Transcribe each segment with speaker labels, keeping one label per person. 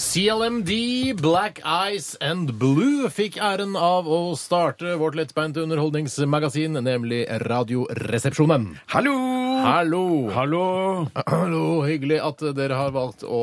Speaker 1: CLMD, Black Eyes and Blue fikk æren av å starte vårt lettbeinte underholdningsmagasin, nemlig Radioresepsjonen.
Speaker 2: Hallo!
Speaker 1: Hallo!
Speaker 2: Hallo!
Speaker 1: Hallo! Hyggelig at dere har valgt å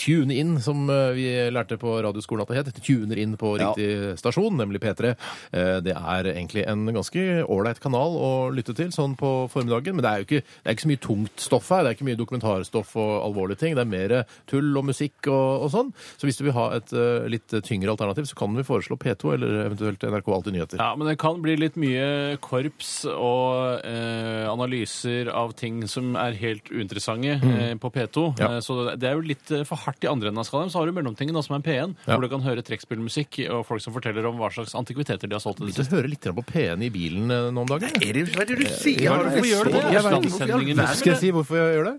Speaker 1: tune inn, som eh, vi lærte på radioskolen at det het. Tuner inn på
Speaker 2: Ja.
Speaker 1: riktig stasjon, nemlig P3. Eh, Det er egentlig en ganske ålreit kanal å lytte til sånn på formiddagen, men det er jo ikke, det er ikke så mye tungt stoff her. Det er ikke mye dokumentarstoff og alvorlige ting. Det er mer tull og musikk og, og sånn. Så hvis du vil ha et eh, litt tyngre alternativ, så kan vi foreslå P2 eller eventuelt NRK Alltid Nyheter.
Speaker 3: Ja, men det kan bli litt mye korps og eh, analyser av ting som er helt uinteressante eh, på P2.
Speaker 1: Mm. Ja.
Speaker 3: Eh, så det er jo litt eh, for hardt i andre enden av skalaen. Så har du mellomtingen da, som er P1,
Speaker 1: Ja.
Speaker 3: hvor du kan høre trekkspillmusikk og folk som forteller om hva slags antikviteter de har solgt. i det
Speaker 1: Begynte å
Speaker 3: siste.
Speaker 1: høre litt grann på P1 i bilen eh, nå om dagen. jeg.
Speaker 2: Er det, hva er det du sier?
Speaker 1: Ja,
Speaker 2: Har du
Speaker 1: hvorfor
Speaker 2: ikke
Speaker 1: gjør du
Speaker 2: sett-
Speaker 1: det? Jeg vet ikke.
Speaker 2: Hvorfor i
Speaker 3: Østlandssendingen.
Speaker 2: all
Speaker 1: Skal jeg si hvorfor jeg gjør det?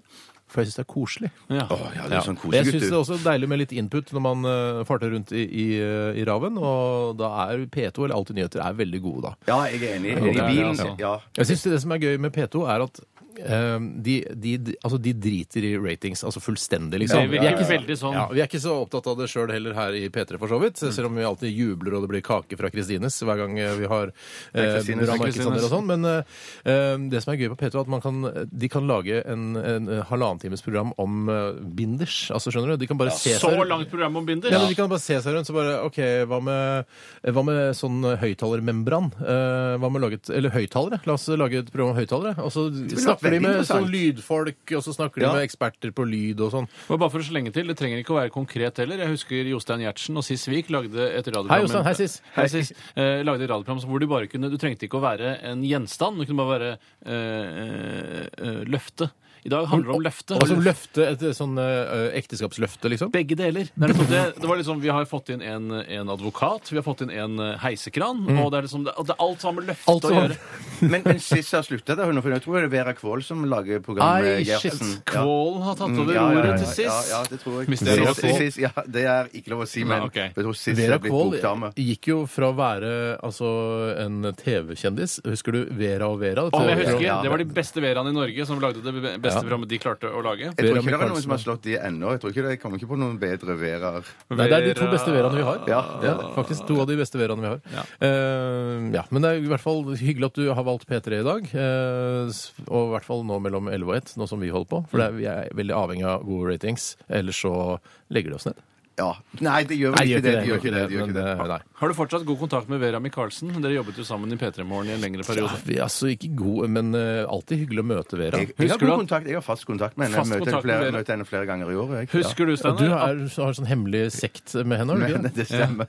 Speaker 1: For jeg syns det er koselig.
Speaker 3: Ja.
Speaker 2: Å, ja, du er sånn
Speaker 1: Jeg
Speaker 2: koselig
Speaker 1: syns
Speaker 2: gutt,
Speaker 1: det er
Speaker 2: du.
Speaker 1: også deilig med litt input når man eh, farter rundt i, i, eh, i raven, og da er P2 eller Alltid nyheter er veldig gode da.
Speaker 2: Ja, jeg er enig.
Speaker 1: Ja,
Speaker 2: I
Speaker 1: det er det,
Speaker 2: bilen,
Speaker 3: altså.
Speaker 2: ja.
Speaker 1: Jeg syns det som er gøy med P2, er at eh, de, de, altså de driter i ratings, altså fullstendig, liksom.
Speaker 3: Det
Speaker 1: Vi er
Speaker 3: virker
Speaker 1: ikke så-
Speaker 3: veldig sånn.
Speaker 1: Ja, vi er ikke så opptatt av det sjøl heller her i P3, for så vidt. Selv om vi alltid jubler og det blir kake fra Kristines hver gang eh, vi har eh,
Speaker 2: Kristines,
Speaker 1: bra
Speaker 2: det er
Speaker 1: markedsandeler og sånn. Men eh, eh, det som er gøy på P2, er at man kan, de kan lage en, en halvannen times program om eh, binders. Altså, skjønner du? De kan bare se
Speaker 3: Så
Speaker 1: seg
Speaker 3: langt program om Binder.
Speaker 1: ja, men De kan bare se seg rundt så bare OK, hva med, hva med sånn høyttalermembran? Eh, hva med å lage et Eller høyttalere. La oss lage et program om høyttalere. Og så snakker
Speaker 2: veldig
Speaker 1: de med
Speaker 2: interessant.
Speaker 1: sånn lydfolk, og så snakker de
Speaker 2: Ja.
Speaker 1: med eksperter på lyd og sånn.
Speaker 3: Og bare for å slenge til, Det trenger ikke å være konkret heller. Jeg husker Jostein Gjertsen og Siss Vik lagde et radioprogram
Speaker 1: Hei, Jostein. Hei, Siss.
Speaker 3: Hei, Siss. Eh, lagde et radioprogram som- hvor du bare kunne Du trengte ikke å være en gjenstand, du kunne bare være eh, eh, løfte. I dag handler det om løfte.
Speaker 1: Altså løfte et sånn eh, ekteskapsløfte, liksom?
Speaker 3: Begge deler. Det, er liksom det, det var liksom, Vi har fått inn en, en advokat, vi har fått inn en eh, heisekran, og det er liksom det, det er alt sammen løfte
Speaker 1: Mm. Alt sånn.
Speaker 3: å
Speaker 1: sammen.
Speaker 3: gjøre.
Speaker 2: Men, men Siss har slutta, da. Hun, for jeg tror det er Vera Kvål som lager program
Speaker 1: Ai,
Speaker 2: med Gjertsen.
Speaker 1: shit.
Speaker 2: Ja.
Speaker 3: Kvålen har tatt
Speaker 2: Mm,
Speaker 3: over
Speaker 2: ja, ja, ja,
Speaker 3: ordet
Speaker 2: ja,
Speaker 3: til
Speaker 2: Ja,
Speaker 3: Siss.
Speaker 2: ja, det tror jeg.
Speaker 3: Mysteriet
Speaker 2: Siss-
Speaker 3: Kvål.
Speaker 2: Siss- ja, det er ikke lov å si, men
Speaker 3: Nei, ok.
Speaker 2: jeg tror Siss
Speaker 1: Vera
Speaker 2: er blitt
Speaker 1: Kvål
Speaker 2: bokdame.
Speaker 1: gikk jo fra å være altså, en TV-kjendis Husker du Vera og Vera?
Speaker 3: Om jeg
Speaker 2: Ja,
Speaker 3: husker,
Speaker 2: ja.
Speaker 3: Det var de beste veraene i Norge som lagde det be- beste programmet de klarte å lage.
Speaker 2: Jeg tror
Speaker 1: Vera
Speaker 2: ikke det er
Speaker 1: Michaelsen.
Speaker 2: noen som har slått de ennå. Jeg tror ikke det, jeg kommer ikke på noen bedre Veraer.
Speaker 1: Nei, det er de to beste Veraene vi har.
Speaker 2: Ja,
Speaker 1: det er det. Faktisk to av de beste Veraene vi har. Ja. ja, Men det er i hvert fall hyggelig at du har valgt P3 i dag. eh, s- og i hvert fall nå mellom 11 og 1, nå som vi holder på. For det er, vi er veldig avhengig av gode ratings. Ellers så legger de oss ned.
Speaker 2: Ja. Nei, det gjør vel ikke det. Det gjør ikke det. det, gjør
Speaker 1: men,
Speaker 2: ikke det.
Speaker 1: eh, Nei.
Speaker 3: Har du fortsatt god kontakt med Vera Michaelsen? Dere jobbet jo sammen i P3 Morgen i en lengre
Speaker 1: Ja,
Speaker 3: periode.
Speaker 1: vi er altså ikke gode, men eh, alltid hyggelig å møte Vera.
Speaker 2: Jeg, jeg, har
Speaker 3: Husker du
Speaker 2: god
Speaker 3: at-
Speaker 2: kontakt, jeg har fast kontakt med henne.
Speaker 3: Fast
Speaker 2: Jeg møter henne
Speaker 3: kontakt med
Speaker 2: flere,
Speaker 3: dere.
Speaker 2: møter henne flere ganger i året. jeg.
Speaker 3: Husker du,
Speaker 1: Og du
Speaker 3: Steinar?
Speaker 1: er, har sånn hemmelig sekt med henne? har du
Speaker 2: Men
Speaker 1: ikke det?
Speaker 2: det stemmer.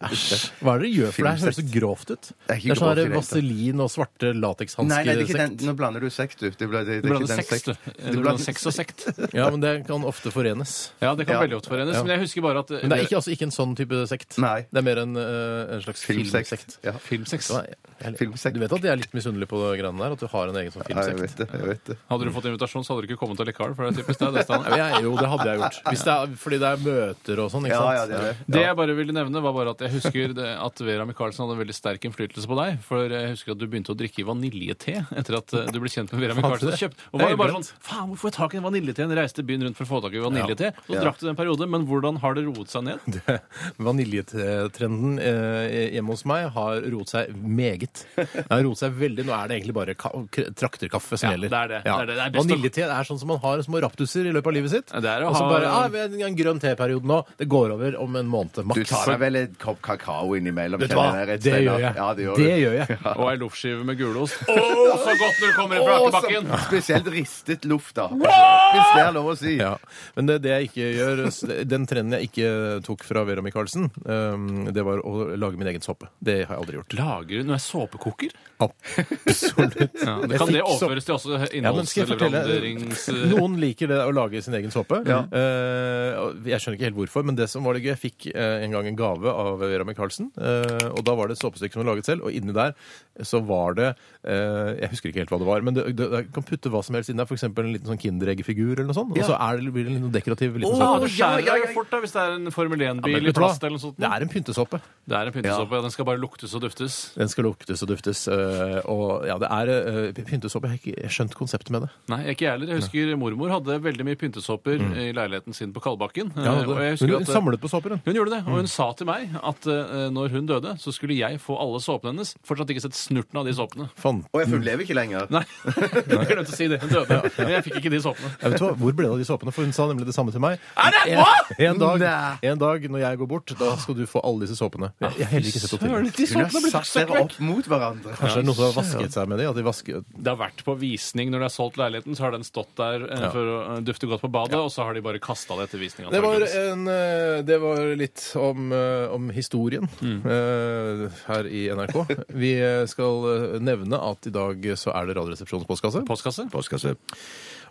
Speaker 1: Hva er det dere gjør for deg? Det høres så
Speaker 2: Filmsekt.
Speaker 1: grovt ut. Det
Speaker 2: er
Speaker 1: er,
Speaker 2: ikke
Speaker 1: sånn
Speaker 2: grovt i
Speaker 1: her
Speaker 2: det hele tatt.
Speaker 1: vaselin og svarte
Speaker 2: Nei, nei, det er ikke den.
Speaker 1: latekshanskesekt.
Speaker 2: Nå blander du sekt, du. Det ble, det,
Speaker 3: Du
Speaker 2: det er
Speaker 3: blander
Speaker 2: ikke den
Speaker 3: sex,
Speaker 2: sekt.
Speaker 3: du. Du blander sex og sekt.
Speaker 1: Ja, men det kan ofte forenes.
Speaker 3: Ja, det kan
Speaker 2: Ja.
Speaker 3: veldig godt forenes.
Speaker 1: Ja.
Speaker 3: Men jeg husker bare at eh,
Speaker 1: Men det er ikke, altså, ikke en sånn type sekt.
Speaker 2: Nei.
Speaker 1: Det er mer en, eh, en slags
Speaker 2: Filmsekt.
Speaker 1: filmsekt.
Speaker 2: Ja.
Speaker 3: Filmsex.
Speaker 1: Ja, jeg-
Speaker 2: Filmsekt.
Speaker 1: Du vet at jeg er litt misunnelig på det greiene der? At du har en egen sånn
Speaker 2: Ja, jeg
Speaker 1: filmsekt?
Speaker 2: vet det. jeg vet det.
Speaker 3: Hadde du fått invitasjon, så hadde du ikke kommet allikevel. For det er sånn. typisk deg, det, Steinar.
Speaker 1: Ja, jeg, jo, det hadde jeg gjort. Hvis det er, fordi det er møter og sånn, ikke
Speaker 2: Ja,
Speaker 1: sant?
Speaker 2: ja, det er det.
Speaker 3: Det jeg bare ville nevne, var bare at jeg husker det, at Vera Michaelsen hadde en veldig sterk innflytelse på deg. For jeg husker at du begynte å drikke vanilje-te etter at eh, du ble kjent med Vera Michaelsen. Og, kjøpt, og var jo bare sånn Faen, hvor får jeg tak i en vanilje-te? En reiste byen rundt for å få tak i vanilje-te. Så drakk du den en periode, men hvordan har det roet seg ned?
Speaker 1: Vaniljetrenden eh, hjemme hos meg har roet seg meget. Den har roet seg veldig. Nå er det egentlig bare ka k- trakterkaffe som
Speaker 3: Ja,
Speaker 1: gjelder.
Speaker 3: det er det. Det er det. Det er best å-
Speaker 1: Vaniljete er sånn som man har små raptuser i løpet av livet sitt.
Speaker 3: Ja, det er å
Speaker 1: Og så
Speaker 3: ha-
Speaker 1: bare ah, vi har en- en grønn teperiode nå. Det går over om en måned, maks.
Speaker 2: Du tar deg vel en kopp kakao innimellom?
Speaker 1: Vet du
Speaker 2: kjenner
Speaker 1: hva?
Speaker 2: jeg rett,
Speaker 1: Det
Speaker 2: Steinar?
Speaker 1: gjør jeg.
Speaker 2: Ja, det gjør
Speaker 1: det
Speaker 2: du.
Speaker 1: gjør jeg.
Speaker 3: Og ei loffskive med gulost. Å, så godt når du kommer inn fra
Speaker 2: Å,
Speaker 3: akebakken!
Speaker 2: så- Spesielt ristet luft, da. Hvis det er lov å si.
Speaker 1: Ja, Men det, det jeg ikke gjør, s- den trenden jeg ikke eh, tok fra Vera Michaelsen, eh, det var å lage min egen soppe. Det har jeg aldri gjort.
Speaker 3: Lager hun noe såpekoker?
Speaker 1: Absolutt.
Speaker 3: Ja, det
Speaker 1: Jeg
Speaker 3: kan
Speaker 1: fikk
Speaker 3: det
Speaker 1: sopp-
Speaker 3: overføres til også
Speaker 1: Ja, men skal jeg
Speaker 3: innholdsleverandørings...
Speaker 1: fortelle eh, Noen liker det å lage sin egen såpe. Eh, og jeg skjønner ikke helt hvorfor, men det som var det gøy, jeg fikk eh, en gang en gave av Vera Michaelsen. eh, og da var det et såpestykke som hun laget selv, og inni der så var det eh, Jeg husker ikke helt hva det var, men du, du, du kan putte hva som helst inn der. F.eks. en liten sånn Kinderegg-figur eller noe sånt. Og så er det, blir det en liten dekorativ liten
Speaker 3: Ah,
Speaker 1: såpe.
Speaker 3: du skjærer deg jo fort da, hvis det er en Formel
Speaker 1: Men
Speaker 3: 1-bil i
Speaker 1: vet du hva?
Speaker 3: plast eller noe sånt.
Speaker 1: Det er en pyntesåpe.
Speaker 3: Det er en pyntesåpe, ja. Den skal bare luktes og duftes.
Speaker 1: Den skal luktes og duftes. eh, og ja, det er eh, pyntesåpe. Jeg har ikke skjønt konseptet med det.
Speaker 3: Nei, ikke jeg heller. Jeg husker mormor hadde veldig mye pyntesåper i leiligheten sin på Kalbakken.
Speaker 1: Mm. Ja,
Speaker 3: eh, og jeg husker
Speaker 1: hun Mm.
Speaker 3: at, eh,
Speaker 1: samlet på såper, hun.
Speaker 3: Hun gjorde det, og hun sa til meg at eh, når hun døde, så skulle jeg få alle såpene hennes. Fortsatt ikke sett snurten av de såpene.
Speaker 1: Fant.
Speaker 2: Og jeg føler lever ikke lenger.
Speaker 3: Nei, jeg glemte å si det. Hun døde, men jeg fikk ikke de såpene.
Speaker 1: Jeg vet hva, Hvor ble det av de såpene? For hun sa nemlig det samme til meg.
Speaker 3: Er det
Speaker 1: en,
Speaker 3: hva?!
Speaker 1: en, dag,
Speaker 2: Nei.
Speaker 1: en dag når jeg går bort, da skal du få alle disse såpene. Jeg, jeg har heller ikke sett opp til
Speaker 3: Søren,
Speaker 1: dem.
Speaker 3: de såpene ble
Speaker 2: Satt
Speaker 3: søkt
Speaker 2: dere
Speaker 3: vekk.
Speaker 2: opp mot hverandre.
Speaker 1: Kanskje det er noen som har vasket seg med de, at de vasker...
Speaker 3: Det har vært på visning når de har solgt leiligheten, så har den stått der eh,
Speaker 1: Ja.
Speaker 3: for å eh, dufte godt på badet, og så har de bare kasta det etter visning.
Speaker 1: Det var,
Speaker 3: antageligvis.
Speaker 1: en, eh, det var litt om, eh, om historien eh, her i NRK. Vi eh, skal eh, nevne at i dag så er det Radioresepsjonens postkasse.
Speaker 3: Postkasse?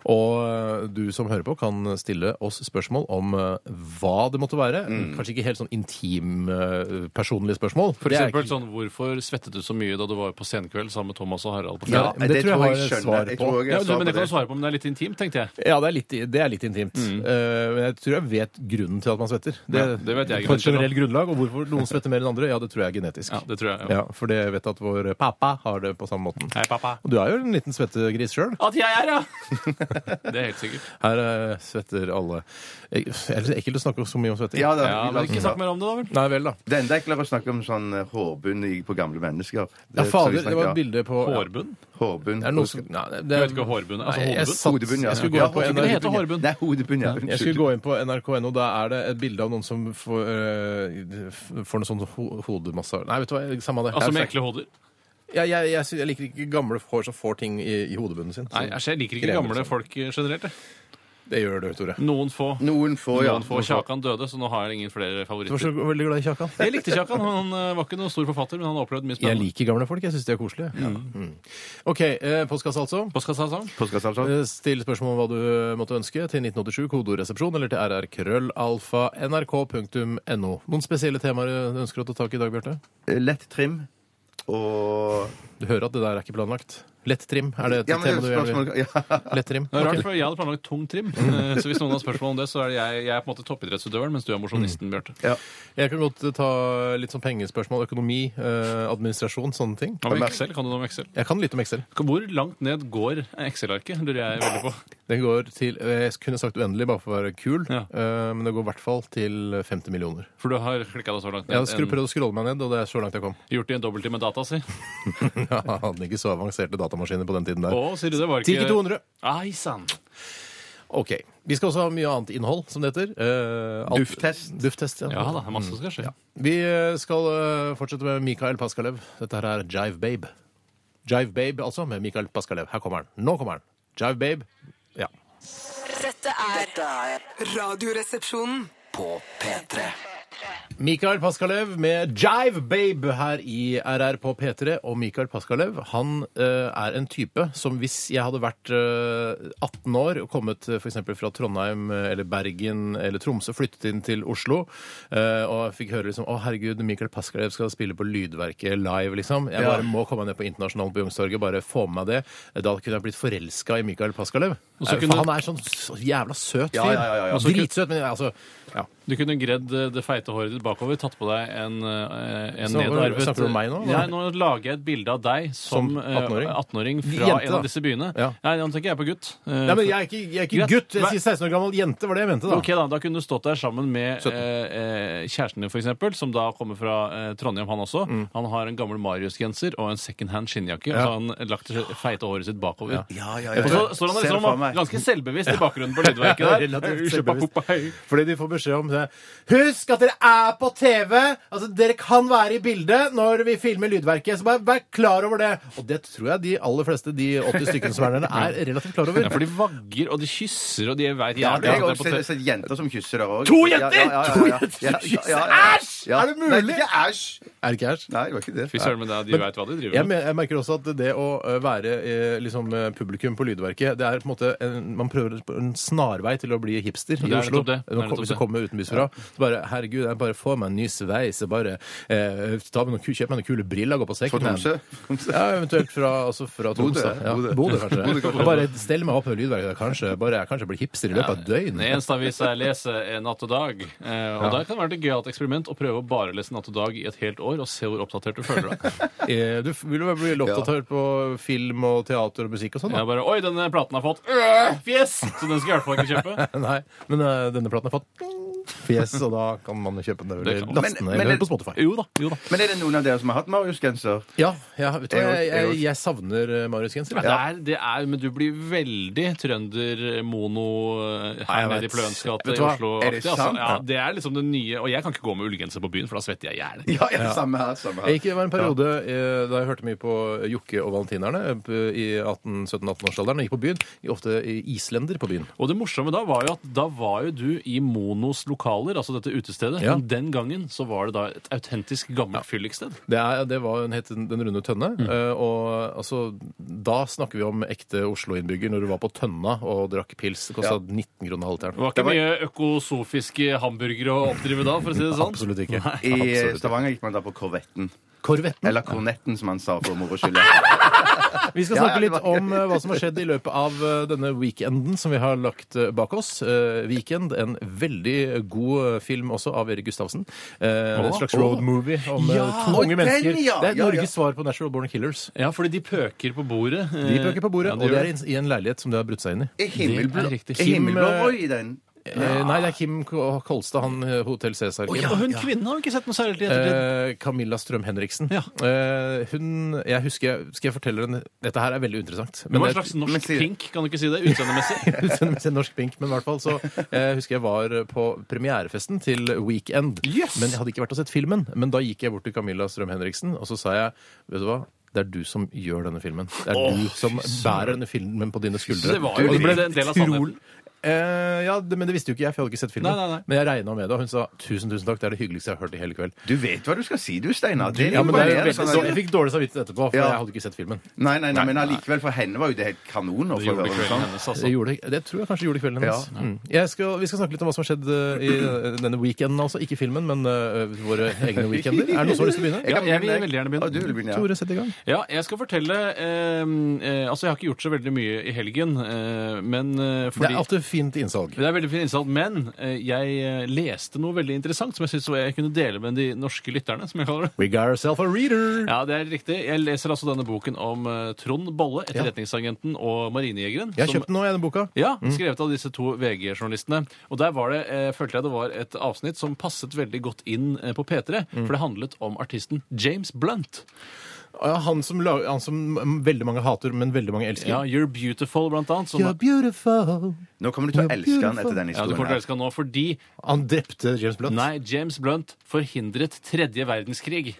Speaker 1: Og eh, du som hører på, kan stille oss spørsmål om eh, hva det måtte være. Kanskje ikke helt sånn intim eh, personlige spørsmål.
Speaker 3: For
Speaker 1: Det er
Speaker 3: eksempel
Speaker 1: ikke-
Speaker 3: sånn, hvorfor svettet du så mye da du var på scenekveld sammen med Thomas og Harald på
Speaker 1: Ja,
Speaker 3: fredag?
Speaker 1: men det, tror jeg har et svar
Speaker 2: Jeg
Speaker 1: på.
Speaker 2: tror jeg
Speaker 3: Ja,
Speaker 2: har svar
Speaker 3: men du- men
Speaker 2: på
Speaker 3: det kan du
Speaker 2: det.
Speaker 3: svare på, men det er litt intimt, tenkte jeg.
Speaker 1: Ja, det er litt, det er litt intimt. Eh, men jeg tror jeg vet grunnen til at man svetter. Det,
Speaker 3: Mm. Ja, det vet jeg
Speaker 1: på
Speaker 3: grunnen
Speaker 1: et
Speaker 3: til, da.
Speaker 1: generelt grunnlag. Og hvorfor noen svetter mer enn andre, ja, det tror jeg er genetisk.
Speaker 3: Ja, det tror jeg. Ja.
Speaker 1: Ja, For det vet at vår pappa har det på samme måten.
Speaker 3: Hei, pappa.
Speaker 1: Og du er jo en liten svettegris sjøl.
Speaker 3: At jeg er, ja! det er helt sikkert.
Speaker 1: Her eh, svetter alle. Jeg- Er det ekkelt å snakke så mye om svetting?
Speaker 2: Ja, da,
Speaker 3: Ja,
Speaker 2: vi
Speaker 3: men
Speaker 2: lar
Speaker 3: ikke
Speaker 2: oss-
Speaker 3: snakk mer om det, da vel?
Speaker 1: Nei vel, da.
Speaker 2: Det er enda enklere å snakke om sånn eh, hårbunn i- på gamle mennesker. Det
Speaker 1: Ja,
Speaker 2: skal vi
Speaker 1: fader, det
Speaker 2: snakke
Speaker 1: var
Speaker 2: om.
Speaker 1: et bilde på
Speaker 3: Hårbunn?
Speaker 2: Hårbunn.
Speaker 1: Er det noe som Nei, det,
Speaker 3: Jeg vet ikke hva hårbunn er.
Speaker 1: Nei, jeg
Speaker 3: Altså,
Speaker 1: satt-
Speaker 2: Hodebunn, ja.
Speaker 1: Jeg skulle gå inn på
Speaker 3: jeg tror ikke det heter hårbunn.
Speaker 2: Det er hodebunn, ja.
Speaker 1: Jeg skulle gå inn på nrk.no. Da er det et bilde av noen som får, eh, får noe sånn ho hodemassasje Nei, vet du hva, samme det.
Speaker 3: altså
Speaker 1: Jeg-
Speaker 3: med ekle hoder.
Speaker 1: jeg, jeg, jeg, sy- jeg liker ikke gamle hår som får ting i, i hodebunnen sin. Så
Speaker 3: Nei, æsj, jeg liker ikke
Speaker 1: krever
Speaker 3: gamle
Speaker 1: sånn.
Speaker 3: folk generelt. jeg.
Speaker 1: Det gjør du, Tore.
Speaker 3: Noen få.
Speaker 2: Noen få, ja.
Speaker 3: Noen få. Kjakan døde, så nå har jeg ingen
Speaker 1: Du var
Speaker 3: flere
Speaker 1: så
Speaker 3: favoritter.
Speaker 1: veldig glad i Kjakan.
Speaker 3: Jeg likte Kjakan. Han eh, var ikke noen stor forfatter, men han har opplevd mye
Speaker 1: Jeg
Speaker 3: spennende.
Speaker 1: liker gamle folk. Jeg syns de er koselige. Mm. OK. Eh, postkasse, altså.
Speaker 3: Postkassa sang.
Speaker 2: Påskesalsa.
Speaker 1: Eh, Still spørsmål om hva du måtte ønske til 1987, kodoresepsjon, eller til rrkrøllalfa.nrk.no. Noen spesielle temaer du ønsker å ta tak i i dag, Bjarte?
Speaker 2: Eh, Lett trim og
Speaker 1: Du hører at det der er ikke planlagt. Lett trim, er det et
Speaker 2: Ja, men
Speaker 1: tema du
Speaker 2: det er et
Speaker 1: gjerne vil
Speaker 2: spørsmål ja.
Speaker 1: Lett trim.
Speaker 3: Det er
Speaker 1: Ok.
Speaker 3: rart, for Jeg hadde planlagt tung trim, eh, så hvis noen har spørsmål om det, så er det jeg, jeg er på en måte toppidrettsutøveren, mens du er
Speaker 1: Mm.
Speaker 3: mosjonisten, Bjarte.
Speaker 1: Jeg kan godt eh, ta litt sånn pengespørsmål. Økonomi, eh, administrasjon, sånne ting.
Speaker 3: Hva med Excel? Kan du noe om Excel?
Speaker 1: Jeg kan litt om Excel.
Speaker 3: Hvor langt ned går Excel-arket? Lurer jeg veldig på.
Speaker 1: Den går til eh, Jeg kunne sagt uendelig, bare for å være kul,
Speaker 3: Ja.
Speaker 1: eh, men det går i hvert fall til 50 millioner.
Speaker 3: For du har klikka deg så langt
Speaker 1: Jeg har skru,
Speaker 3: ned.
Speaker 1: prøvd å scrolle meg ned, og det er så langt jeg kom.
Speaker 3: En, gjort det i en dobbelttime med data, si.
Speaker 1: Jeg hadde ikke så avanserte datamaskiner på den tiden der.
Speaker 3: Å, sier du det? Var ikke
Speaker 1: 10 200.
Speaker 3: Ai sann.
Speaker 1: OK. Vi skal også ha mye annet innhold, som det heter. Eh, alt-
Speaker 2: Dufttest.
Speaker 1: Dufttest, ja.
Speaker 3: Ja da, det er masse som skal skje.
Speaker 1: Vi eh, skal eh, fortsette med Mikael Paskalev. Dette her er Jive Babe. Jive Babe, altså, med Mikael Paskalev. Her kommer han. Nå kommer han. Jive Babe. Ja.
Speaker 4: Dette er Radioresepsjonen.
Speaker 5: På P3
Speaker 1: Mikael Paskalev med Jive Babe her i RR på P3. Og Mikael Paskalev han eh, er en type som hvis jeg hadde vært eh, 18 år og kommet eh, for eksempel fra Trondheim eh, eller Bergen eller Tromsø, flyttet inn til Oslo eh, og jeg fikk høre liksom Å, herregud, Mikael Paskalev skal spille på Lydverket live, liksom. Jeg bare må komme meg ned på Internasjonalen på Youngstorget, bare få med meg det. Da kunne jeg blitt forelska i Mikael Paskalev.
Speaker 3: Og så
Speaker 1: Eh,
Speaker 3: kunne-
Speaker 1: For han er sånn så jævla søt fyr.
Speaker 2: Ja, ja, ja, ja.
Speaker 1: Og så kunne- Dritsøt, men altså ja.
Speaker 3: Du kunne gredd eh, det feite håret ditt bakover, tatt på deg en, eh, en
Speaker 1: Så,
Speaker 3: nedarvet
Speaker 1: snakker du om meg nå,
Speaker 3: Nei,
Speaker 1: eller?
Speaker 3: nå lager jeg et bilde av deg som,
Speaker 1: Som
Speaker 3: eh,
Speaker 1: 18-åring?
Speaker 3: 18-åring fra
Speaker 1: Jente,
Speaker 3: en
Speaker 1: da.
Speaker 3: av disse byene.
Speaker 1: Ja.
Speaker 3: Nei, nå tenker jeg på gutt. Eh,
Speaker 1: Nei, men jeg er ikke, jeg er ikke
Speaker 3: Greit.
Speaker 1: gutt. Jeg
Speaker 3: Nei.
Speaker 1: sier 16 år gammel jente, var det jeg mente, da.
Speaker 3: Ok da, da kunne du stått der sammen med
Speaker 1: 17.
Speaker 3: eh, eh, kjæresten din, for eksempel, som da kommer fra eh, Trondheim, han også.
Speaker 1: Mm.
Speaker 3: Han har en gammel Marius-genser og en secondhand skinnjakke, og så har han lagt det feite håret sitt bakover.
Speaker 2: Ja, ja, ja.
Speaker 3: Og så
Speaker 1: sånn
Speaker 3: står han
Speaker 2: Ser det for
Speaker 3: liksom
Speaker 2: meg.
Speaker 3: ganske selvbevisst i bakgrunnen på lydverket der.
Speaker 1: Relativt
Speaker 3: Usjapapopahei.
Speaker 1: Fordi de får beskjed om det er, Husk at dere er på TV! Altså, dere kan være i bildet når vi filmer lydverket. Så bare vær klar over det. Og det tror jeg de aller fleste, de 80 stykkene som er der, er relativt klar over.
Speaker 3: Ja, for de vagger, og de kysser, og de veit
Speaker 2: Ja, det
Speaker 3: jævlig
Speaker 2: er
Speaker 3: at
Speaker 2: også
Speaker 3: det er på
Speaker 2: sett- sett jenter som kysser der òg.
Speaker 1: To jenter! To jenter som kysser. Æsj! Er det
Speaker 2: Nei,
Speaker 1: mulig?
Speaker 2: ikke æsj.
Speaker 1: Er det ikke æsj?
Speaker 2: Nei, det var ikke det.
Speaker 3: Fy søren, men det er- de veit hva de driver
Speaker 1: Jeg,
Speaker 3: med.
Speaker 1: me- jeg merker også at det å ø, være eh, liksom, eh, publikum på Lydverket det er på en måte en, Man prøver på en snarvei til å bli hipster i
Speaker 3: er
Speaker 1: Oslo.
Speaker 3: nettopp det. Det er
Speaker 1: Når-
Speaker 3: nettopp
Speaker 1: Hvis du
Speaker 3: det.
Speaker 1: kommer utenbysfra. Så bare Herregud, jeg bare får meg en ny sveis. Jeg bare eh, tar meg noen, ku- kjøper meg noen kule briller, går på
Speaker 2: Fra
Speaker 1: second hand.
Speaker 2: Tromsø. Tromsø.
Speaker 1: Ja, eventuelt fra, altså fra
Speaker 2: Bodø,
Speaker 1: Tromsø. Ja.
Speaker 2: Bodø.
Speaker 1: Bodø, kanskje.
Speaker 2: Bodø, kanskje.
Speaker 1: Bare stell meg opp med Lydverket. Kanskje bare, jeg kanskje blir hipster i løpet av et døgn.
Speaker 3: Den eneste avisa jeg leser, er Natt og Dag. Eh, og da kan det være et gøyalt eksperiment å prøve å bare lese Natt og Dag i et helt år og se hvor oppdatert du føler deg.
Speaker 1: Eh, Du f- vil jo bli oppdatert på film og teater og musikk og sånn, da.
Speaker 3: Jeg bare Oi, denne platen har fått øh, fjes! Så den skal jeg i hvert fall ikke kjøpe.
Speaker 1: Nei, men eh, denne platen har fått fjes, og da kan man kjøpe den
Speaker 3: Det
Speaker 1: eller
Speaker 3: kan man.
Speaker 1: laste den
Speaker 2: Men-
Speaker 1: eller
Speaker 2: men-
Speaker 1: høre på Spotify.
Speaker 3: Jo da. jo da
Speaker 2: Men er det noen av dere som har hatt Marius-genser?
Speaker 1: Ja, ja vet du, hva,
Speaker 2: Jeg òg,
Speaker 1: jeg,
Speaker 2: jeg
Speaker 1: jeg,
Speaker 2: òg.
Speaker 1: jeg savner eh, Marius Genser. jeg.
Speaker 3: Det er, det er, men du blir veldig trønder-mono eh, her
Speaker 1: jeg
Speaker 3: nede i
Speaker 1: vet.
Speaker 3: Pløens gate
Speaker 2: Vet
Speaker 3: i
Speaker 2: du hva?
Speaker 3: Oslo.
Speaker 2: Er det sant?
Speaker 3: Ja, det er liksom det nye. Og jeg kan ikke gå med ullgenser på byen, for da svetter jeg i hjel.
Speaker 2: Ja, ja, samme her. samme
Speaker 1: Jeg
Speaker 2: her.
Speaker 1: gikk, det var en periode eh, da jeg hørte mye på Jokke og Valentinerne eh, i 17-18-årsalderen. Jeg gikk på byen. Jeg gikk Ofte i islender på byen.
Speaker 3: Og det morsomme da var jo at da var jo du i Monos lokaler, altså dette utestedet.
Speaker 1: Ja.
Speaker 3: Men den gangen så var det da et autentisk gammelt fylliksted.
Speaker 1: Det, er, det var, den het Den runde tønne. eh, Og altså, da snakker vi om ekte Oslo-innbygger når du var på Tønna og drakk pils. Det kosta 19 kroner
Speaker 3: Det
Speaker 1: halvteren.
Speaker 3: var ikke mye økosofiske hamburgere å oppdrive da, for å si det sånn.
Speaker 1: Absolutt ikke.
Speaker 2: I
Speaker 1: Absolutt.
Speaker 2: Stavanger gikk man da på Korvetten.
Speaker 1: Korvetten.
Speaker 2: Eller Kornetten, som han sa for moro skyld.
Speaker 1: Vi skal
Speaker 2: Ja, ja,
Speaker 1: snakke
Speaker 2: det
Speaker 1: litt
Speaker 2: var-
Speaker 1: om eh, hva som har skjedd i løpet av eh, denne weekenden som vi har lagt eh, bak oss. Eh, Weekend, en veldig god eh, film også av Erik Gustavsen. Eh, En slags road movie om eh,
Speaker 2: Ja,
Speaker 1: to
Speaker 2: og
Speaker 1: unge
Speaker 2: den,
Speaker 1: mennesker.
Speaker 2: ja,
Speaker 1: Det er
Speaker 2: ja, ja.
Speaker 1: Norges svar på Natural Born Killers.
Speaker 3: Ja, fordi de pøker på bordet.
Speaker 1: De pøker på bordet,
Speaker 3: Ja,
Speaker 1: og det
Speaker 3: gjør
Speaker 1: er i- i en leilighet som de har brutt seg inn i.
Speaker 2: Er himmelblå
Speaker 3: Det er riktig.
Speaker 2: er himmelblå Roy den?
Speaker 1: Eh, Nei, det er Kim K- Kolstad, han eh, Hotell Cæsar. Kim.
Speaker 3: Og hun kvinnen har vi ikke sett noe særlig til i ettertid.
Speaker 1: Eh, Camilla Strøm Henriksen.
Speaker 3: Ja.
Speaker 1: Eh, hun jeg husker, Skal jeg fortelle henne Dette her er veldig interessant.
Speaker 3: Det var en
Speaker 1: jeg-
Speaker 3: slags
Speaker 2: men
Speaker 3: norsk
Speaker 2: sier-
Speaker 3: pink, kan du ikke si det? Utseendemessig.
Speaker 1: Utseendet med sin norsk pink, men i hvert fall så eh, husker jeg var på premierefesten til Weekend.
Speaker 3: Yes!
Speaker 1: Men jeg hadde ikke vært og sett filmen. Men da gikk jeg bort til Camilla Strøm-Henriksen, og så sa jeg Vet du hva? Det er du som gjør denne filmen. Det er du som bærer denne filmen på dine
Speaker 3: Så
Speaker 1: skuldre.
Speaker 3: det var jo
Speaker 1: Og ble
Speaker 3: en del av sannheten.
Speaker 1: Eh, ja, det, men det visste jo ikke jeg, for jeg hadde ikke sett filmen.
Speaker 3: Nei, nei, nei.
Speaker 1: Men jeg regna med det, og hun sa tusen, tusen takk, det er det hyggeligste jeg har hørt i hele kveld.
Speaker 2: Du vet hva du skal si, du, Steinar. Det er
Speaker 1: Ja, men det
Speaker 2: imponerende.
Speaker 1: er jo veldig,
Speaker 3: sånn
Speaker 1: dårlig- jeg fikk dårlig samvittighet etterpå, for
Speaker 2: Ja.
Speaker 1: jeg hadde ikke sett filmen.
Speaker 2: Nei, nei, nei, men allikevel, for henne var jo det helt kanon. å
Speaker 3: Det
Speaker 2: få
Speaker 3: gjorde
Speaker 2: høre
Speaker 3: kvelden
Speaker 2: sånn.
Speaker 3: hennes, altså.
Speaker 1: Det, gjorde, det tror jeg kanskje gjorde kvelden hennes. Mm. Jeg skal, vi skal snakke litt om hva som har skjedd eh, i eh, denne weekenden, altså. Ikke filmen, men eh, våre egne weekender. Er det noen som har lyst til å begynne?
Speaker 3: Ja, jeg vil
Speaker 2: begynne,
Speaker 3: veldig gjerne
Speaker 2: Å, du vil
Speaker 3: begynne.
Speaker 2: begynne, ja.
Speaker 1: Tore, sett i gang.
Speaker 3: Ja, jeg skal fortelle eh, eh, Altså, jeg har ikke gjort så veldig mye i helgen, eh, men
Speaker 1: Det
Speaker 3: eh, fordi
Speaker 1: er alltid fint innsalg.
Speaker 3: det er veldig fin innsats, men eh, jeg eh, leste noe veldig interessant som jeg synes jeg kunne dele med de norske lytterne, som jeg kaller det.
Speaker 1: We got ourselves a reader!
Speaker 3: Ja, det er riktig. Jeg leser altså denne boken om eh, Trond Bolle, etterretningsagenten og marinejegeren.
Speaker 1: Jeg har
Speaker 3: som-
Speaker 1: kjøpt den nå, jeg, den boka.
Speaker 3: Ja, skrevet av disse to VG-journalistene. Og der var det, eh, følte jeg det var et avsnitt som passet veldig godt inn eh, på P3, for det handlet om artisten James Blunt.
Speaker 1: Ja, Han som, la- han som mm, veldig mange hater, men veldig mange elsker.
Speaker 3: Ja, You're Beautiful, blant annet. Som,
Speaker 1: You're beautiful.
Speaker 2: Nå kommer du til å
Speaker 1: Ja,
Speaker 2: elske han
Speaker 1: beautiful.
Speaker 2: etter den
Speaker 3: ja,
Speaker 2: historien.
Speaker 3: du kommer til å
Speaker 2: her.
Speaker 3: elske han nå, fordi
Speaker 1: Han drepte James Blunt.
Speaker 3: Nei, James Blunt forhindret tredje verdenskrig.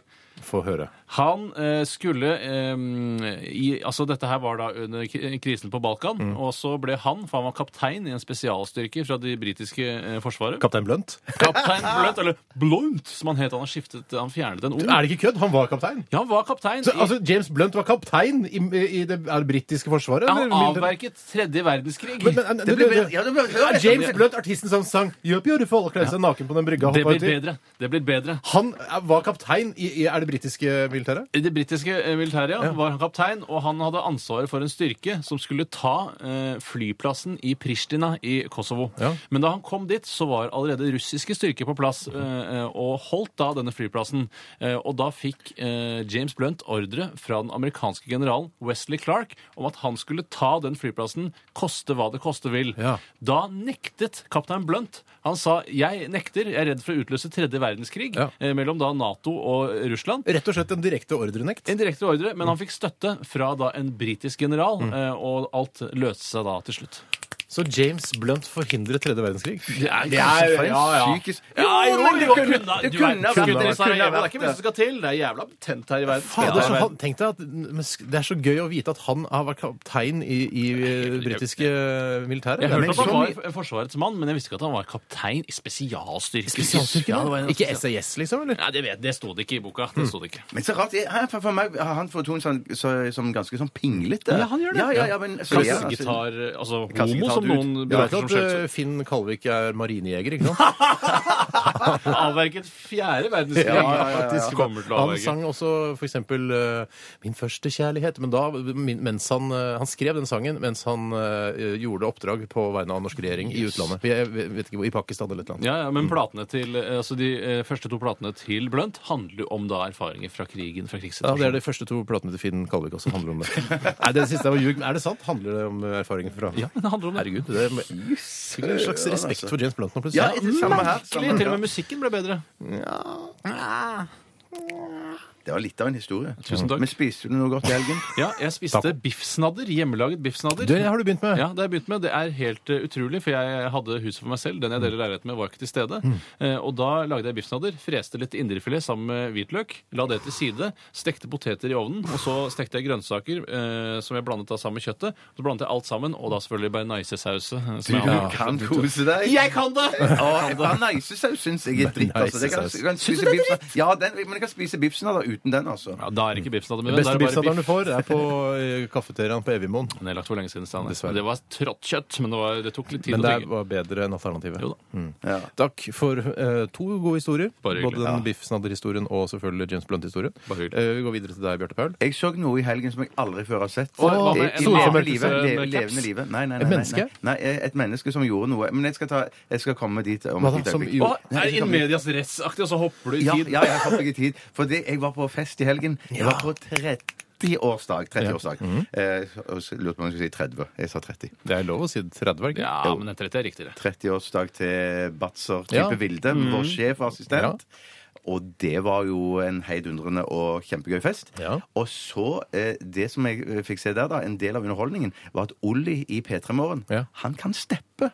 Speaker 1: Få høre.
Speaker 3: Han eh, skulle eh, i, Altså, dette her var da under k- krisen på Balkan,
Speaker 1: Mm.
Speaker 3: og så ble han, for han var kaptein i en spesialstyrke fra det britiske eh, forsvaret.
Speaker 1: Kaptein Blunt?
Speaker 3: Kaptein Blunt, eller Blunt, som han het. Han har skiftet, han fjernet en O.
Speaker 1: Er det ikke kødd? Han var kaptein.
Speaker 3: Ja, han var kaptein.
Speaker 1: Så,
Speaker 3: i-
Speaker 1: altså, James Blunt var kaptein i, i det, er det britiske forsvaret?
Speaker 3: ja, han
Speaker 1: eller militæret?
Speaker 3: avverket tredje verdenskrig.
Speaker 1: Men, men,
Speaker 2: Det blir bedre. Ja, det blir
Speaker 1: Ja,
Speaker 2: bedre.
Speaker 1: James Blunt, artisten som sang You're Beautiful og kledde seg naken på den brygga. og
Speaker 3: det
Speaker 1: hoppet
Speaker 3: blir
Speaker 1: uti.
Speaker 3: bedre. Det blir bedre.
Speaker 1: Han eh, var kaptein i, i er det britiske militæret?
Speaker 3: I det britiske eh, militæret ja, var han kaptein, og han hadde ansvaret for en styrke som skulle ta eh, flyplassen i Pristina i Kosovo.
Speaker 1: Ja.
Speaker 3: Men da han kom dit, så var allerede russiske styrker på plass eh, eh, og holdt da denne flyplassen. Eh, og da fikk eh, James Blunt ordre fra den amerikanske generalen Wesley Clark om at han skulle ta den flyplassen, koste hva det koste vil.
Speaker 1: Ja.
Speaker 3: Da nektet kaptein Blunt. Han sa 'jeg nekter, jeg er redd for å utløse tredje verdenskrig'
Speaker 1: Ja.
Speaker 3: eh, mellom da Nato og Russland.
Speaker 1: Rett og slett en direkte ordrenekt.
Speaker 3: En direkte ordre, Mm. men han fikk støtte fra da en britisk general, eh, og alt løste seg da til slutt.
Speaker 1: Så James Blunt forhindret tredje verdenskrig?
Speaker 3: Det er
Speaker 2: er-
Speaker 3: kanskje
Speaker 2: ja, ja.
Speaker 3: psykisk
Speaker 2: Ja, jo, men det kunne- det kunne vært-
Speaker 3: Det
Speaker 2: kunne vært-
Speaker 3: er ikke mye som skal til. Det er jævla betent her i verden.
Speaker 1: Fader, så han, tenk deg at men sk- Det er så gøy å vite at han har vært kaptein i, i eh, britiske militæret.
Speaker 3: Jeg
Speaker 1: Det er
Speaker 3: hørte at
Speaker 1: så
Speaker 3: han
Speaker 1: mye-
Speaker 3: var forsvarets mann, men jeg visste ikke at han var kaptein i spesialstyrker.
Speaker 1: Spesialstyrkene?
Speaker 3: Ja, det var en-
Speaker 1: Ikke SAS, liksom? eller?
Speaker 3: Nei, det, vet, det sto det ikke i boka. Det sto det ikke.
Speaker 2: Men så rart, jeg, han- for, for meg har han fortonet seg som, som ganske sånn pinglete.
Speaker 3: Ja, han gjør det.
Speaker 2: Ja, ja, ja, men, så, ja, altså-
Speaker 3: Kassegitar Altså homo,
Speaker 2: Kassegitar ut.
Speaker 3: som noen
Speaker 1: Du vet
Speaker 3: braker som
Speaker 1: at
Speaker 3: skjønner
Speaker 1: eh, Finn Kalvik er marinejeger, ikke sant?
Speaker 3: Avverget fjerde verdenskrig.
Speaker 1: faktisk.
Speaker 3: Kommer til å
Speaker 1: Han
Speaker 3: avverge.
Speaker 1: sang også for eksempel eh, 'Min første kjærlighet', men da, min, mens han, eh, han skrev den sangen mens han eh, gjorde oppdrag på vegne av norsk regjering i utlandet. Jeg vet ikke hvor, I Pakistan eller et eller annet.
Speaker 3: Ja, ja, men platene til, eh, altså De eh, første to platene til Blunt handler jo om da erfaringer fra krigen. fra
Speaker 1: Ja, Det er
Speaker 3: krigssituasjonen.
Speaker 1: de første to platene til Finn Kalvik også handler om det. Nei, det siste var ljug. men Er det sant? Handler det om erfaringer fra
Speaker 3: Ja, det handler om det.
Speaker 1: Herregud, det er fikk en slags
Speaker 3: altså-
Speaker 1: respekt for James Blunt nå
Speaker 2: ja,
Speaker 1: plutselig.
Speaker 2: det er samme her.
Speaker 3: Til
Speaker 2: Samme,
Speaker 3: til og
Speaker 2: ja.
Speaker 3: med musikken ble bedre.
Speaker 2: Det var litt av en historie.
Speaker 3: Tusen takk.
Speaker 2: Men spiste du noe godt i helgen?
Speaker 3: Ja, jeg spiste biffsnadder. Hjemmelaget biffsnadder.
Speaker 1: Det har du begynt med.
Speaker 3: Ja, det har jeg begynt med. Det er helt eh, utrolig, for jeg hadde huset for meg selv. Den jeg deler leilighet med, var ikke til stede. Eh, og da lagde jeg biffsnadder, freste litt indrefilet sammen med hvitløk, la det til side, stekte poteter i ovnen, og så stekte jeg grønnsaker eh, som jeg blandet da sammen med kjøttet. Så blandet jeg alt sammen, og da selvfølgelig bearnaisesause. eh, som jeg har-
Speaker 2: Du kan kose deg.
Speaker 3: Jeg kan det!
Speaker 2: Ja, Bearnaisesaus syns jeg er dritt. Altså. Jeg kan, jeg
Speaker 1: Bearnaisesaus.
Speaker 2: kan spise biffsen- ja, den, men jeg kan spise biffsen av det uten den, altså.
Speaker 3: Ja, da er det ikke biffsnadder med
Speaker 1: Den
Speaker 3: det.
Speaker 1: beste
Speaker 3: da er det bare
Speaker 1: biffsadderen du får, er på eh, kafeteriaen på Evjemoen.
Speaker 3: biff. Den er lagt for lenge siden, Stein.
Speaker 1: Dessverre.
Speaker 3: Det var trått kjøtt, men det, var, det tok litt tid
Speaker 1: Men
Speaker 3: å
Speaker 1: det
Speaker 3: tygge.
Speaker 1: var bedre enn alternativet. Mm.
Speaker 3: Jo da.
Speaker 2: Ja.
Speaker 1: Takk for eh, to gode historier.
Speaker 3: Bare hyggelig.
Speaker 1: Både den biffsnadderhistorien og selvfølgelig James Blunt-historien.
Speaker 3: Bare hyggelig.
Speaker 1: Eh, vi går videre til deg, Bjarte Paul.
Speaker 2: Jeg så noe i helgen som jeg aldri før har sett.
Speaker 3: hva med
Speaker 2: I- i
Speaker 3: en
Speaker 2: levende
Speaker 3: avmørkelse
Speaker 2: livet,
Speaker 3: med
Speaker 2: le-
Speaker 3: caps?
Speaker 2: levende livet. Nei, nei, nei,
Speaker 1: Et
Speaker 2: nei,
Speaker 1: menneske?
Speaker 2: Nei, Nei, et menneske som gjorde noe. Men jeg skal, ta, jeg skal komme dit om
Speaker 1: Hva
Speaker 2: et
Speaker 1: da,
Speaker 2: lite
Speaker 1: som
Speaker 2: øyeblikk.
Speaker 1: gjorde-
Speaker 3: Å, er det in medias res-aktig, og så hopper du i
Speaker 2: Ja,
Speaker 3: tid?
Speaker 2: ja, jeg har ikke tid. For det, jeg var på fest i helgen. Jeg var på 30-årsdag. 30-årsdag.
Speaker 3: Mhm.
Speaker 2: eh, og så lurte på om jeg skulle si 30. Jeg sa 30.
Speaker 1: Det er lov å si 30, er det ikke?
Speaker 3: Ja, men den 30 er riktig, det.
Speaker 2: 30-årsdag til Batzer
Speaker 1: Ja. Mm.
Speaker 2: Type Vilde, vår sjef og assistent. Og det var jo en heidundrende og kjempegøy fest.
Speaker 1: Ja.
Speaker 2: Og så, eh, det som jeg eh, fikk se der, da, en del av underholdningen, var at Olli i P3 Morgen,
Speaker 1: Ja.
Speaker 2: han kan steppe.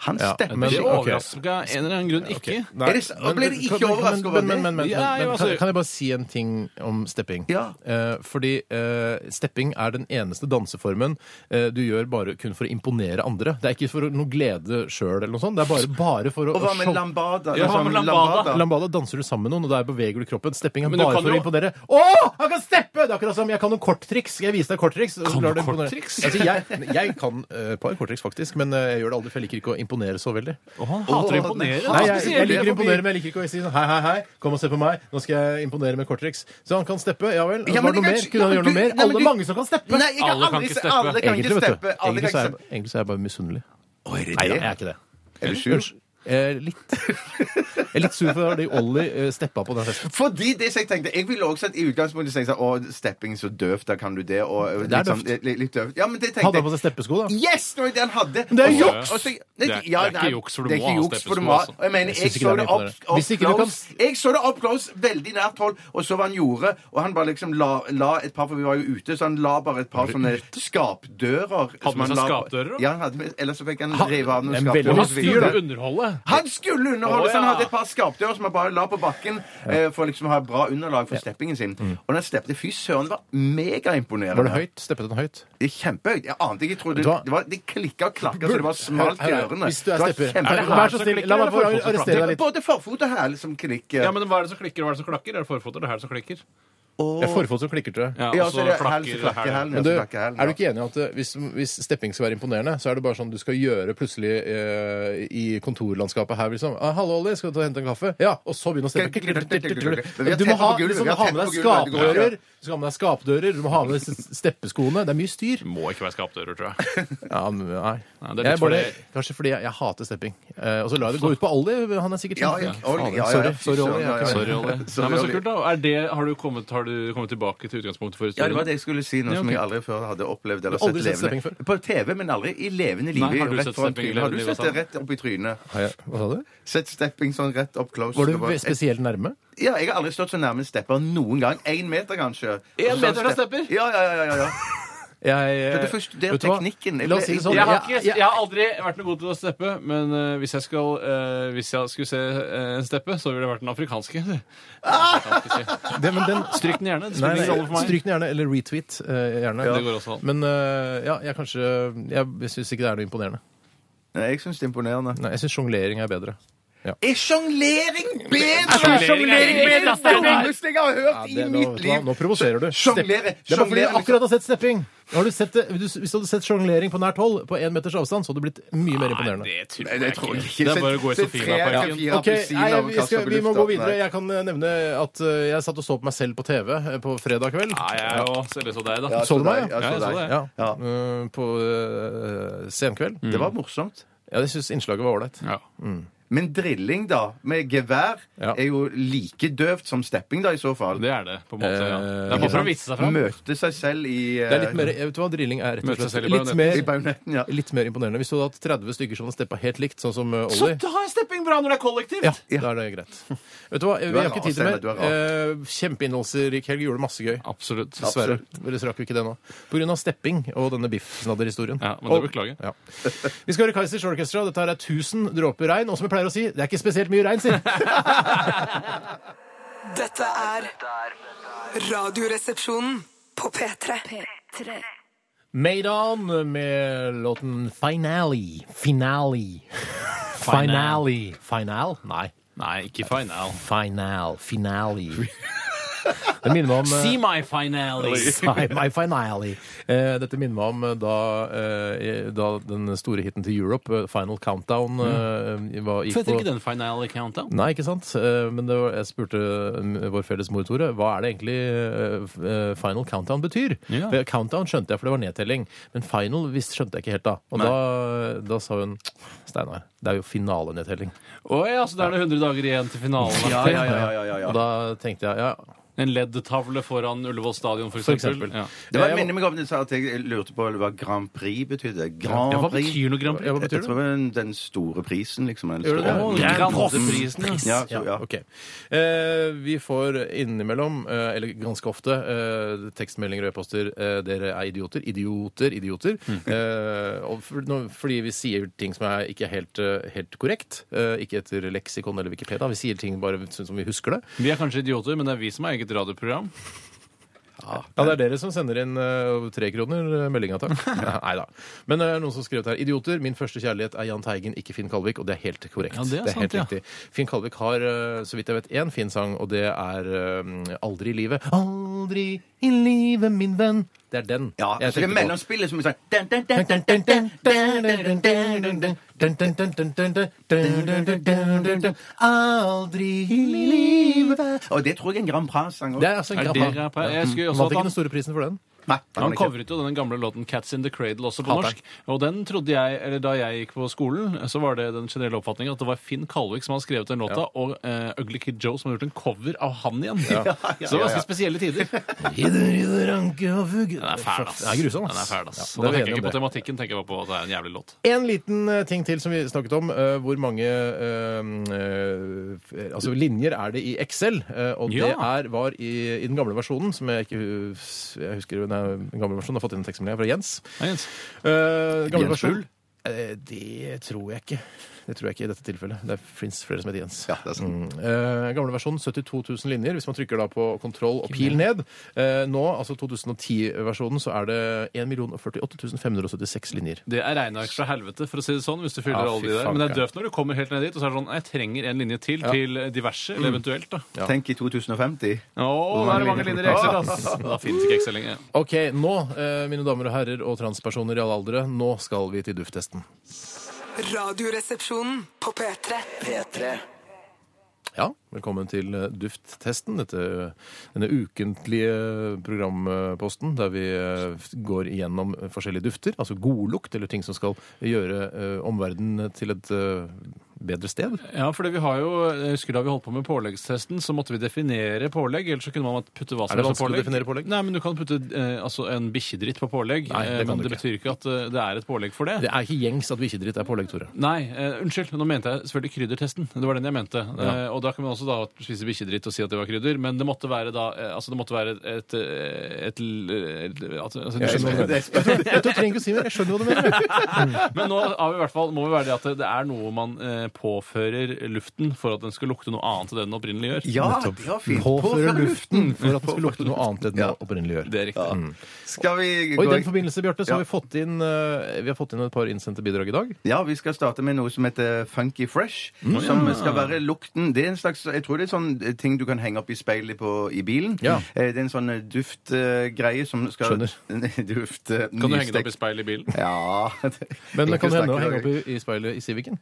Speaker 2: Han
Speaker 1: Ja,
Speaker 2: stepper.
Speaker 1: men-
Speaker 3: det
Speaker 2: skikkelig.
Speaker 1: ok.
Speaker 3: overrasker meg av en eller annen grunn ikke.
Speaker 1: Nei,
Speaker 2: Er det s-
Speaker 1: men-
Speaker 2: ble det ikke
Speaker 1: kan- men-
Speaker 2: overrasket over
Speaker 1: men- men-
Speaker 2: det?
Speaker 1: men- men-
Speaker 3: Ja, jo,
Speaker 1: men-
Speaker 3: altså-
Speaker 1: kan- Kan jeg bare si en ting om stepping?
Speaker 2: Ja.
Speaker 1: Eh, fordi eh, stepping er den eneste danseformen eh, du gjør bare kun for å imponere andre. Det er ikke for noe glede sjøl eller noe sånt. Det er bare, bare for å
Speaker 2: Og hva
Speaker 1: å
Speaker 2: med
Speaker 1: show-
Speaker 2: lambada?
Speaker 3: Ja, hva med lambada?
Speaker 1: Lambada danser du sammen med noen, og der beveger du kroppen. Stepping er
Speaker 3: Men du
Speaker 1: bare
Speaker 3: kan
Speaker 1: for å
Speaker 3: jo-
Speaker 1: imponere. Å, han kan steppe! Det er akkurat som jeg kan noen korttriks. Skal jeg vise deg korttriks? Så
Speaker 3: Kan
Speaker 1: klarer
Speaker 3: du
Speaker 1: å imponere.
Speaker 3: korttriks?
Speaker 1: Altså, jeg, jeg kan eh, et par korttriks, faktisk, men eh, jeg gjør det aldri, for jeg liker ikke å imponere så veldig.
Speaker 3: Og han hater å imponere.
Speaker 1: Nei, jeg,
Speaker 3: Spesielt
Speaker 1: jeg
Speaker 3: det,
Speaker 1: liker å
Speaker 3: fordi-
Speaker 1: imponere, men jeg liker ikke å si sånn, hei, hei, hei, kom og se på meg, nå skal jeg imponere med korttriks. Så han kan steppe, ja vel.
Speaker 2: Ja, men
Speaker 1: Var det noe
Speaker 2: kan
Speaker 1: mer?
Speaker 2: ikke-
Speaker 1: Kunne han
Speaker 2: ja, men
Speaker 1: gjøre noe
Speaker 2: du-
Speaker 1: mer?
Speaker 2: nei, men
Speaker 1: Alle
Speaker 2: du-
Speaker 1: er mange som kan steppe.
Speaker 2: Nei, jeg kan
Speaker 3: Alle kan
Speaker 2: aldri
Speaker 3: ikke
Speaker 2: se-
Speaker 3: steppe.
Speaker 2: Alle kan ikke
Speaker 1: Egentlig, vet
Speaker 2: steppe.
Speaker 1: du.
Speaker 2: Alle
Speaker 1: Egentlig
Speaker 2: kan
Speaker 1: så
Speaker 2: ikke
Speaker 1: er, egentlig så er jeg bare misunnelig.
Speaker 2: steppe. Å, er det
Speaker 1: Nei, jeg
Speaker 2: det?
Speaker 1: er ikke det.
Speaker 2: Er du sur?
Speaker 1: Eh, litt. Jeg er litt sur for at Olli eh, steppa på den festen.
Speaker 2: Fordi det som jeg tenkte Jeg ville også at i utgangspunktet tenkt sånn Å, stepping så døvt, da kan du det. Og, og
Speaker 1: Det er
Speaker 2: litt, sånn,
Speaker 1: døvt.
Speaker 2: litt, litt døvt. Ja, men det tenkte
Speaker 1: Hadde
Speaker 2: jeg.
Speaker 1: han på seg steppesko, da?
Speaker 2: Yes! Det var det han hadde.
Speaker 1: det er
Speaker 2: Og så-
Speaker 3: juks.
Speaker 2: og så-
Speaker 3: Det er- det er ikke
Speaker 2: nei,
Speaker 3: juks, for du
Speaker 2: det er
Speaker 3: må
Speaker 2: ikke
Speaker 3: ha
Speaker 2: juks, for du
Speaker 3: steppesko,
Speaker 2: må ha-
Speaker 3: altså.
Speaker 2: Jeg mener,
Speaker 1: Jeg
Speaker 2: jeg
Speaker 1: synes ikke
Speaker 2: så
Speaker 1: det
Speaker 2: det
Speaker 1: er
Speaker 2: opp,
Speaker 1: imponerende.
Speaker 2: opp
Speaker 1: Hvis ikke du
Speaker 2: close. Jeg så det opp close, veldig nært hold, og så hva han gjorde, og han bare liksom la, la et par, for vi var jo ute, så han la bare et par sånne skapdører. som han
Speaker 3: med seg
Speaker 2: la-
Speaker 3: skapdører, da?
Speaker 2: Ja, han hadde med, eller så fikk han rive av noen
Speaker 1: en veldig
Speaker 2: skapdører.
Speaker 3: Han
Speaker 2: og så videre.
Speaker 3: skulle underholde.
Speaker 2: Han skulle underholde,
Speaker 3: Å,
Speaker 2: så han
Speaker 3: ja.
Speaker 2: hadde et par skapdører som han bare la på bakken eh, for liksom å ha bra underlag for steppingen sin. Og den steppte fy søren, det var megaimponerende.
Speaker 1: Mm. Var det høyt? Steppet den høyt?
Speaker 2: Det er kjempehøyt. Jeg ante ikke, jeg trodde
Speaker 1: Vet du hva?
Speaker 2: det, var, det klikka og klakka så det var smalt i
Speaker 1: Her er-
Speaker 2: ørene.
Speaker 1: Hvis du er
Speaker 2: Det var
Speaker 1: stepper.
Speaker 2: kjempebra.
Speaker 3: Er det
Speaker 1: Vær så snill, la meg få arrestere deg litt.
Speaker 2: Både forfot og hæl som klikker.
Speaker 3: Ja, men Hva er det som klikker, og hva er det som klakker? Er det forfoter? Det er her som klikker.
Speaker 1: Det er forfot som klikker, tror jeg.
Speaker 3: Ja,
Speaker 2: Ja,
Speaker 3: og
Speaker 2: så
Speaker 3: så
Speaker 2: er det hæl som
Speaker 3: flakker
Speaker 2: klakker hælen. ja,
Speaker 1: altså
Speaker 3: hælen.
Speaker 1: Men
Speaker 2: så
Speaker 1: du,
Speaker 2: klakker hælen,
Speaker 1: er du
Speaker 2: ja.
Speaker 1: ikke enig i at eh, hvis, hvis stepping skal være imponerende, så er det bare sånn du skal gjøre plutselig eh, i kontorlandskapet her liksom ah, 'Hallo, Olli, skal du ta og hente en kaffe?' Ja, og så begynne å steppe. Du må ha, liksom, ha med deg skapdører, du skal ha med deg skapdører, du må ha med deg s- steppeskoene. Det er mye styr.
Speaker 3: Må ikke være skapdører, tror jeg.
Speaker 1: Ja, men nei.
Speaker 3: Nei, det er litt
Speaker 1: Jeg bare,
Speaker 3: fordi-
Speaker 1: kanskje fordi jeg, jeg hater stepping. Eh, og så lar jeg det gå ut på Olli. Han er sikkert
Speaker 2: Ja, ja,
Speaker 1: kjempeflink.
Speaker 2: Olli,
Speaker 1: Faen,
Speaker 2: ja, ja, ja.
Speaker 1: Sorry, sorry, Olli. jeg er ikke med.
Speaker 3: Sorry, Olli.
Speaker 2: Sorry,
Speaker 3: Nei, men så
Speaker 2: Olli.
Speaker 3: kult, da. Er det, har, du kommet, har du kommet tilbake til utgangspunktet for
Speaker 2: Ja, det var
Speaker 3: historien?
Speaker 2: det jeg skulle si nå, som
Speaker 3: ok.
Speaker 2: jeg aldri før hadde opplevd eller
Speaker 1: Du har
Speaker 2: sett
Speaker 1: aldri sett
Speaker 2: levende.
Speaker 1: stepping før?
Speaker 2: På TV, men aldri i levende liv.
Speaker 3: Nei, har du
Speaker 2: rett
Speaker 3: sett
Speaker 2: foran
Speaker 3: stepping i
Speaker 2: trynet. Har du
Speaker 3: levende liv,
Speaker 2: sett det rett
Speaker 1: sånn?
Speaker 2: opp i trynet?
Speaker 1: Har jeg- Hva sa du?
Speaker 2: Sett stepping sånn rett opp close.
Speaker 1: Var
Speaker 2: Det
Speaker 1: du spesielt nærme?
Speaker 2: Ja, jeg har aldri stått så nærme en stepper noen gang. Én meter, kanskje.
Speaker 3: En
Speaker 2: Og så
Speaker 3: meter fra stepper?
Speaker 2: Ja, ja, ja. ja, ja.
Speaker 1: Jeg, eh,
Speaker 2: Du hadde først- det er
Speaker 1: vet du hva?
Speaker 2: teknikken. Jeg
Speaker 1: La oss
Speaker 2: ble-
Speaker 1: si det sånn.
Speaker 3: Jeg har,
Speaker 1: jeg-
Speaker 3: ikke, jeg har aldri vært noe god til å steppe, men eh, hvis, jeg skal, eh, hvis jeg skulle se eh, en steppe, så ville det vært den afrikanske.
Speaker 1: jeg- det, men den,
Speaker 3: Stryk den gjerne. Det
Speaker 1: Nei,
Speaker 3: spiller
Speaker 1: nei,
Speaker 3: ingen rolle for meg.
Speaker 1: Stryk den gjerne, eller retweet eh, gjerne.
Speaker 3: Ja, det går også an.
Speaker 1: Men eh, ja, jeg kanskje Jeg, jeg syns ikke det er noe imponerende.
Speaker 2: Nei, jeg syns det er imponerende.
Speaker 1: Nei, jeg syns sjonglering er bedre.
Speaker 2: Er sjonglering bedre?
Speaker 3: Er sjonglering bedre enn stepping?
Speaker 2: Det dummeste jeg har hørt i
Speaker 1: nå,
Speaker 2: mitt liv!
Speaker 1: nå provoserer du.
Speaker 2: Sjonglere-
Speaker 1: Stepp- Det er bare fordi
Speaker 2: sjonglere-
Speaker 1: du akkurat har sett stepping. Nå Har du sett, det- du, hvis du hadde sett sjonglering på nært hold, på én meters avstand, så hadde du blitt mye mer imponerende.
Speaker 3: Nei, det tror
Speaker 2: Nei,
Speaker 3: jeg
Speaker 2: det tror jeg
Speaker 3: ikke.
Speaker 2: ikke.
Speaker 3: Det er bare å gå i
Speaker 2: Se- se tre eller
Speaker 3: Sofiaparken.
Speaker 2: fire
Speaker 1: Ok,
Speaker 2: appelsiner
Speaker 1: nei,
Speaker 2: og
Speaker 1: vi,
Speaker 2: kaste
Speaker 1: skal,
Speaker 2: opp i
Speaker 1: vi må
Speaker 2: lufta.
Speaker 1: gå videre.
Speaker 2: Nei.
Speaker 1: Jeg kan eh, nevne at eh, jeg satt og så på meg selv på TV eh, på fredag kveld.
Speaker 3: Nei, jeg er jo seriøs av deg, da.
Speaker 2: Ja,
Speaker 1: Så du meg,
Speaker 2: deg.
Speaker 1: ja?
Speaker 3: Ja, Mm. jeg så
Speaker 2: deg.
Speaker 3: det.
Speaker 1: Ja, eh, På eh, senkveld.
Speaker 2: Det var morsomt.
Speaker 1: Ja, jeg syns innslaget var ålreit.
Speaker 3: Ja.
Speaker 2: Men drilling, da, med gevær,
Speaker 1: Ja.
Speaker 2: er jo like døvt som stepping, da, i så fall.
Speaker 3: Det er det, på en måte. Ja.
Speaker 1: Eh,
Speaker 3: Det er bare for å vise seg fram.
Speaker 2: Møte seg selv i eh,
Speaker 1: Det er litt mer, jeg vet du hva, Drilling er rett
Speaker 3: Møte
Speaker 1: og
Speaker 3: seg selv
Speaker 1: slett litt
Speaker 3: i bajonetten.
Speaker 2: i
Speaker 1: mer,
Speaker 2: bajonetten, ja.
Speaker 1: litt mer imponerende. Hvis du hadde hatt 30 stykker som hadde steppa helt likt, sånn som eh,
Speaker 3: Så
Speaker 1: Ollie
Speaker 3: da er stepping bra når det er kollektivt!
Speaker 1: ja, da er det greit. Vet du hva, Vi
Speaker 2: er
Speaker 1: har ikke
Speaker 2: rar,
Speaker 1: tid til
Speaker 2: Steinar,
Speaker 1: mer.
Speaker 2: du er
Speaker 1: Eh, Kjempeinnholdsrik helg. Gjorde masse gøy.
Speaker 3: Absolutt.
Speaker 1: Dessverre. Dere rakk jo ikke det nå. Pga. stepping og denne biffsnadderhistorien.
Speaker 3: Ja, men
Speaker 1: Og-
Speaker 3: det beklager.
Speaker 1: Ja. Vi skal høre Kaizers Orchestra. Dette her er 1000 dråper regn. Og som jeg pleier å si, det er ikke spesielt mye regn, si!
Speaker 4: Dette er Radioresepsjonen på P3.
Speaker 1: Maidon med låten Finale. Finale. Finale.
Speaker 3: Finale.
Speaker 1: Final? Nei.
Speaker 3: Nei, ikke final.
Speaker 1: Final. Finale. Det minner meg om eh,
Speaker 3: See my finale!
Speaker 1: Sigh My finale. Eh, dette minner meg om eh, da, eh, da den store hiten til Europe, eh, Final Countdown, eh, var, gikk
Speaker 3: Fødte
Speaker 1: på
Speaker 3: Mm. ikke den finale countdown?
Speaker 1: Nei, ikke sant? Eh, Men det var, jeg spurte mm, vår felles mor, Tore, hva er det egentlig eh, f- eh, final countdown betyr?
Speaker 3: Ja.
Speaker 1: For Countdown skjønte jeg, for det var nedtelling. Men final visst skjønte jeg ikke helt da. Og da, da sa hun Steinar, det er jo finalenedtelling.
Speaker 3: Å ja, så da er det 100 dager igjen til finalen.
Speaker 2: Ja, ja, ja, ja, ja, ja.
Speaker 1: Og da tenkte jeg ja,
Speaker 3: En LED-tavle foran Ullevål stadion, for
Speaker 1: For
Speaker 3: eksempel.
Speaker 1: eksempel.
Speaker 3: Ja.
Speaker 2: Det var,
Speaker 1: Jeg-
Speaker 2: minner meg om det sa at jeg lurte på hva Grand Prix betydde. Grand
Speaker 3: Ja, hva
Speaker 2: Prix.
Speaker 3: betyr noe Grand Prix?
Speaker 1: ja, hva
Speaker 2: Jeg
Speaker 1: betyr det?
Speaker 2: tror det var den, den store prisen, liksom. eller
Speaker 1: Gjør det det?
Speaker 2: store-
Speaker 1: Å,
Speaker 2: Ja,
Speaker 3: Grand
Speaker 2: Prix.
Speaker 3: Prix-prisen, ja.
Speaker 2: Ja, så, ja.
Speaker 1: ok. Eh, vi får innimellom, eh, eller ganske ofte, eh, tekstmeldinger og e-poster eh, 'Dere er idioter', 'idioter', 'idioter'.
Speaker 2: Mm.
Speaker 1: Eh, og for, nå, fordi vi sier ting som er ikke helt, eh, helt korrekt. Eh, ikke etter leksikon eller Wikipedia. Vi sier ting bare sånn som vi husker det.
Speaker 3: Vi er kanskje idioter, men det er vi som har eget radioprogram.
Speaker 1: Ja, det er dere som sender inn eh, tre kroner eh, meldinga, takk. Nei da. Men eh, noen som skrev det her. 'Idioter. Min første kjærlighet er Jahn Teigen, ikke Finn Kalvik'. Og det er helt korrekt.
Speaker 3: Ja, det er sant,
Speaker 1: helt
Speaker 3: ja.
Speaker 1: riktig. Finn Kalvik har, eh, så vidt jeg vet, én fin sang, og det er eh, 'Aldri i livet'. Aldri i livet, min venn. Det er den.
Speaker 2: Ja,
Speaker 1: jeg
Speaker 2: så det er
Speaker 1: tenkte på.
Speaker 2: mellomspillet som er sånn dun, dun, dun, dun, dun, dun, dun, dun, dun, dun, dun.
Speaker 1: Aldri i livet
Speaker 2: Og det tror jeg er en Grand Prix-sang
Speaker 1: Det
Speaker 2: også.
Speaker 1: er altså en
Speaker 3: Er det
Speaker 1: grappa.
Speaker 3: rap her? Jeg skulle jo også
Speaker 1: Vant
Speaker 3: at
Speaker 1: ikke
Speaker 3: han
Speaker 1: den store prisen for den.
Speaker 2: Nei, det
Speaker 3: Han
Speaker 2: var det ikke.
Speaker 3: covret jo den gamle låten 'Cats in the Cradle' også på
Speaker 1: Hater
Speaker 3: norsk. Og den trodde jeg, eller Da jeg gikk på skolen, så var det den generelle oppfatningen at det var Finn Kalvik som hadde skrevet den låta, og eh, Ugly Kid Joe som hadde gjort en cover av han igjen. så det var ganske spesielle tider.
Speaker 1: Ridder, ridder, anke og fugg Den
Speaker 3: Den er fæl, ass.
Speaker 1: Den er grusom,
Speaker 3: Den er fæl, ass.
Speaker 1: Ja,
Speaker 3: og
Speaker 1: da er
Speaker 3: da
Speaker 1: vi
Speaker 3: tenker jeg
Speaker 1: enige
Speaker 3: ikke
Speaker 1: om
Speaker 3: på
Speaker 1: det.
Speaker 3: tematikken, tenker jeg bare på at det er en jævlig låt.
Speaker 1: En liten eh, ting til som vi snakket om. eh, hvor mange eh, eh, f- altså linjer er det i Excel? Eh, og det
Speaker 3: Ja.
Speaker 1: er, var i, i den gamle versjonen, som jeg ikke hus- jeg husker den, er- den gamle versjonen, jeg har fått inn en tekstmelding her fra Jens.
Speaker 3: Ja, Jens.
Speaker 1: Eh, gamle
Speaker 2: Jens
Speaker 1: versjon? Eh, det tror jeg ikke. Det tror jeg ikke i dette tilfellet. Det fins flere som heter Jens.
Speaker 2: Ja, det er sånn. sant.
Speaker 1: Eh, gamle versjon 72 000 linjer, hvis man trykker da på kontroll og pil ned. Eh, nå, altså 2010-versjonen, så er det 1 048 576 linjer.
Speaker 3: Det er regneark fra helvete, for å si det sånn, hvis du fyller
Speaker 1: Ja,
Speaker 3: alle
Speaker 1: fy
Speaker 3: de der. Men det er
Speaker 1: fanken.
Speaker 3: døvt når du kommer helt ned dit, og så er det sånn Jeg trenger en linje til til diverse, eller
Speaker 1: Mm.
Speaker 3: eventuelt, da.
Speaker 2: Tenk i 2050.
Speaker 3: Å, da er det mange linjer i Excel, ass. Da finnes ikke Excel lenger.
Speaker 1: Ok, nå, eh, mine damer og herrer og transpersoner i alle aldre, nå skal vi til dufttesten.
Speaker 4: Radioresepsjonen på P3.
Speaker 5: P3.
Speaker 1: Ja, velkommen til eh, dufttesten, dette, denne ukentlige programposten der vi eh, går igjennom forskjellige dufter, altså godlukt, eller ting som skal gjøre eh, omverdenen til et eh, bedre sted?
Speaker 3: Ja, for vi har jo, jeg husker da vi holdt på med påleggstesten, så måtte vi definere pålegg, ellers så kunne man putte hva sånn som
Speaker 1: Er det
Speaker 3: helst på
Speaker 1: vanskelig å definere pålegg?
Speaker 3: Nei, men du kan putte eh, altså en bikkjedritt på pålegg,
Speaker 1: Nei, det
Speaker 3: eh,
Speaker 1: kan
Speaker 3: men
Speaker 1: du
Speaker 3: det betyr ikke at eh, det er et pålegg for det.
Speaker 1: Det er ikke gjengs at bikkjedritt er pålegg, Tore.
Speaker 3: Nei, eh, unnskyld, nå mente jeg selvfølgelig kryddertesten. Det var den jeg mente. Eh, og da kan man også da spise bikkjedritt og si at det var krydder, men det måtte være da, eh, altså det måtte være et, et, eh, et, l- eh, altså, altså, du
Speaker 1: Jeg
Speaker 3: skjønner hva jeg
Speaker 1: skjønner det. Jeg tror-
Speaker 3: mener.
Speaker 1: jeg tror du trenger ikke å si mer. Jeg skjønner hva du mener.
Speaker 3: Men nå har vi i hvert fall, må vi være det at det- det er noe man eh, påfører luften for at den skal lukte noe annet enn den opprinnelig gjør.
Speaker 2: Ja, det var fint.
Speaker 1: Påføre
Speaker 2: Påføre
Speaker 1: luften for at det skal lukte noe annet enn det opprinnelig gjør.
Speaker 3: Det er riktig.
Speaker 2: Skal vi
Speaker 1: Og i
Speaker 2: gå
Speaker 1: den forbindelse, Bjarte, så har
Speaker 2: Mm. Ja.
Speaker 1: vi fått inn, eh, vi har fått inn et par innsendte bidrag i dag.
Speaker 2: Ja, vi skal starte med noe som heter Funky Fresh.
Speaker 1: Mm.
Speaker 2: Som skal være lukten Det er en slags Jeg tror det er sånn eh, ting du kan henge opp i speilet på, i bilen.
Speaker 1: Ja.
Speaker 2: Eh, Det er en sånn duftgreie som skal
Speaker 1: Skjønner.
Speaker 2: Duft eh,
Speaker 3: Kan du henge det opp i
Speaker 2: nystekt-
Speaker 3: speilet i bilen?
Speaker 2: Ja. det-
Speaker 1: Men det
Speaker 2: Ikke
Speaker 1: kan hende
Speaker 2: snakke
Speaker 1: å
Speaker 2: i
Speaker 1: henge
Speaker 2: dag.
Speaker 1: opp i, i speilet i Civicen.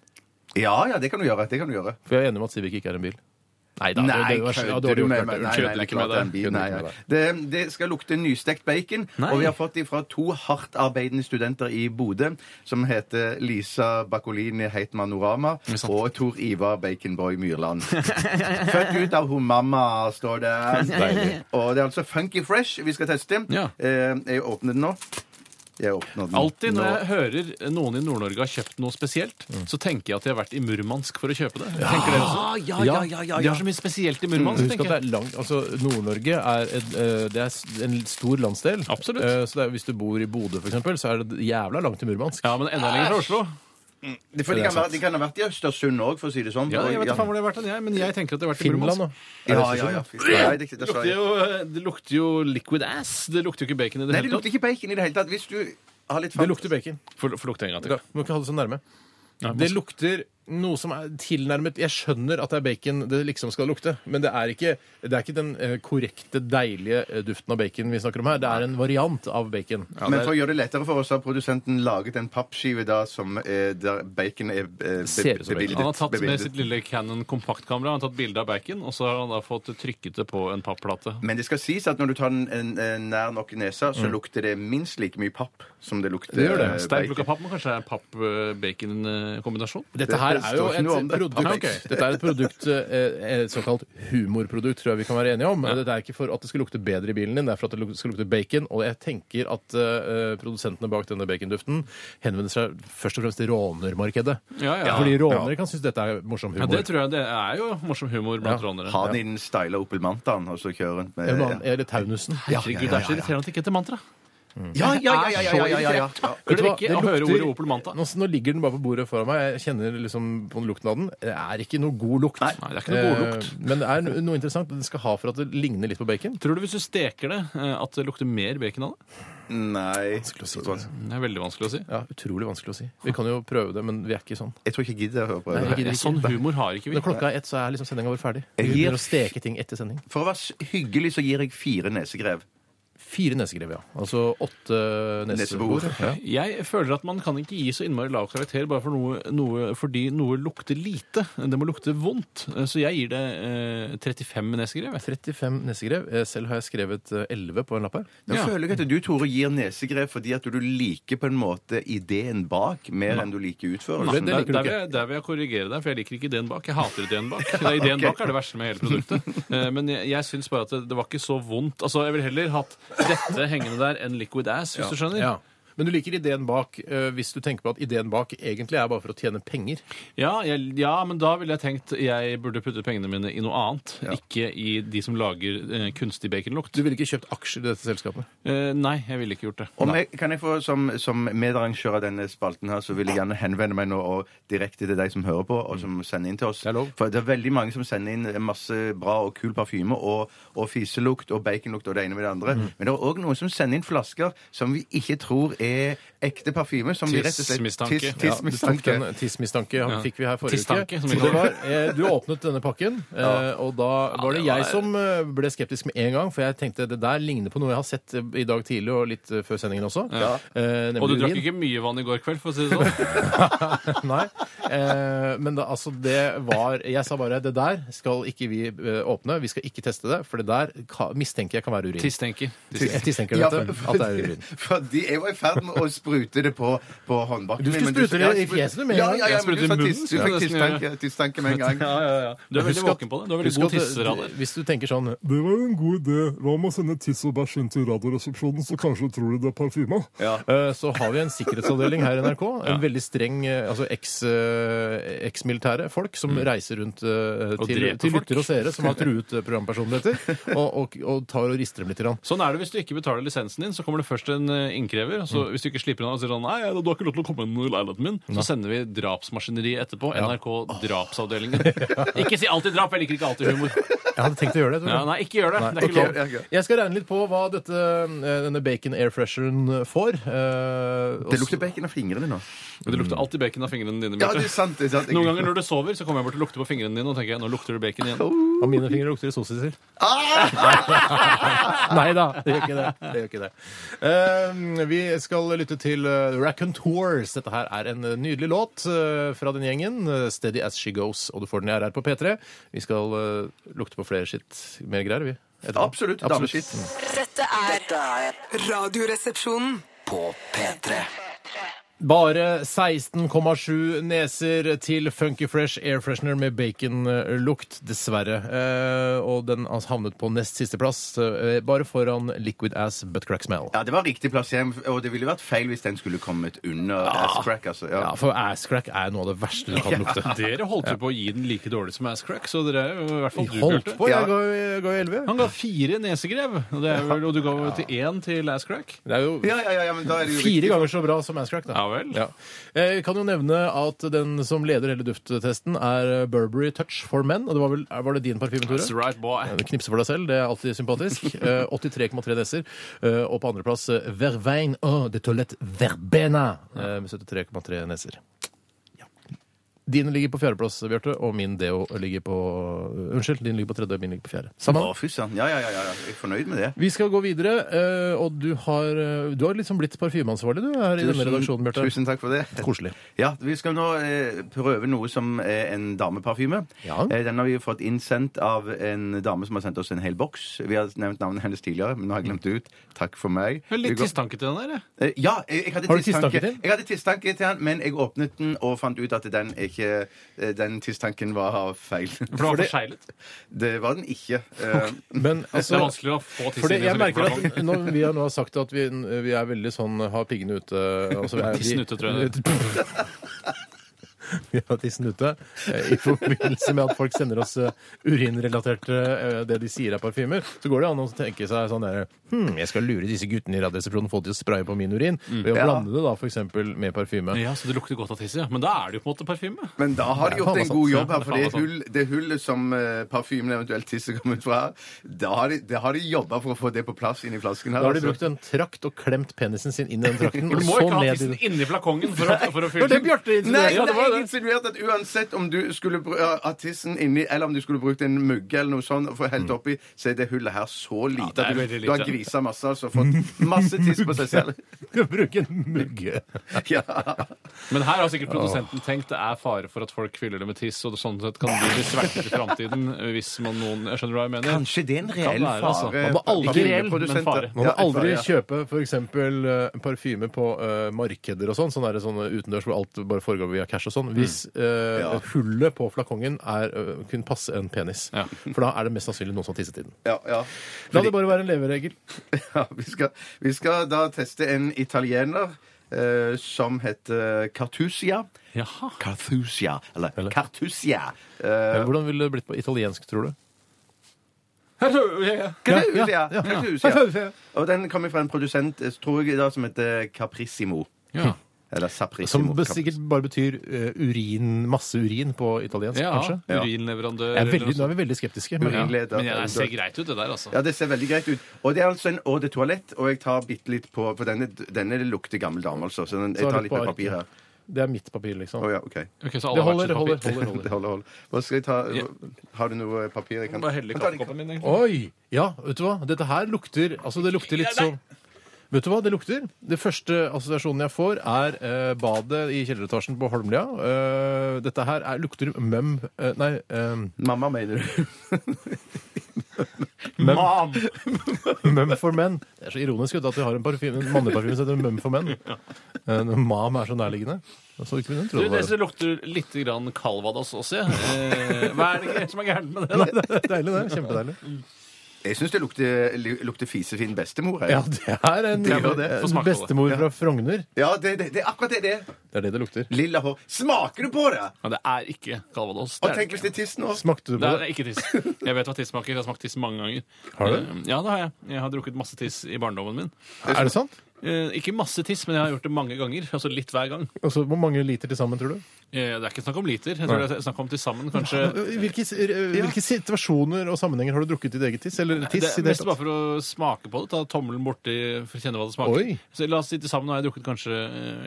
Speaker 2: Ja, ja, det kan du gjøre. Det kan du gjøre.
Speaker 1: For jeg er enig om at Civic ikke er en bil. Nei da,
Speaker 2: Nei,
Speaker 1: det, det var, ja,
Speaker 2: kødder
Speaker 1: dårlig
Speaker 2: du
Speaker 1: gjort,
Speaker 2: med
Speaker 1: Bjarte.
Speaker 2: meg? Nei,
Speaker 1: Kødder
Speaker 2: nei, nei,
Speaker 1: ikke med
Speaker 2: klart det er en
Speaker 1: deg.
Speaker 2: bil.
Speaker 1: Kødder
Speaker 2: Nei,
Speaker 1: ikke med
Speaker 2: nei.
Speaker 1: deg.
Speaker 2: Det, det skal lukte nystekt bacon.
Speaker 3: Nei.
Speaker 2: Og vi har fått det fra to hardtarbeidende studenter i Bodø som heter Lisa Bakolini Heitmann Norama og Tor Ivar Baconboy Myrland. Født ut av hun mamma, står det.
Speaker 1: Deilig.
Speaker 2: Og det er altså Funky Fresh vi skal teste.
Speaker 3: Ja.
Speaker 2: Eh, jeg åpner den nå. Jeg åpner den
Speaker 3: Alltid når
Speaker 2: nå.
Speaker 3: jeg hører noen i Nord-Norge har kjøpt noe spesielt, så tenker jeg at de har vært i Murmansk for å kjøpe det. Tenker dere også?
Speaker 1: Mm. Ah, ja, ja, ja,
Speaker 3: De har så mye spesielt i Murmansk,
Speaker 1: Husk at
Speaker 3: tenker
Speaker 1: det
Speaker 3: jeg.
Speaker 1: er langt, altså Nord-Norge er, et, eh, det er s- en stor landsdel.
Speaker 3: Absolutt.
Speaker 1: Eh, Så det er, hvis du bor i Bodø, for eksempel, så er det jævla langt til Murmansk.
Speaker 3: Ja, men enda lenger fra Oslo.
Speaker 2: Det- For de kan, være, de kan ha vært i Østersund òg, for å si det sånn.
Speaker 3: Ja, jeg vet
Speaker 2: Ja.
Speaker 3: ikke faen hvor det har vært enn jeg, men jeg tenker at det har vært i
Speaker 1: Finland,
Speaker 3: Murmansk.
Speaker 1: da.
Speaker 2: Ja, ja, ja. Nei, det, det,
Speaker 3: Det lukter, jo, det lukter jo liquid ass. Det lukter jo ikke bacon i det
Speaker 2: Nei, det
Speaker 3: hele tatt.
Speaker 2: lukter ikke bacon i det hele tatt. Hvis du har litt
Speaker 1: Det lukter bacon.
Speaker 3: Få få lukte en gang
Speaker 1: Du
Speaker 3: til.
Speaker 1: må ikke ha det så nærme.
Speaker 3: Nei,
Speaker 1: Det
Speaker 3: men-
Speaker 1: lukter noe som er tilnærmet Jeg skjønner at det er bacon det liksom skal lukte, men det er ikke, det er ikke den eh, korrekte, deilige eh, duften av bacon vi snakker om her. Det er en variant av bacon.
Speaker 3: Ja,
Speaker 2: Men
Speaker 3: det
Speaker 2: for
Speaker 3: er-
Speaker 2: å gjøre det lettere for oss har produsenten laget en pappskive da som er, der bacon er eh, be,
Speaker 1: Ser ut som bacon.
Speaker 2: bebildet.
Speaker 3: han har tatt med
Speaker 2: bebildet.
Speaker 3: sitt lille Canon kompaktkamera Han har tatt bilde av bacon, og så har han da fått trykket det på en papplate.
Speaker 2: Men det skal sies at når du tar den en- en nær nok nesa, så lukter det minst like mye papp som det lukter
Speaker 1: Mm. Det gjør det.
Speaker 2: eh,
Speaker 3: Sterk
Speaker 2: bacon.
Speaker 3: lukt av papp, men kanskje det er papp-bacon-kombinasjon?
Speaker 1: Dette her er jo
Speaker 2: står ikke noe om
Speaker 1: et
Speaker 2: det.
Speaker 1: produkt,
Speaker 2: Ja,
Speaker 3: Ah, ok.
Speaker 1: Dette er et produkt eh, et såkalt humorprodukt, tror jeg vi kan være enige om.
Speaker 3: Ja.
Speaker 1: Dette er ikke for at det skal lukte bedre i bilen din, det er for at det luk- skal lukte bacon. Og jeg tenker at eh, produsentene bak denne baconduften henvender seg først og fremst til rånermarkedet.
Speaker 3: Ja, ja.
Speaker 1: Fordi rånere kan synes dette er morsom
Speaker 3: Ja,
Speaker 1: humor.
Speaker 3: det tror jeg det er jo morsom humor blant
Speaker 1: Ja.
Speaker 3: rånere.
Speaker 2: Ha den i den styla Opel Mantaen og så kjøre rundt med
Speaker 1: Eller man- Eller Taunussen.
Speaker 3: Herregud, det er så irriterende at det ikke heter mantra.
Speaker 2: Ja, ja, ja, ja, ja, ja, ja, ja, ja.
Speaker 3: Klarer
Speaker 1: Vet
Speaker 3: dere
Speaker 1: du hva?
Speaker 3: ikke å
Speaker 1: Det
Speaker 3: høre
Speaker 1: lukter-
Speaker 3: ordet Opel Manta?
Speaker 1: Nå, nå ligger den bare på bordet foran meg. Jeg kjenner liksom på lukten av den. Det er ikke noe god lukt.
Speaker 3: Nei, det er ikke noe god lukt.
Speaker 1: Eh, men det er no- noe interessant den skal ha for at det ligner litt på bacon.
Speaker 3: Tror du hvis du steker det, eh, at det lukter mer bacon av det?
Speaker 2: Nei
Speaker 3: Det er veldig vanskelig å si.
Speaker 1: Ja, Utrolig vanskelig å si. Vi kan jo prøve det, men vi er ikke sånn.
Speaker 2: Jeg tror ikke jeg gidder å høre på
Speaker 1: Nei,
Speaker 2: det.
Speaker 1: jeg gidder ikke.
Speaker 3: Sånn humor har ikke vi.
Speaker 1: Når klokka er ett, så er liksom sendinga vår ferdig. Vi
Speaker 2: Jeg gir-
Speaker 1: begynner å steke ting etter sending.
Speaker 2: For å være s- hyggelig så gir jeg fire nesegrev.
Speaker 1: Fire nesegrev, ja. Altså åtte nesebor.
Speaker 2: Nesebor.
Speaker 1: Ja.
Speaker 3: Jeg føler at man kan ikke gi så innmari lav karakter bare for noe, noe, fordi noe lukter lite. Det må lukte vondt. Eh, Så jeg gir det eh, 35 nesegrev. jeg.
Speaker 1: 35 nesegrev. Eh, Selv har jeg skrevet eh, 11 på en lapp her.
Speaker 2: Da
Speaker 3: Ja.
Speaker 2: føler jeg at du, Tore, gir nesegrev fordi at du liker på en måte ideen bak mer enn du liker
Speaker 1: Men
Speaker 2: utførelsen.
Speaker 1: det
Speaker 3: Der,
Speaker 1: liker du
Speaker 3: der, vil
Speaker 1: ikke.
Speaker 3: jeg, der vil jeg korrigere deg, for jeg liker ikke ideen bak. Jeg hater ideen bak. Det er Ideen bak er det verste med hele produktet. Eh, Men jeg, jeg syns bare at det, det var ikke så vondt. Altså, Jeg ville heller hatt dette hengende der enn liquid ass, hvis du skjønner.
Speaker 1: Ja. Men du liker ideen bak eh, hvis du tenker på at ideen bak egentlig er bare for å tjene penger.
Speaker 3: Ja, jeg, ja, men da ville jeg tenkt jeg burde putte pengene mine i noe annet. Ikke i de som lager eh, kunstig baconlukt.
Speaker 1: Du ville ikke kjøpt aksjer i dette selskapet?
Speaker 3: Eh, nei, jeg ville ikke gjort det.
Speaker 2: Om jeg, kan jeg få, som, som medarrangør av denne spalten her, så vil jeg gjerne henvende meg nå og direkte til deg som hører på, og som sender inn til oss.
Speaker 1: Mm. er lov.
Speaker 2: For det er veldig mange som sender inn masse bra og kul parfyme, og, og fiselukt og baconlukt og det ene med det andre.
Speaker 1: Mm.
Speaker 2: Men det er òg noen som sender inn flasker som vi ikke tror er ekte parfyme. som vi rett og slett-
Speaker 3: Tissmistanke.
Speaker 2: Tiss-
Speaker 1: Ja, du tok
Speaker 2: Tissmistanke.
Speaker 1: den tissmistanke han
Speaker 3: Ja.
Speaker 1: fikk vi her forrige
Speaker 3: Tisstanke,
Speaker 1: uke.
Speaker 3: som vi
Speaker 1: Og det
Speaker 3: kaller
Speaker 1: var, eh, du åpnet denne pakken, eh, og da var det
Speaker 3: det var-
Speaker 1: jeg som eh, ble skeptisk med en gang, for jeg tenkte det der ligner på noe jeg har sett eh, i dag tidlig og litt eh, før sendingen også. Eh, nemlig
Speaker 3: Og du drakk
Speaker 1: urin.
Speaker 3: ikke mye vann i går kveld, for å si det sånn.
Speaker 1: Nei. Eh, men da, altså, det var Jeg sa bare det der skal ikke vi eh, åpne, vi skal ikke teste det, for det der ka, mistenker jeg kan være urin.
Speaker 3: Tistenker.
Speaker 1: Jeg
Speaker 3: Tistenker.
Speaker 1: mistenker
Speaker 2: Ja,
Speaker 1: dette, at det er urin.
Speaker 2: fordi jeg var i ferd fram og sprute det på, på håndbaken.
Speaker 1: Du skulle
Speaker 2: men
Speaker 1: sprute det
Speaker 2: ja,
Speaker 1: i
Speaker 2: sprut-
Speaker 1: fjeset med en
Speaker 2: Ja,
Speaker 1: gang.
Speaker 2: ja, ja,
Speaker 3: Jeg
Speaker 2: men
Speaker 3: sprute i
Speaker 2: du sa
Speaker 3: munnen,
Speaker 2: tiss- du
Speaker 3: skulle
Speaker 2: fikk
Speaker 3: jeg nesten gjøre.
Speaker 2: tisstanke- tisstanke med en gang.
Speaker 3: Ja, ja, ja. Du er veldig
Speaker 1: Husk at-
Speaker 3: våken på det. Du er veldig
Speaker 1: husk
Speaker 3: god
Speaker 1: at- eh,
Speaker 3: tisseradar.
Speaker 1: Hvis du tenker sånn
Speaker 6: Det var jo en god idé. Hva med å sende tiss og bæsj inn til Radioresepsjonen, så kanskje tror de det er parfyme?
Speaker 1: Eh, Så har vi en sikkerhetsavdeling her i NRK. En veldig streng eh, altså eks, eh, eks-militære folk som reiser rundt eh, til,
Speaker 3: dreper
Speaker 1: til
Speaker 3: folk.
Speaker 1: lyttere Mm. og seere som har truet eh, programpersonligheter, og, og, og tar og rister dem litt. Grann.
Speaker 3: Sånn er det hvis du ikke betaler lisensen din. Så kommer det først en eh, innkrever. og Så hvis du ikke slipper den av, så sier han nei, du har ikke lov til å komme inn i leiligheten min. Så sender vi drapsmaskineriet etterpå. NRK Drapsavdelingen. Ikke si alltid drap. Jeg liker ikke alltid humor.
Speaker 1: Jeg hadde tenkt å gjøre det. Tore.
Speaker 3: Ja, nei, ikke gjør det. Det er
Speaker 2: Ok,
Speaker 3: ikke lov.
Speaker 2: ja, ja.
Speaker 1: Jeg skal regne litt på hva dette, eh, denne bacon air fresheren får. eh, og
Speaker 2: Det
Speaker 1: så-
Speaker 2: lukter bacon av fingrene nå.
Speaker 3: Men Det lukter alltid bacon av fingrene dine.
Speaker 2: Ja,
Speaker 3: Bjarte.
Speaker 2: det er sant. Det er sant.
Speaker 3: Noen ganger når du sover, så kommer jeg bort og lukter på fingrene dine og tenker jeg, nå lukter det bacon igjen.
Speaker 1: Av mine fingre lukter det sosisil. Nei da, det gjør ikke det. det, gjør ikke det. Eh, vi skal lytte til uh, Raccoon Tours. Dette her er en nydelig låt eh, fra den gjengen. eh, Steady As She Goes. Og du får den i RR på P3. Vi skal eh, lukte på flere skitt. Mer greier, vi. etterpå.
Speaker 2: Absolutt. Dameskitt.
Speaker 4: Dette er
Speaker 5: Dette er
Speaker 4: Radioresepsjonen.
Speaker 5: på P3.
Speaker 1: Bare 16,7 neser til Funky Fresh Air Freshener med baconlukt, dessverre. Eh, og den har havnet på nest siste plass, eh, bare foran Liquid Ass Butt Crack Smell.
Speaker 2: Ja, det var riktig plassering, og det ville vært feil hvis den skulle kommet under ass crack, altså. Ja.
Speaker 1: Ja, for ass crack er noe av det verste du kan lukte.
Speaker 3: Dere holdt jo på å gi den like dårlig som Asscrack, så dere er jo i hvert fall du,
Speaker 1: Holdt
Speaker 3: Bjarte.
Speaker 1: på,
Speaker 2: Ja.
Speaker 1: jeg ga jo- ga jo 11.
Speaker 3: Han ga fire nesegrev, og, det er vel, og du ga jo til én til Asscrack.
Speaker 1: Det er jo
Speaker 2: Ja, ja, ja, ja, men da er det jo
Speaker 1: Fire
Speaker 2: riktig.
Speaker 1: ganger så bra som Ass Crack, da.
Speaker 3: Ja vel.
Speaker 1: Ja. Jeg kan jo nevne at den som leder hele dufttesten, er Burberry Touch for Men. Og det var, vel, var det din parfyme, Tore?
Speaker 3: That's right, boy.
Speaker 1: Du knipser Eh, for deg selv, det er alltid sympatisk. Eh, 83,3 deser. Eh, Og på andreplass eh, Vervein oh, de Toilette Verbena eh, med 73,3 neser. Ja. Din ligger på fjerdeplass, Bjarte, og min deo ligger på eh, Unnskyld, din ligger på tredje, og min ligger på fjerde. Samme.
Speaker 2: Å, fy søren. Ja, ja, ja, ja. Jeg er fornøyd med det.
Speaker 1: Vi skal gå videre, eh, og du har, eh, du har liksom blitt parfymeansvarlig, du, her i denne redaksjonen, Bjarte.
Speaker 2: Tusen takk for det.
Speaker 1: Koselig.
Speaker 2: Ja, Vi skal nå eh, prøve noe som er en dameparfyme.
Speaker 1: Ja.
Speaker 2: Eh, den har vi fått innsendt av en dame som har sendt oss en hel boks. Vi har nevnt navnet hennes tidligere, men nå har jeg glemt det ut. Takk for meg.
Speaker 3: Men
Speaker 2: Vi
Speaker 3: Litt
Speaker 2: går-
Speaker 3: tisstanke til den der. jeg.
Speaker 2: Eh, Ja, jeg, jeg hadde
Speaker 1: Har du
Speaker 2: tisstanke
Speaker 1: tisstanke til?
Speaker 2: Jeg hadde tisstanke til den, men jeg åpnet den og fant ut at den er ikke eh, Den tisstanken var feil.
Speaker 3: For det var forseglet.
Speaker 2: Det var den ikke. Eh,
Speaker 1: Men
Speaker 3: Det er
Speaker 1: altså
Speaker 3: vanskeligere å få tissen
Speaker 1: fordi
Speaker 3: inn i
Speaker 1: jeg
Speaker 3: en så liten
Speaker 1: merker
Speaker 3: ballong.
Speaker 1: at når vi har nå har sagt at vi, vi er veldig sånn har piggene ute altså vi er- vi-
Speaker 3: Tissen ute, tror jeg
Speaker 1: Vi har tissen ute eh, i forbindelse med at folk sender oss eh, urinrelaterte eh, det de sier er parfymer. Så går det an å tenke seg sånn der Hm, jeg skal lure disse guttene i Radioresepsjonen og få de til å spraye på min urin. Ved å
Speaker 2: Ja.
Speaker 1: blande det da f.eks. med parfyme.
Speaker 3: Ja, så det lukter godt av tiss, ja. Men da er det jo på en måte parfyme.
Speaker 2: Men da har de gjort
Speaker 1: faen altså.
Speaker 2: en
Speaker 1: meg
Speaker 2: god
Speaker 1: sant.
Speaker 2: jobb her,
Speaker 3: Ja,
Speaker 2: for
Speaker 3: faen
Speaker 2: det,
Speaker 3: meg sant.
Speaker 2: hull, det hullet som eh, parfymen eventuelt tisser kommer ut fra, da har de, da har de jobba for å få det på plass inni flasken her.
Speaker 1: Da har de
Speaker 2: altså.
Speaker 1: brukt en trakt og klemt penisen sin inn i den trakten.
Speaker 3: For
Speaker 1: Og
Speaker 3: du må
Speaker 1: så
Speaker 3: ikke ha
Speaker 1: ned i
Speaker 3: tissen
Speaker 1: den.
Speaker 3: inni flakongen for å, for å fylle
Speaker 1: Det var det Bjarte
Speaker 2: Nei,
Speaker 1: insinuerte.
Speaker 2: nei,
Speaker 3: Ja, det var jo
Speaker 2: jeg
Speaker 3: det.
Speaker 2: insinuerte at uansett om du skulle bru- ja, ha tissen inni, eller om du skulle brukt en mugge eller noe sånt og få helt oppi, så er det hullet her så lite
Speaker 3: Mm. det er
Speaker 2: at du,
Speaker 3: veldig
Speaker 2: du har
Speaker 3: lite.
Speaker 2: grisa masse, altså. Fått masse tiss på seg selv.
Speaker 1: Bruke en mugge.
Speaker 2: Ja.
Speaker 3: Men her har sikkert produsenten tenkt det er fare for at folk fyller det med tiss, og det sånn sett kan bli svertet i framtiden hvis man noen Jeg skjønner hva jeg mener.
Speaker 2: Kanskje det er en
Speaker 3: Kan
Speaker 2: reell
Speaker 3: være, altså.
Speaker 2: fare.
Speaker 1: Man må aldri-
Speaker 2: Ikke
Speaker 3: reell, men
Speaker 2: produsenter.
Speaker 3: fare.
Speaker 1: Man må
Speaker 2: Ja, en
Speaker 1: aldri
Speaker 2: fare, ja.
Speaker 1: kjøpe f.eks. parfyme på eh, markeder og sånn, sånne, der- sånne utendørs hvor alt bare foregår via cash og sånn, hvis eh,
Speaker 2: Ja.
Speaker 1: hullet på flakongen er, eh, kunne passe en penis.
Speaker 3: Ja.
Speaker 1: For da er det mest sannsynlig noen som har tisset i den.
Speaker 2: Ja, ja.
Speaker 1: La det bare være en leveregel.
Speaker 2: Ja, vi skal, vi skal da teste en italiener eh, som heter Cartusia.
Speaker 3: Jaha.
Speaker 2: Cartusia, eller, Cartusia. Eh,
Speaker 1: Hvordan ville det blitt på italiensk, tror du?
Speaker 2: Cartusia.
Speaker 1: ja, ja.
Speaker 2: Cartusia.
Speaker 1: Cartusia.
Speaker 2: Og den kommer fra en produsent eh, tror jeg, da, som heter Caprissimo.
Speaker 3: Ja.
Speaker 2: Eller
Speaker 1: Som
Speaker 2: Saprissimo.
Speaker 1: be- sikkert bare betyr eh, urin, masse urin på italiensk,
Speaker 3: ja.
Speaker 1: kanskje?
Speaker 2: Ja.
Speaker 1: Jeg
Speaker 3: Urinleverandør
Speaker 1: er
Speaker 3: eller noe
Speaker 1: veldig, nå
Speaker 3: sånt.
Speaker 1: er vi veldig skeptiske.
Speaker 3: Ja.
Speaker 1: Men,
Speaker 2: Urin. Urinleder.
Speaker 3: Men ja, det ser greit ut, det der, altså.
Speaker 2: Ja, det ser veldig greit ut. Og det er altså en eau de toalett, og jeg tar bitte litt på For denne, denne lukter gammel dame, altså. Så den,
Speaker 1: Så
Speaker 2: jeg
Speaker 1: er
Speaker 2: tar
Speaker 1: det
Speaker 2: litt på
Speaker 1: på
Speaker 2: papir
Speaker 1: arket.
Speaker 2: her.
Speaker 1: det er mitt papir, liksom.
Speaker 2: Å ja, OK.
Speaker 3: Ok, så
Speaker 1: Det
Speaker 3: alle har hvert
Speaker 1: holder,
Speaker 3: sitt
Speaker 1: holder,
Speaker 3: papir.
Speaker 1: holder.
Speaker 2: Det holder, holder. Hva skal jeg ta?
Speaker 3: Ja.
Speaker 2: Har du noe papir jeg kan
Speaker 3: Bare helle i
Speaker 2: Jeg tar litt-
Speaker 3: kaffekoppen min, egentlig.
Speaker 1: Oi! Ja, vet du hva? Dette her lukter Altså, det lukter litt som Vet du hva det lukter? Det første assosiasjonen jeg får, er eh, badet i kjelleretasjen på Holmlia. Eh, dette her er, lukter møm eh, Nei, eh,
Speaker 2: Mamma, mener du?
Speaker 3: Mam!
Speaker 1: Mum for men. Det er så ironisk vet du, at vi har en, parfyme, en manneparfyme som heter Mum for men. Eh, Mam er så nærliggende. Så ikke kunne tro
Speaker 3: Du,
Speaker 1: det
Speaker 3: det
Speaker 1: var
Speaker 3: lukter litt grann Calvados også, jeg. Eh, hva er det ikke som er gærent med det? da?
Speaker 1: Deilig, det. Kjempedeilig.
Speaker 2: Jeg syns det lukter, li- lukter fisefin bestemor. jeg.
Speaker 1: Ja, det er en
Speaker 2: Det gjør det.
Speaker 3: Få smake på det.
Speaker 1: bestemor fra Frogner.
Speaker 2: ja det, det, det er akkurat det det er.
Speaker 1: Det er det det lukter.
Speaker 2: Lilla hår. Smaker du på det?
Speaker 3: Men det er ikke Calvados.
Speaker 2: Og
Speaker 3: Det er,
Speaker 2: tenk
Speaker 3: det
Speaker 2: hvis det er tiss nå.
Speaker 1: Smakte du
Speaker 3: ikke. det
Speaker 1: på
Speaker 3: er
Speaker 1: det?
Speaker 3: ikke tiss. Jeg vet hva tiss smaker. Jeg har smakt tiss mange ganger.
Speaker 1: Har du det?
Speaker 3: Eh, Ja, det har jeg. Jeg har drukket masse tiss i barndommen min.
Speaker 1: Er det sant?
Speaker 3: Eh, ikke masse tiss, men jeg har gjort det mange ganger. Altså litt hver gang.
Speaker 1: Altså, hvor mange liter til sammen, tror du?
Speaker 3: Eh, det er ikke snakk om liter. Jeg tror det er snakk om til sammen kanskje
Speaker 1: I Hvilke, s- eh, hvilke situasjoner og sammenhenger har du drukket ditt eget tiss? Eller tiss i
Speaker 3: det er
Speaker 1: det
Speaker 3: mest
Speaker 1: hele
Speaker 3: bare
Speaker 1: tatt?
Speaker 3: for å smake på det. Ta tommelen borti for å kjenne hva det smaker.
Speaker 1: Oi.
Speaker 3: Så la oss si til sammen har jeg drukket kanskje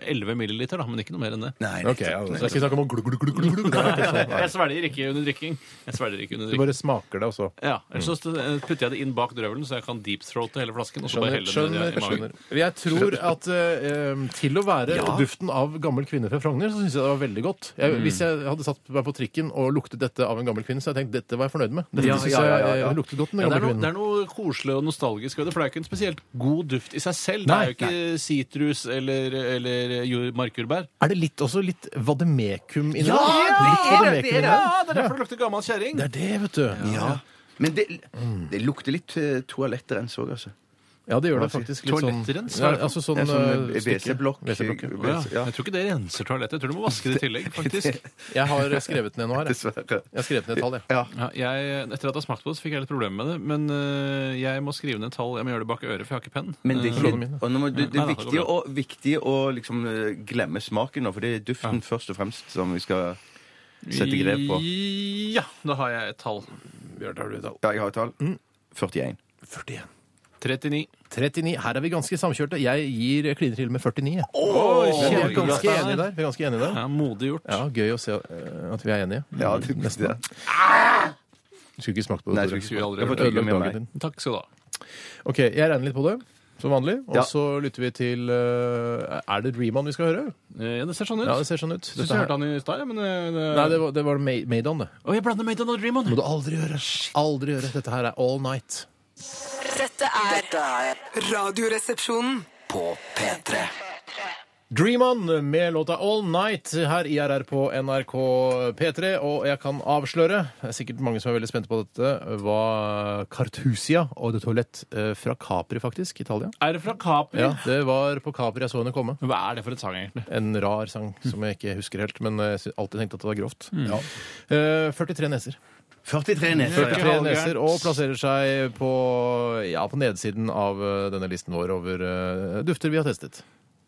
Speaker 3: eh, 11 milliliter, da, men ikke noe mer enn det.
Speaker 2: Nei,
Speaker 1: Ok, ja, det er ikke snakk om å glug, glug, glug, glug, glug. Det er ikke sånn.
Speaker 3: Jeg svelger ikke under drikking. Jeg svelger ikke under
Speaker 1: Du
Speaker 3: drikking.
Speaker 1: bare smaker det, og så
Speaker 3: Ja, Ellers så eh, putter jeg det inn bak drøvelen, så jeg kan deep-throate hele flasken. Og så bare
Speaker 1: Skjønner.
Speaker 3: helle den ned
Speaker 1: skjønner,
Speaker 3: i magen.
Speaker 1: skjønner. Jeg tror at eh, em, til å være duften av gammel kvinne fra Frogner, så syns jeg det var veldig godt. Jeg, Hvis jeg hadde satt meg på trikken og luktet dette av en gammel kvinne, så hadde jeg tenkt dette var jeg fornøyd med. Dette
Speaker 2: Ja,
Speaker 1: synes
Speaker 2: ja, ja,
Speaker 1: jeg
Speaker 2: ja, ja.
Speaker 1: eh, luktet godt med
Speaker 3: Ja, det,
Speaker 1: gammel kvinne.
Speaker 3: er noe, det er noe koselig og nostalgisk ved det, for det er jo ikke en spesielt god duft i seg selv.
Speaker 1: Nei,
Speaker 3: det er jo ikke sitrus eller, eller jord- markjordbær.
Speaker 1: Er det litt, også litt vademekum inni Litt
Speaker 3: det er det!
Speaker 1: vademekum inni
Speaker 3: Ja,
Speaker 1: der.
Speaker 3: det er derfor det lukter gammel kjerring.
Speaker 1: Det er det, vet du.
Speaker 2: Ja. Men det, det lukter litt eh, toalettrens òg, altså.
Speaker 1: Ja, det gjør det faktisk litt sånn
Speaker 3: Toalettrens, hva
Speaker 1: ja,
Speaker 3: er det for
Speaker 1: altså sånn,
Speaker 2: Det er sånn
Speaker 1: eh,
Speaker 2: eh,
Speaker 1: stykke.
Speaker 2: WC-blokk.
Speaker 1: WC-blokk, ja.
Speaker 3: Å, Ja.
Speaker 2: Ja.
Speaker 3: Jeg tror ikke det renser toalettet. Jeg tror du må vaske det i tillegg, faktisk.
Speaker 1: Jeg har skrevet ned noe her. Jeg,
Speaker 2: Dessverre.
Speaker 1: jeg har skrevet ned et tall, jeg.
Speaker 2: Ja.
Speaker 3: Ja, jeg, etter at jeg har smakt på det, så fikk jeg litt problemer med det. Men øh, jeg må skrive ned tall. Jeg må gjøre det bak øret, for jeg har ikke penn.
Speaker 2: Men det er,
Speaker 1: Låne mine.
Speaker 2: ikke, og nå må, du- det er
Speaker 3: Nei, nei, det går
Speaker 2: viktig, å, viktig å liksom eh, glemme smaken nå, for det er duften først og fremst som vi skal sette grep på.
Speaker 3: Ja, da har jeg et tall.
Speaker 1: Bjørn, har du et tall?
Speaker 2: Ja, jeg har et tall. 41.
Speaker 1: 41.
Speaker 3: 39.
Speaker 1: 39. Her er vi ganske samkjørte. Jeg gir kliner til med 49. jeg. vi er ganske enige der. Vi er ganske enige der.
Speaker 3: Ja, modig gjort.
Speaker 1: Ja, Gøy å se eh, at vi er enige.
Speaker 2: Ja, det, det.
Speaker 1: Du skulle ikke smakt på
Speaker 2: Nei,
Speaker 1: det.
Speaker 2: jeg
Speaker 1: Tore.
Speaker 3: Skulle aldri
Speaker 2: Jeg får
Speaker 3: hørt
Speaker 2: tygge
Speaker 3: det.
Speaker 2: med meg.
Speaker 1: Dagen din.
Speaker 3: Takk skal du ha.
Speaker 1: OK, jeg regner litt på det, som vanlig. Og
Speaker 2: Ja.
Speaker 1: så lytter vi til eh, Er det Reman vi skal høre?
Speaker 3: Eh, Ja, det ser sånn ut.
Speaker 1: Ja, det ser sånn ut.
Speaker 3: Syns
Speaker 1: Dette
Speaker 3: jeg
Speaker 1: her-
Speaker 3: hørte han i stad, ja, men øh, det...
Speaker 1: Nei, det var, det var Ma- Maidon, det.
Speaker 3: Å, jeg blander Maiden og Dream On.
Speaker 1: Må du aldri gjøre. Aldri gjøre. Dette her er all night.
Speaker 4: Dette er Radioresepsjonen.
Speaker 5: På P3.
Speaker 1: Dream On med låta All Night her i RR på NRK P3. Og jeg kan avsløre, det er sikkert mange som er veldig spente på dette, hva Cartusia og det toalett eh, fra Capri, faktisk, Italia.
Speaker 3: Er det fra Capri?
Speaker 1: Ja, Det var på Capri jeg så henne komme.
Speaker 3: Hva er det for et sang, egentlig?
Speaker 1: En rar sang som jeg ikke husker helt, men jeg sy- alltid tenkte at det var grovt. Eh, 43 neser.
Speaker 2: 43 Mm. neser. Ja.
Speaker 1: 43 neser og plasserer seg på, ja, på nedsiden av eh, denne listen vår over eh, dufter vi har testet.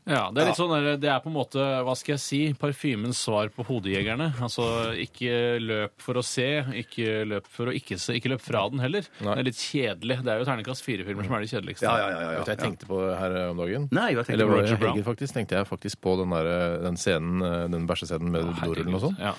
Speaker 3: Ja, Det er litt sånn, der, det er på en måte, hva skal jeg si, parfymens svar på hodejegerne. Altså, ikke løp for å se, ikke løp for å ikke se, ikke løp fra den heller.
Speaker 1: Nei.
Speaker 3: Det er litt kjedelig. Det er jo terningkast fire-filmer som er de kjedeligste.
Speaker 2: Mm. Ja, ja, ja, ja,
Speaker 1: Vet du,
Speaker 2: ja.
Speaker 1: jeg tenkte på det her om dagen.
Speaker 2: Nei, hva tenkte
Speaker 1: Eller
Speaker 2: du?
Speaker 1: var det
Speaker 3: Roger Brown.
Speaker 1: Helger, faktisk? Tenkte jeg faktisk på den, der, den scenen, eh, den bæsjescenen med blodrullen og sånn.
Speaker 3: Ja.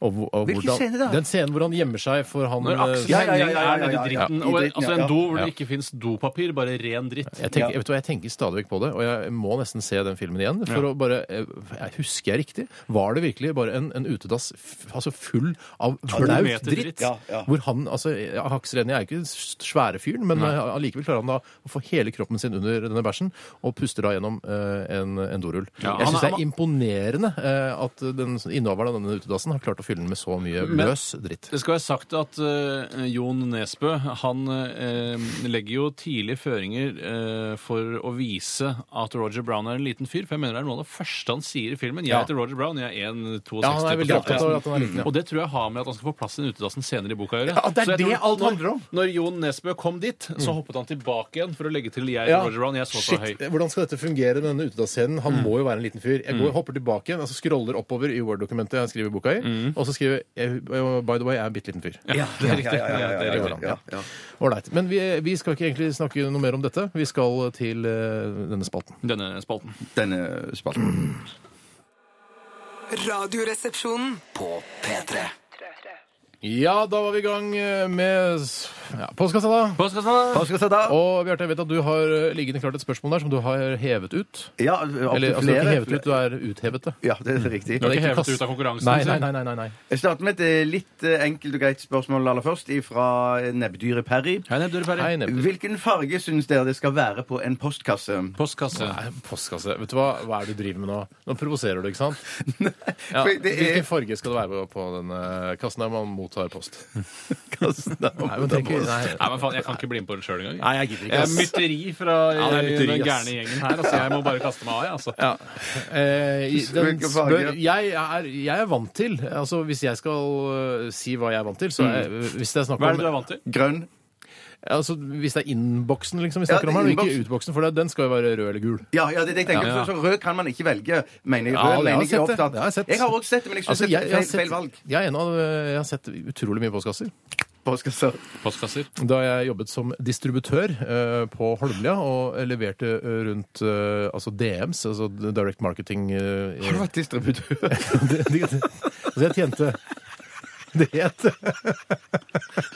Speaker 1: Og, hvor- og
Speaker 2: Hvilken
Speaker 1: hvordan-
Speaker 2: scene da?
Speaker 1: Den scenen hvor han gjemmer seg for han
Speaker 3: Når
Speaker 1: eh,
Speaker 3: Aksel
Speaker 2: Ja, ja, ja,
Speaker 3: Henning
Speaker 2: ja, ja,
Speaker 3: er
Speaker 2: ja,
Speaker 3: nede i
Speaker 2: ja.
Speaker 3: dritten,
Speaker 2: I
Speaker 3: og
Speaker 2: dritten,
Speaker 3: altså
Speaker 2: ja.
Speaker 3: en do hvor
Speaker 1: Ja.
Speaker 3: det ikke fins dopapir, bare ren dritt.
Speaker 1: jeg tenker,
Speaker 2: Ja.
Speaker 1: vet du, hva, jeg tenker stadig vekk på det, og jeg må nesten se den filmen igjen. For
Speaker 3: Ja.
Speaker 1: å bare, eh, jeg Husker jeg riktig? Var det virkelig bare en, en utedass f altså full av blaut
Speaker 3: meter
Speaker 1: dritt?
Speaker 3: dritt.
Speaker 2: Ja, ja.
Speaker 1: Hvor han, altså, ja, Aksel Hennie er jo ikke den s- svære fyren, men eh, allikevel klarer han da å få hele kroppen sin under denne bæsjen, og puster da gjennom eh, en, en dorull.
Speaker 3: Ja,
Speaker 1: jeg
Speaker 3: han-
Speaker 1: syns det er
Speaker 3: han-
Speaker 1: imponerende eh, at den innehaveren av denne utedassen har klart å fylle den med så mye
Speaker 3: Men-
Speaker 1: løs dritt.
Speaker 3: Det skal være sagt at eh, Jon Nesbø han eh, legger jo tidlig føringer eh, for å vise at Roger Brown er en liten fyr. For jeg mener det er noe av det første han sier i filmen. Jeg
Speaker 1: Ja.
Speaker 3: heter Roger Brown, jeg er 1,62.
Speaker 1: Ja, han er veldig opptatt av at han er liten, ja.
Speaker 3: Og det tror jeg har med at han skal få plass i den utedassen senere i boka å gjøre.
Speaker 1: Ja, det er
Speaker 3: Så jeg
Speaker 1: det
Speaker 3: tror
Speaker 1: alt
Speaker 3: når-
Speaker 1: handler om. Mm.
Speaker 3: Når Jon Nesbø kom dit, så hoppet han tilbake igjen for å legge til jeg er
Speaker 1: Ja.
Speaker 3: Roger Brown, jeg er så Mm. så høy.
Speaker 1: Shit, Hvordan skal dette fungere, denne utedasscenen? Han må jo være en liten fyr. Jeg
Speaker 3: Mm.
Speaker 1: går, hopper tilbake igjen, altså scroller oppover i Word-dokumentet jeg skriver boka i, og så skriver jeg eh, By the way, jeg er en bitte liten fyr.
Speaker 3: Mm. Ja, det er riktig.
Speaker 2: Ja, ja, ja,
Speaker 3: Det er
Speaker 2: ja,
Speaker 3: riktig.
Speaker 2: ja, ja, ja.
Speaker 1: Ålreit. Men vi, vi skal ikke egentlig snakke noe mer om dette. Vi skal til eh, denne spalten.
Speaker 3: Denne spalten.
Speaker 2: Denne spalten.
Speaker 4: Radioresepsjonen.
Speaker 5: På P3.
Speaker 1: Ja, da var vi i gang eh, med s- Ja, Postkassa, da.
Speaker 3: Postkassa!
Speaker 2: Hva skal jeg si da?
Speaker 1: Og Bjarte, jeg vet at du har eh, liggende klart et spørsmål der som du har hevet ut.
Speaker 2: Ja, opp til
Speaker 1: Eller altså, ikke
Speaker 2: flere.
Speaker 1: hevet ut, du er uthevet Sånn, det.
Speaker 2: Ja, det er riktig.
Speaker 3: Du har
Speaker 1: Det er
Speaker 3: ikke
Speaker 1: ikke
Speaker 3: hevet
Speaker 1: kass-
Speaker 3: ut av konkurransen?
Speaker 1: Nei,
Speaker 3: sier
Speaker 1: nei,
Speaker 3: jeg.
Speaker 1: nei. nei, nei, nei.
Speaker 2: Jeg starter med et eh, litt eh, enkelt og greit spørsmål aller først, fra nebbdyret Perry.
Speaker 3: Hei, Neb, du er ferdig.
Speaker 1: Nei, nemlig.
Speaker 2: Hvilken farge syns dere det skal være på en postkasse?
Speaker 3: Postkasse.
Speaker 1: Nei, postkasse. Vet du hva, hva er det du driver med nå? Nå provoserer du, ikke sant? Ja.
Speaker 2: for det er-
Speaker 1: Hvilken farge skal det være på denne kassen der man mottar post? kassen der man
Speaker 2: mottar post.
Speaker 3: Nei, men faen, jeg kan ikke bli med på det sjøl engang.
Speaker 1: Nei, jeg gidder ikke,
Speaker 3: Jeg er
Speaker 1: ass.
Speaker 3: mytteri fra
Speaker 1: Ja, det er mytteri,
Speaker 3: den
Speaker 1: ass.
Speaker 3: gærne gjengen her. Altså, jeg må bare kaste meg av, jeg. Altså.
Speaker 1: Ja. Eh, i- den
Speaker 2: Hvilken farge?
Speaker 1: spør, jeg, er, jeg er vant til Altså, hvis jeg skal eh, si hva jeg er vant til, så er,
Speaker 2: Mm.
Speaker 1: hvis det er snakk
Speaker 3: Hva er det du
Speaker 1: om
Speaker 3: er vant til?
Speaker 2: Grønn.
Speaker 1: Altså, Hvis det er innboksen liksom, vi
Speaker 2: Ja,
Speaker 1: snakker om her, og ikke
Speaker 2: innboksen.
Speaker 1: utboksen, for det- den skal jo være rød eller gul.
Speaker 2: Ja, ja, det er det jeg tenker.
Speaker 3: Ja.
Speaker 2: Så, så rød kan man ikke velge, mener jeg.
Speaker 1: Ja,
Speaker 2: Rød
Speaker 1: det har jeg
Speaker 2: mener jeg er
Speaker 1: sett det.
Speaker 2: opptatt.
Speaker 1: Det har jeg sett.
Speaker 2: Jeg har også sett det, men jeg syns
Speaker 1: Altså,
Speaker 2: det
Speaker 1: jeg,
Speaker 2: er
Speaker 1: jeg, har
Speaker 2: feil, feil
Speaker 1: sett,
Speaker 2: valg.
Speaker 1: jeg, er en av, eh, jeg har sett utrolig mye postkasser.
Speaker 2: Postkasser.
Speaker 3: Postkasser.
Speaker 1: Da jeg jobbet som distributør eh, på Holmlia og leverte eh, rundt eh, altså DMs, altså Direct Marketing eh,
Speaker 2: Har du vært distributør?
Speaker 1: det, det, Altså, jeg tjente Det het
Speaker 3: Tenk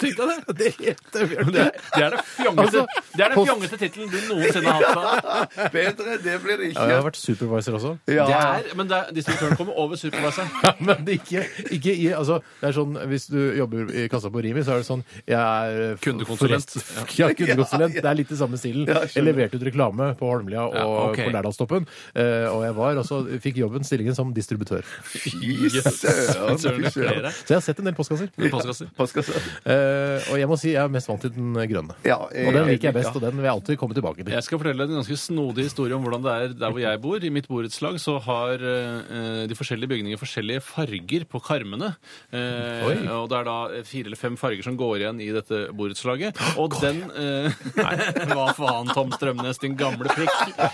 Speaker 3: deg det!
Speaker 1: Det het det,
Speaker 3: Det
Speaker 1: Bjarte.
Speaker 3: er, det er det fjongeste,
Speaker 1: Altså,
Speaker 3: det er den
Speaker 1: post-
Speaker 3: fjongeste tittelen du noensinne har hatt. da.
Speaker 2: Bedre, det blir det
Speaker 1: Ja, jeg har
Speaker 2: ikke.
Speaker 1: vært supervisor også.
Speaker 2: Ja.
Speaker 3: Det er, men det er, distributøren kommer over supervisor.
Speaker 1: Ja, men det er ikke, ikke i altså, det er sånn, Hvis du jobber i kassa på Rimi, så er det sånn Jeg er eh,
Speaker 3: Kundekonsulent.
Speaker 1: forrest- Ja, kundekonsulent. Det er litt i samme stilen.
Speaker 2: Ja,
Speaker 1: Jeg
Speaker 2: skjønner.
Speaker 1: leverte ut reklame på Holmlia og
Speaker 3: Ja, ok.
Speaker 1: på Lærdalstoppen. eh, Og jeg var altså, fikk jobben, stillingen som distributør.
Speaker 2: Fy søren.
Speaker 3: Søren, det
Speaker 2: fy
Speaker 3: er flere.
Speaker 2: søren.
Speaker 1: Så jeg har sett en del postkasser.
Speaker 3: Postkasser.
Speaker 2: Postkasser.
Speaker 1: Eh, og jeg må si jeg er mest vant til den grønne.
Speaker 2: Ja,
Speaker 1: Og den liker jeg
Speaker 2: ja.
Speaker 1: best, og den vil jeg alltid komme tilbake til.
Speaker 3: Jeg skal fortelle en ganske snodig historie om hvordan det er der hvor jeg bor. I mitt borettslag så har eh, de forskjellige bygningene forskjellige farger på karmene. Eh,
Speaker 1: Oi.
Speaker 3: og det er da fire eller fem farger som går igjen i dette borettslaget. Og den eh, Nei, hva faen, Tom Strømnes, din gamle prikk.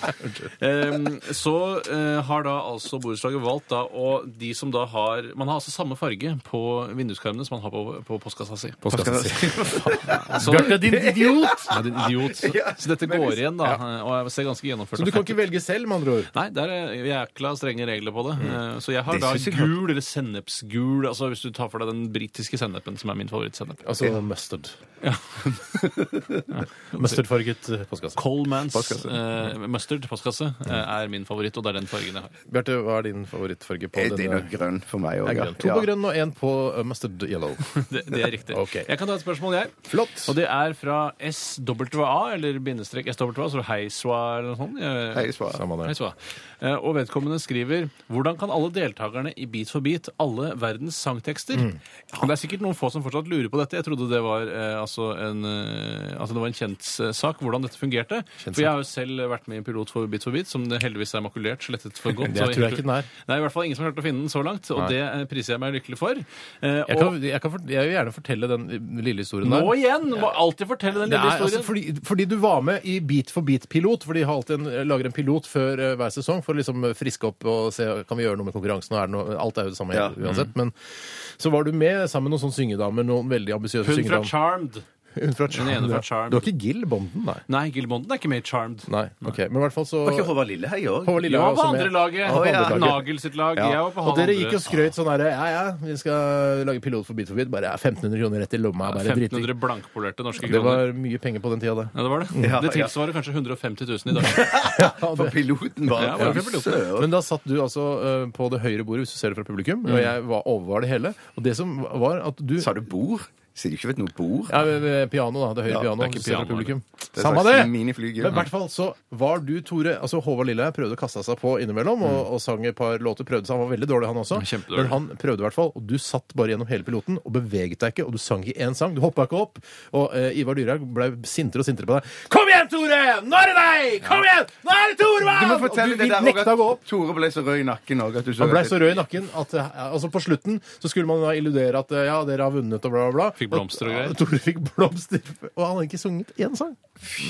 Speaker 3: Eh, så eh, har da altså borettslaget valgt da å De som da har Man har altså samme farge på vinduskarmene som man har på, på postkassa si. Så-
Speaker 1: Bjarte, din idiot!
Speaker 3: Ja, din idiot. Så,
Speaker 2: Ja,
Speaker 3: så dette går igjen, da. Og jeg ser ganske gjennomført
Speaker 1: Så du
Speaker 3: og
Speaker 1: kan
Speaker 3: fett
Speaker 1: ikke velge selv, med andre ord?
Speaker 3: Nei, det er eh, jækla strenge regler på det.
Speaker 1: Mm.
Speaker 3: Eh, Så jeg har
Speaker 2: Det
Speaker 3: da
Speaker 2: synes jeg er-
Speaker 3: gul eller sennepsgul. Altså Hvis du tar for deg den britiske sennepen, som er min favorittsennep.
Speaker 1: Altså mustard. Mustardfarget eh, postkasse.
Speaker 3: Coleman's eh, mustard postkasse
Speaker 2: Mm.
Speaker 3: eh, er min favoritt, og det er den fargen jeg har.
Speaker 1: Bjarte, hva er Eh, din favorittfarge på
Speaker 2: Er Det er
Speaker 1: denne?
Speaker 2: nok grønn for meg
Speaker 1: Det
Speaker 2: òg.
Speaker 1: er grønn. To på grønn og én på eh, mustard yellow.
Speaker 3: Det, det er riktig.
Speaker 1: Ok.
Speaker 3: Jeg kan ta et spørsmål, jeg.
Speaker 1: Flott.
Speaker 3: Og det er fra SWA, eller bindestrek SWA, så Heiswa eller noe sånt. Jeg-
Speaker 2: Hei, svar.
Speaker 1: Samme det.
Speaker 3: Hei, Sva. Eh, Og vedkommende skriver Hvordan kan alle deltakerne i Beat for beat alle verdens sangtekster?
Speaker 1: Mm.
Speaker 3: Og Det er sikkert noen få som fortsatt lurer på dette. Jeg trodde det var, eh, altså en, eh, altså det var en kjent eh, sak, hvordan dette fungerte. for jeg har jo selv vært med i en pilot for Beat for beat, som det heldigvis er makulert, slettet for godt.
Speaker 1: Det
Speaker 3: Så
Speaker 1: tror jeg ikke den er.
Speaker 3: Nei, i hvert fall ingen som har klart å finne den så langt, og det eh, priser jeg meg lykkelig for. Eh,
Speaker 1: Jeg,
Speaker 3: og
Speaker 1: kan, jeg, kan, fort- jeg vil gjerne fortelle den lille historien
Speaker 3: nå
Speaker 1: der.
Speaker 3: igjen! Må alltid fortelle den
Speaker 1: Det
Speaker 3: lille
Speaker 1: er,
Speaker 3: historien.
Speaker 1: altså, fordi, fordi du var med i Beat for beat-pilot. For de har alltid en, lager en pilot før eh, hver sesong for å liksom friske opp og se kan vi gjøre noe med konkurransen. Og er det noe, alt er jo det samme
Speaker 2: Ja.
Speaker 1: uansett. Men så var du med sammen med noen sånne syngedamer. Noen veldig ambisiøse
Speaker 3: Hun fra
Speaker 1: syngedamer.
Speaker 3: Charmed.
Speaker 1: Hun fra
Speaker 3: Hun ene fra
Speaker 1: ja.
Speaker 3: Charmed.
Speaker 1: Du var ikke Gill Bonden, nei?
Speaker 3: Nei, Gilmonden er ikke med i Charmed.
Speaker 1: Nei, ok. Men i hvert fall så
Speaker 2: Var ikke Håvard Lillehei òg?
Speaker 1: Håvard Lille
Speaker 3: Jeg
Speaker 1: var
Speaker 3: var på
Speaker 1: også
Speaker 3: andre
Speaker 1: med.
Speaker 3: laget.
Speaker 1: Han
Speaker 2: Å,
Speaker 1: var på
Speaker 2: ja.
Speaker 1: andre laget.
Speaker 3: Nagel sitt lag. Jeg
Speaker 1: Ja.
Speaker 3: var på
Speaker 1: Og
Speaker 3: halv
Speaker 1: dere
Speaker 3: andre.
Speaker 1: gikk og skrøt sånn herre Ja, ja, vi skal lage pilot for Beat for beat. Bare ja, 1500 kroner rett i lomma. Bare driting.
Speaker 3: 1500 blankpolerte norske
Speaker 1: Det
Speaker 3: kroner.
Speaker 1: var mye penger på den tida, det.
Speaker 3: Ja, det var det.
Speaker 2: Ja,
Speaker 3: det
Speaker 2: ja.
Speaker 3: tilsvarer kanskje 150 000 i dag.
Speaker 2: For piloten var
Speaker 3: Ja, var det for piloten?
Speaker 2: Søren.
Speaker 1: Men da satt du altså eh, på det høyre bordet, hvis du ser det fra publikum, og jeg var overvar det hele. Og det som var at du
Speaker 2: Sa du bord? Sier du ikke vet noe bord?
Speaker 1: ja, ved- ved piano, da. Det høye
Speaker 2: Ja,
Speaker 1: piano.
Speaker 3: det er ikke
Speaker 1: hvis du ser det fra
Speaker 3: piano,
Speaker 1: publikum.
Speaker 2: er
Speaker 1: Samme
Speaker 2: slags
Speaker 1: det!
Speaker 2: miniflyger.
Speaker 1: Men i hvert fall så var du, Tore altså Håvard Lilleheie prøvde å kaste seg på innimellom og, og sang et par låter. prøvde seg, Han var veldig dårlig, han også.
Speaker 3: Kjempedårlig.
Speaker 1: Men han prøvde i hvert fall. Og du satt bare gjennom hele piloten og beveget deg ikke. Og du sang ikke én sang. Du hoppa ikke opp. Og eh, Ivar Dyrhaug ble sintere og sintere på deg. Kom igjen, Tore! Nå er det deg! Kom igjen! Nå er det Torvald!
Speaker 2: Du må
Speaker 1: Og
Speaker 2: fortelle
Speaker 1: du
Speaker 2: det der
Speaker 1: nekta å
Speaker 2: også
Speaker 1: gå opp.
Speaker 2: at Tore ble så rød i nakken òg at du så
Speaker 1: Han blei så rød i nakken at eh, altså på slutten så skulle man da illudere at eh, ja, dere har vunnet og bla, bla, bla.
Speaker 3: Fikk blomster og greier.
Speaker 1: Ja, Tore fikk blomster. Og han hadde ikke sunget én sang.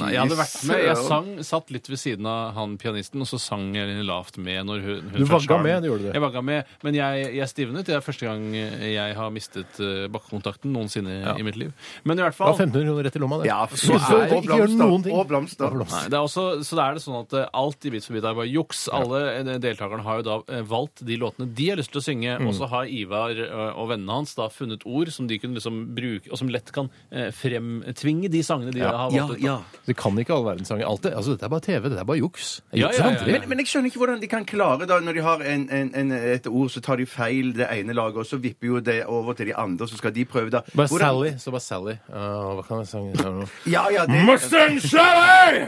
Speaker 3: Nei, jeg hadde vært med. Jeg sang, satt litt ved siden av han pianisten, og så sang jeg lavt med når hun, hun
Speaker 1: Du
Speaker 3: fra
Speaker 1: vagga
Speaker 3: Charmed-
Speaker 1: med, det gjorde du.
Speaker 3: Jeg vagga med, men jeg, jeg stivnet. Det er første gang jeg har mistet eh, bakkekontakten noensinne i mitt liv. Men i hvert
Speaker 1: Det
Speaker 3: fall
Speaker 1: var 1500 kroner rett i lomma, det.
Speaker 2: Ja, for
Speaker 1: så
Speaker 2: søren.
Speaker 1: ikke
Speaker 2: Og
Speaker 1: gjør
Speaker 2: blomster.
Speaker 1: noen ting.
Speaker 2: Og blomster.
Speaker 3: Nei, det er også, så da er det sånn at eh, alt i Bit for bit er bare juks. Alle eh, deltakerne har jo da eh, valgt de låtene de har lyst til å synge, og så har Ivar eh, og vennene hans da funnet ord som de kunne liksom bruk, og som lett kan eh, fremtvinge de sangene de
Speaker 1: Ja.
Speaker 3: har
Speaker 1: Ja,
Speaker 3: valgt ut. da.
Speaker 1: ja. Det kan ikke all verdens sanger. Alt det, altså, dette er bare TV, dette er bare juks. Det er juks
Speaker 3: Ja, ja,
Speaker 1: og
Speaker 3: ja, ja.
Speaker 1: håndverk.
Speaker 2: Men, men jeg skjønner ikke hvordan de kan klare da, Når de har en, en, en, et ord, så tar de feil det ene laget, og så vipper jo det over til de andre, så skal de prøve, da.
Speaker 1: Bare
Speaker 2: Hvordan-
Speaker 1: Sally. Så bare Sally. Ah, hva kan jeg sange nå?
Speaker 2: Ja, ja, det
Speaker 1: Mustang Sally!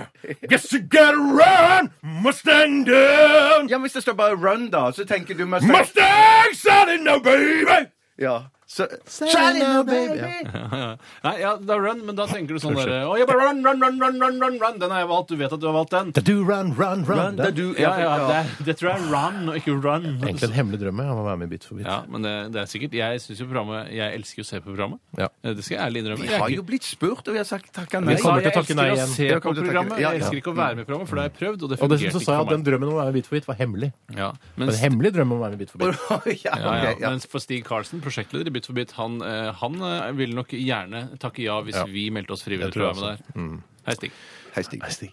Speaker 1: Guess you gotta run! Mustang down!
Speaker 2: ja, men hvis det står bare 'run', da, så tenker du mest
Speaker 1: Mustang Sally now, baby!
Speaker 2: Ja. Så,
Speaker 1: Sally now, baby!
Speaker 3: Nei, ja, det er run, men da tenker du sånn derre oh, ja, bare run, run, run, run, run, run, run. Den har jeg valgt. Du vet at du har valgt den.
Speaker 1: Da du run, run, run. Det er du.
Speaker 3: Ja, ja, det, er- det tror jeg er run, og ikke run.
Speaker 1: Egentlig en hemmelig drøm jeg, om å være med i Bit for bit.
Speaker 3: Ja, men det, det er sikkert Jeg synes jo programmet Jeg elsker jo å se på programmet.
Speaker 1: Ja.
Speaker 3: Eh, Det skal jeg ærlig innrømme.
Speaker 2: vi
Speaker 3: Jeg er
Speaker 2: har
Speaker 3: ikke-
Speaker 2: jo blitt spurt, og vi har sagt takka nei.
Speaker 1: Vi
Speaker 3: Jeg sa
Speaker 1: kommer til
Speaker 3: jeg
Speaker 1: å takke
Speaker 3: elsker
Speaker 1: nei
Speaker 3: å
Speaker 1: igjen.
Speaker 3: se
Speaker 2: Jeg
Speaker 3: på
Speaker 2: kommer til å takke-
Speaker 3: programmet.
Speaker 2: ja,
Speaker 3: Jeg
Speaker 2: ja.
Speaker 3: elsker ikke å være med i programmet, for det har jeg prøvd, og det
Speaker 1: Og
Speaker 3: fungerte
Speaker 1: dessuten
Speaker 3: ikke
Speaker 1: så sa jeg
Speaker 3: for
Speaker 1: at den
Speaker 3: meg.
Speaker 1: drømmen om å være med i Bit for bit var hemmelig.
Speaker 3: Ja,
Speaker 1: En
Speaker 3: mens, ja,
Speaker 1: hemmelig drøm om å være med i Bit for bit.
Speaker 2: ja,
Speaker 3: ja,
Speaker 2: ok, ja.
Speaker 3: mens for Stig Karlsen, prosjektleder i Bit for bit, han, eh, han eh, ville nok gjerne takke ja hvis
Speaker 1: Ja.
Speaker 3: vi meldte oss frivillig
Speaker 1: Jeg tror
Speaker 3: til å være med der. Hei, Stig.
Speaker 2: Hei, Stig.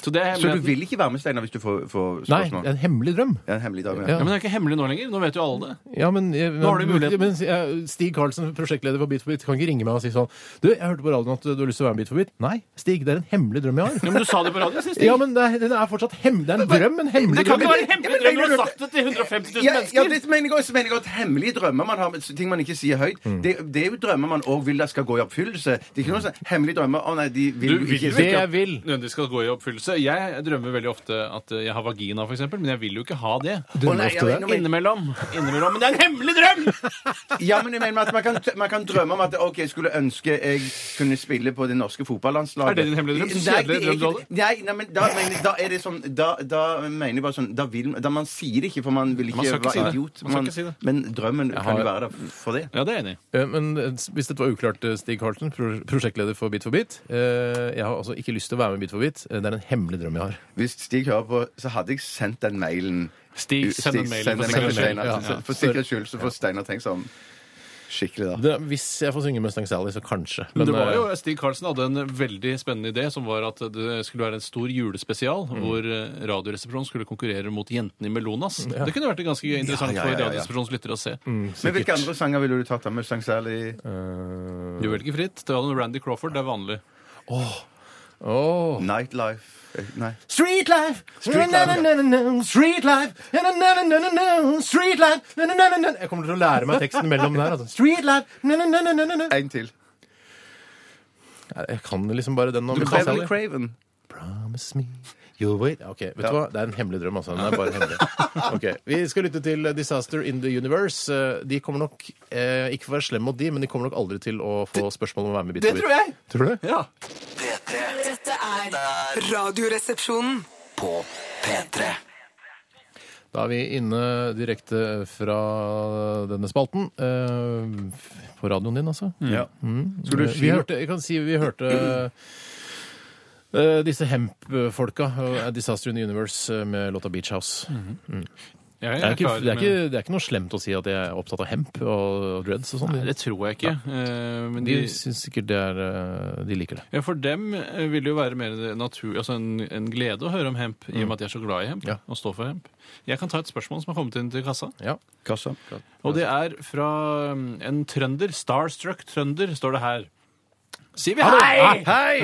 Speaker 3: Så det er
Speaker 2: Så du
Speaker 3: hemmeligheten.
Speaker 2: vil ikke være med, Steinar, hvis du får, får
Speaker 1: Nei,
Speaker 2: spørsmål?
Speaker 1: en hemmelig drøm.
Speaker 2: Ja, en hemmelig dame.
Speaker 1: Ja.
Speaker 2: Ja.
Speaker 3: Ja, men det er ikke hemmelig nå lenger. Nå vet jo alle det.
Speaker 1: Ja, men, jeg,
Speaker 3: har du muligheten.
Speaker 1: men jeg, Stig Karlsen, prosjektleder for Bit for bit, kan ikke ringe meg og si sånn Du, jeg hørte på radioen at du har lyst til å være med i Bit for bit. Nei, Stig, det er en hemmelig drøm jeg
Speaker 3: Ja,
Speaker 1: har.
Speaker 3: men du sa det på radio, sist. Stig.
Speaker 1: Ja, men det er, den er fortsatt hem, det er en drøm, en hemmelig
Speaker 3: det
Speaker 1: drøm.
Speaker 3: kan ikke være en
Speaker 2: Ja, men
Speaker 3: hemmelig drøm når du
Speaker 2: mener du-
Speaker 3: har sagt det til 150
Speaker 2: Ja,
Speaker 3: 000
Speaker 2: ja,
Speaker 3: mennesker.
Speaker 2: det mener jeg også. mener jeg at Hemmelige drømmer man har, ting man ikke sier høyt,
Speaker 3: Mm.
Speaker 2: det, det er jo drømmer man òg vil at skal gå i oppfyllelse. Det er ikke noe sånn hemmelige drømmer Å nei, de vil jo
Speaker 3: Du vil
Speaker 2: ikke
Speaker 3: jo
Speaker 1: Det
Speaker 3: ikke
Speaker 1: jeg vil.
Speaker 3: nødvendigvis skal gå i oppfyllelse. Jeg drømmer veldig ofte at jeg har vagina, f.eks., men jeg vil jo ikke ha det.
Speaker 2: Å, nei, ja, men-
Speaker 3: Innimellom. Innimellom. Men det er en hemmelig drøm!
Speaker 2: Ja, men jeg mener at man kan, man kan drømme om at OK, jeg skulle ønske jeg kunne spille på det norske fotballandslaget.
Speaker 3: Er det din hemmelige drøm? Så
Speaker 2: Nei,
Speaker 3: kjedelig
Speaker 2: det er
Speaker 3: drøm du
Speaker 2: ikke- Nei, nei, men da, mener jeg- da er det sånn Da, da mener jeg bare sånn Da vil da Man sier det ikke, for man vil ikke,
Speaker 3: Man skal ikke
Speaker 2: være
Speaker 3: si det.
Speaker 2: idiot.
Speaker 3: Man skal ikke si det.
Speaker 2: Men drømmen
Speaker 1: har-
Speaker 2: kan jo være der for det.
Speaker 3: Ja, det er jeg enig i.
Speaker 1: Eh, Men eh, hvis dette var uklart, eh, Stig Karlsen, pro- prosjektleder for Bit for bit eh, Jeg har altså ikke lyst til å være med i Bit for bit. Eh, Det er en hemmelig drøm jeg har.
Speaker 2: Hvis Stig hører på, så hadde jeg sendt den mailen.
Speaker 3: Stig, send en
Speaker 2: Stig,
Speaker 3: mail.
Speaker 2: send
Speaker 3: for
Speaker 2: en
Speaker 3: sikkerhets
Speaker 2: mail til
Speaker 3: skyld.
Speaker 2: Steinar.
Speaker 3: Ja, ja.
Speaker 2: For sikkerhets skyld så får Steinar tenkt sånn skikkelig, da.
Speaker 1: Det, hvis jeg får synge Mustang Sally, så kanskje.
Speaker 3: Men det var
Speaker 1: eh,
Speaker 3: jo, Stig Karlsen hadde en veldig spennende idé, som var at det skulle være en stor julespesial, hvor eh, Radioresepsjonen skulle konkurrere mot Jentene i Melonas. Det kunne vært ganske interessant
Speaker 2: Ja, ja, ja,
Speaker 3: for
Speaker 2: ja.
Speaker 3: Radioresepsjonens lyttere å se.
Speaker 2: Men hvilke andre sanger ville du tatt av Mustang Sally?
Speaker 3: Du velger fritt. Det var noe Randy Crawford, det er vanlig.
Speaker 1: åh.
Speaker 2: Nightlife Eh, Nei.
Speaker 1: Street life! Street life! Street life! Na-na-na-na-na-na, Street life! Na-na-na-na-na. Jeg kommer til å lære meg teksten mellom der. Altså. Street life! Na-na-na-na-na-na.
Speaker 2: En til.
Speaker 1: Nei, Jeg kan liksom bare den om Mustang
Speaker 2: Beverly
Speaker 1: Sally.
Speaker 2: Craven.
Speaker 1: Promise me you'll wait. Ok, vet du hva? Det er en hemmelig drøm, altså. Den er bare hemmelig. Ok, Vi skal lytte til Disaster in the Universe. Eh, De kommer nok eh, Ikke for å være slem mot de, men de kommer nok aldri til å få spørsmål om å være med i Bit
Speaker 2: det
Speaker 1: for bit.
Speaker 2: tror jeg.
Speaker 1: Tror du?
Speaker 3: Ja.
Speaker 5: P3
Speaker 4: Dette er Radioresepsjonen.
Speaker 5: på P3
Speaker 1: Da er vi inne direkte fra denne spalten. eh, På radioen din, altså.
Speaker 3: Mm.
Speaker 2: Ja.
Speaker 1: Skulle du vi hørte, jeg kan si vi hørte eh, disse Hemp-folka. eh, Disaster in the Universe eh, med låta Beach House.
Speaker 3: Mm. Jeg
Speaker 1: Det er, ikke,
Speaker 3: klar,
Speaker 1: det, er
Speaker 3: men-
Speaker 1: ikke, det er ikke noe slemt å si at jeg er opptatt av hemp og dreads og sånn.
Speaker 3: Nei, det tror jeg ikke. Eh, Men de,
Speaker 1: De syns sikkert det er eh, De liker det.
Speaker 3: ja, for dem eh, vil det jo være mer natur, altså en, en glede å høre om hemp, i og med at jeg er så glad i hemp
Speaker 1: Ja.
Speaker 3: og står for hemp. Jeg kan ta et spørsmål som har kommet inn til kassa.
Speaker 1: Ja.
Speaker 2: Kassa.
Speaker 3: Og det er fra um, en trønder. Starstruck trønder, står det her. Sier vi hei! Hei!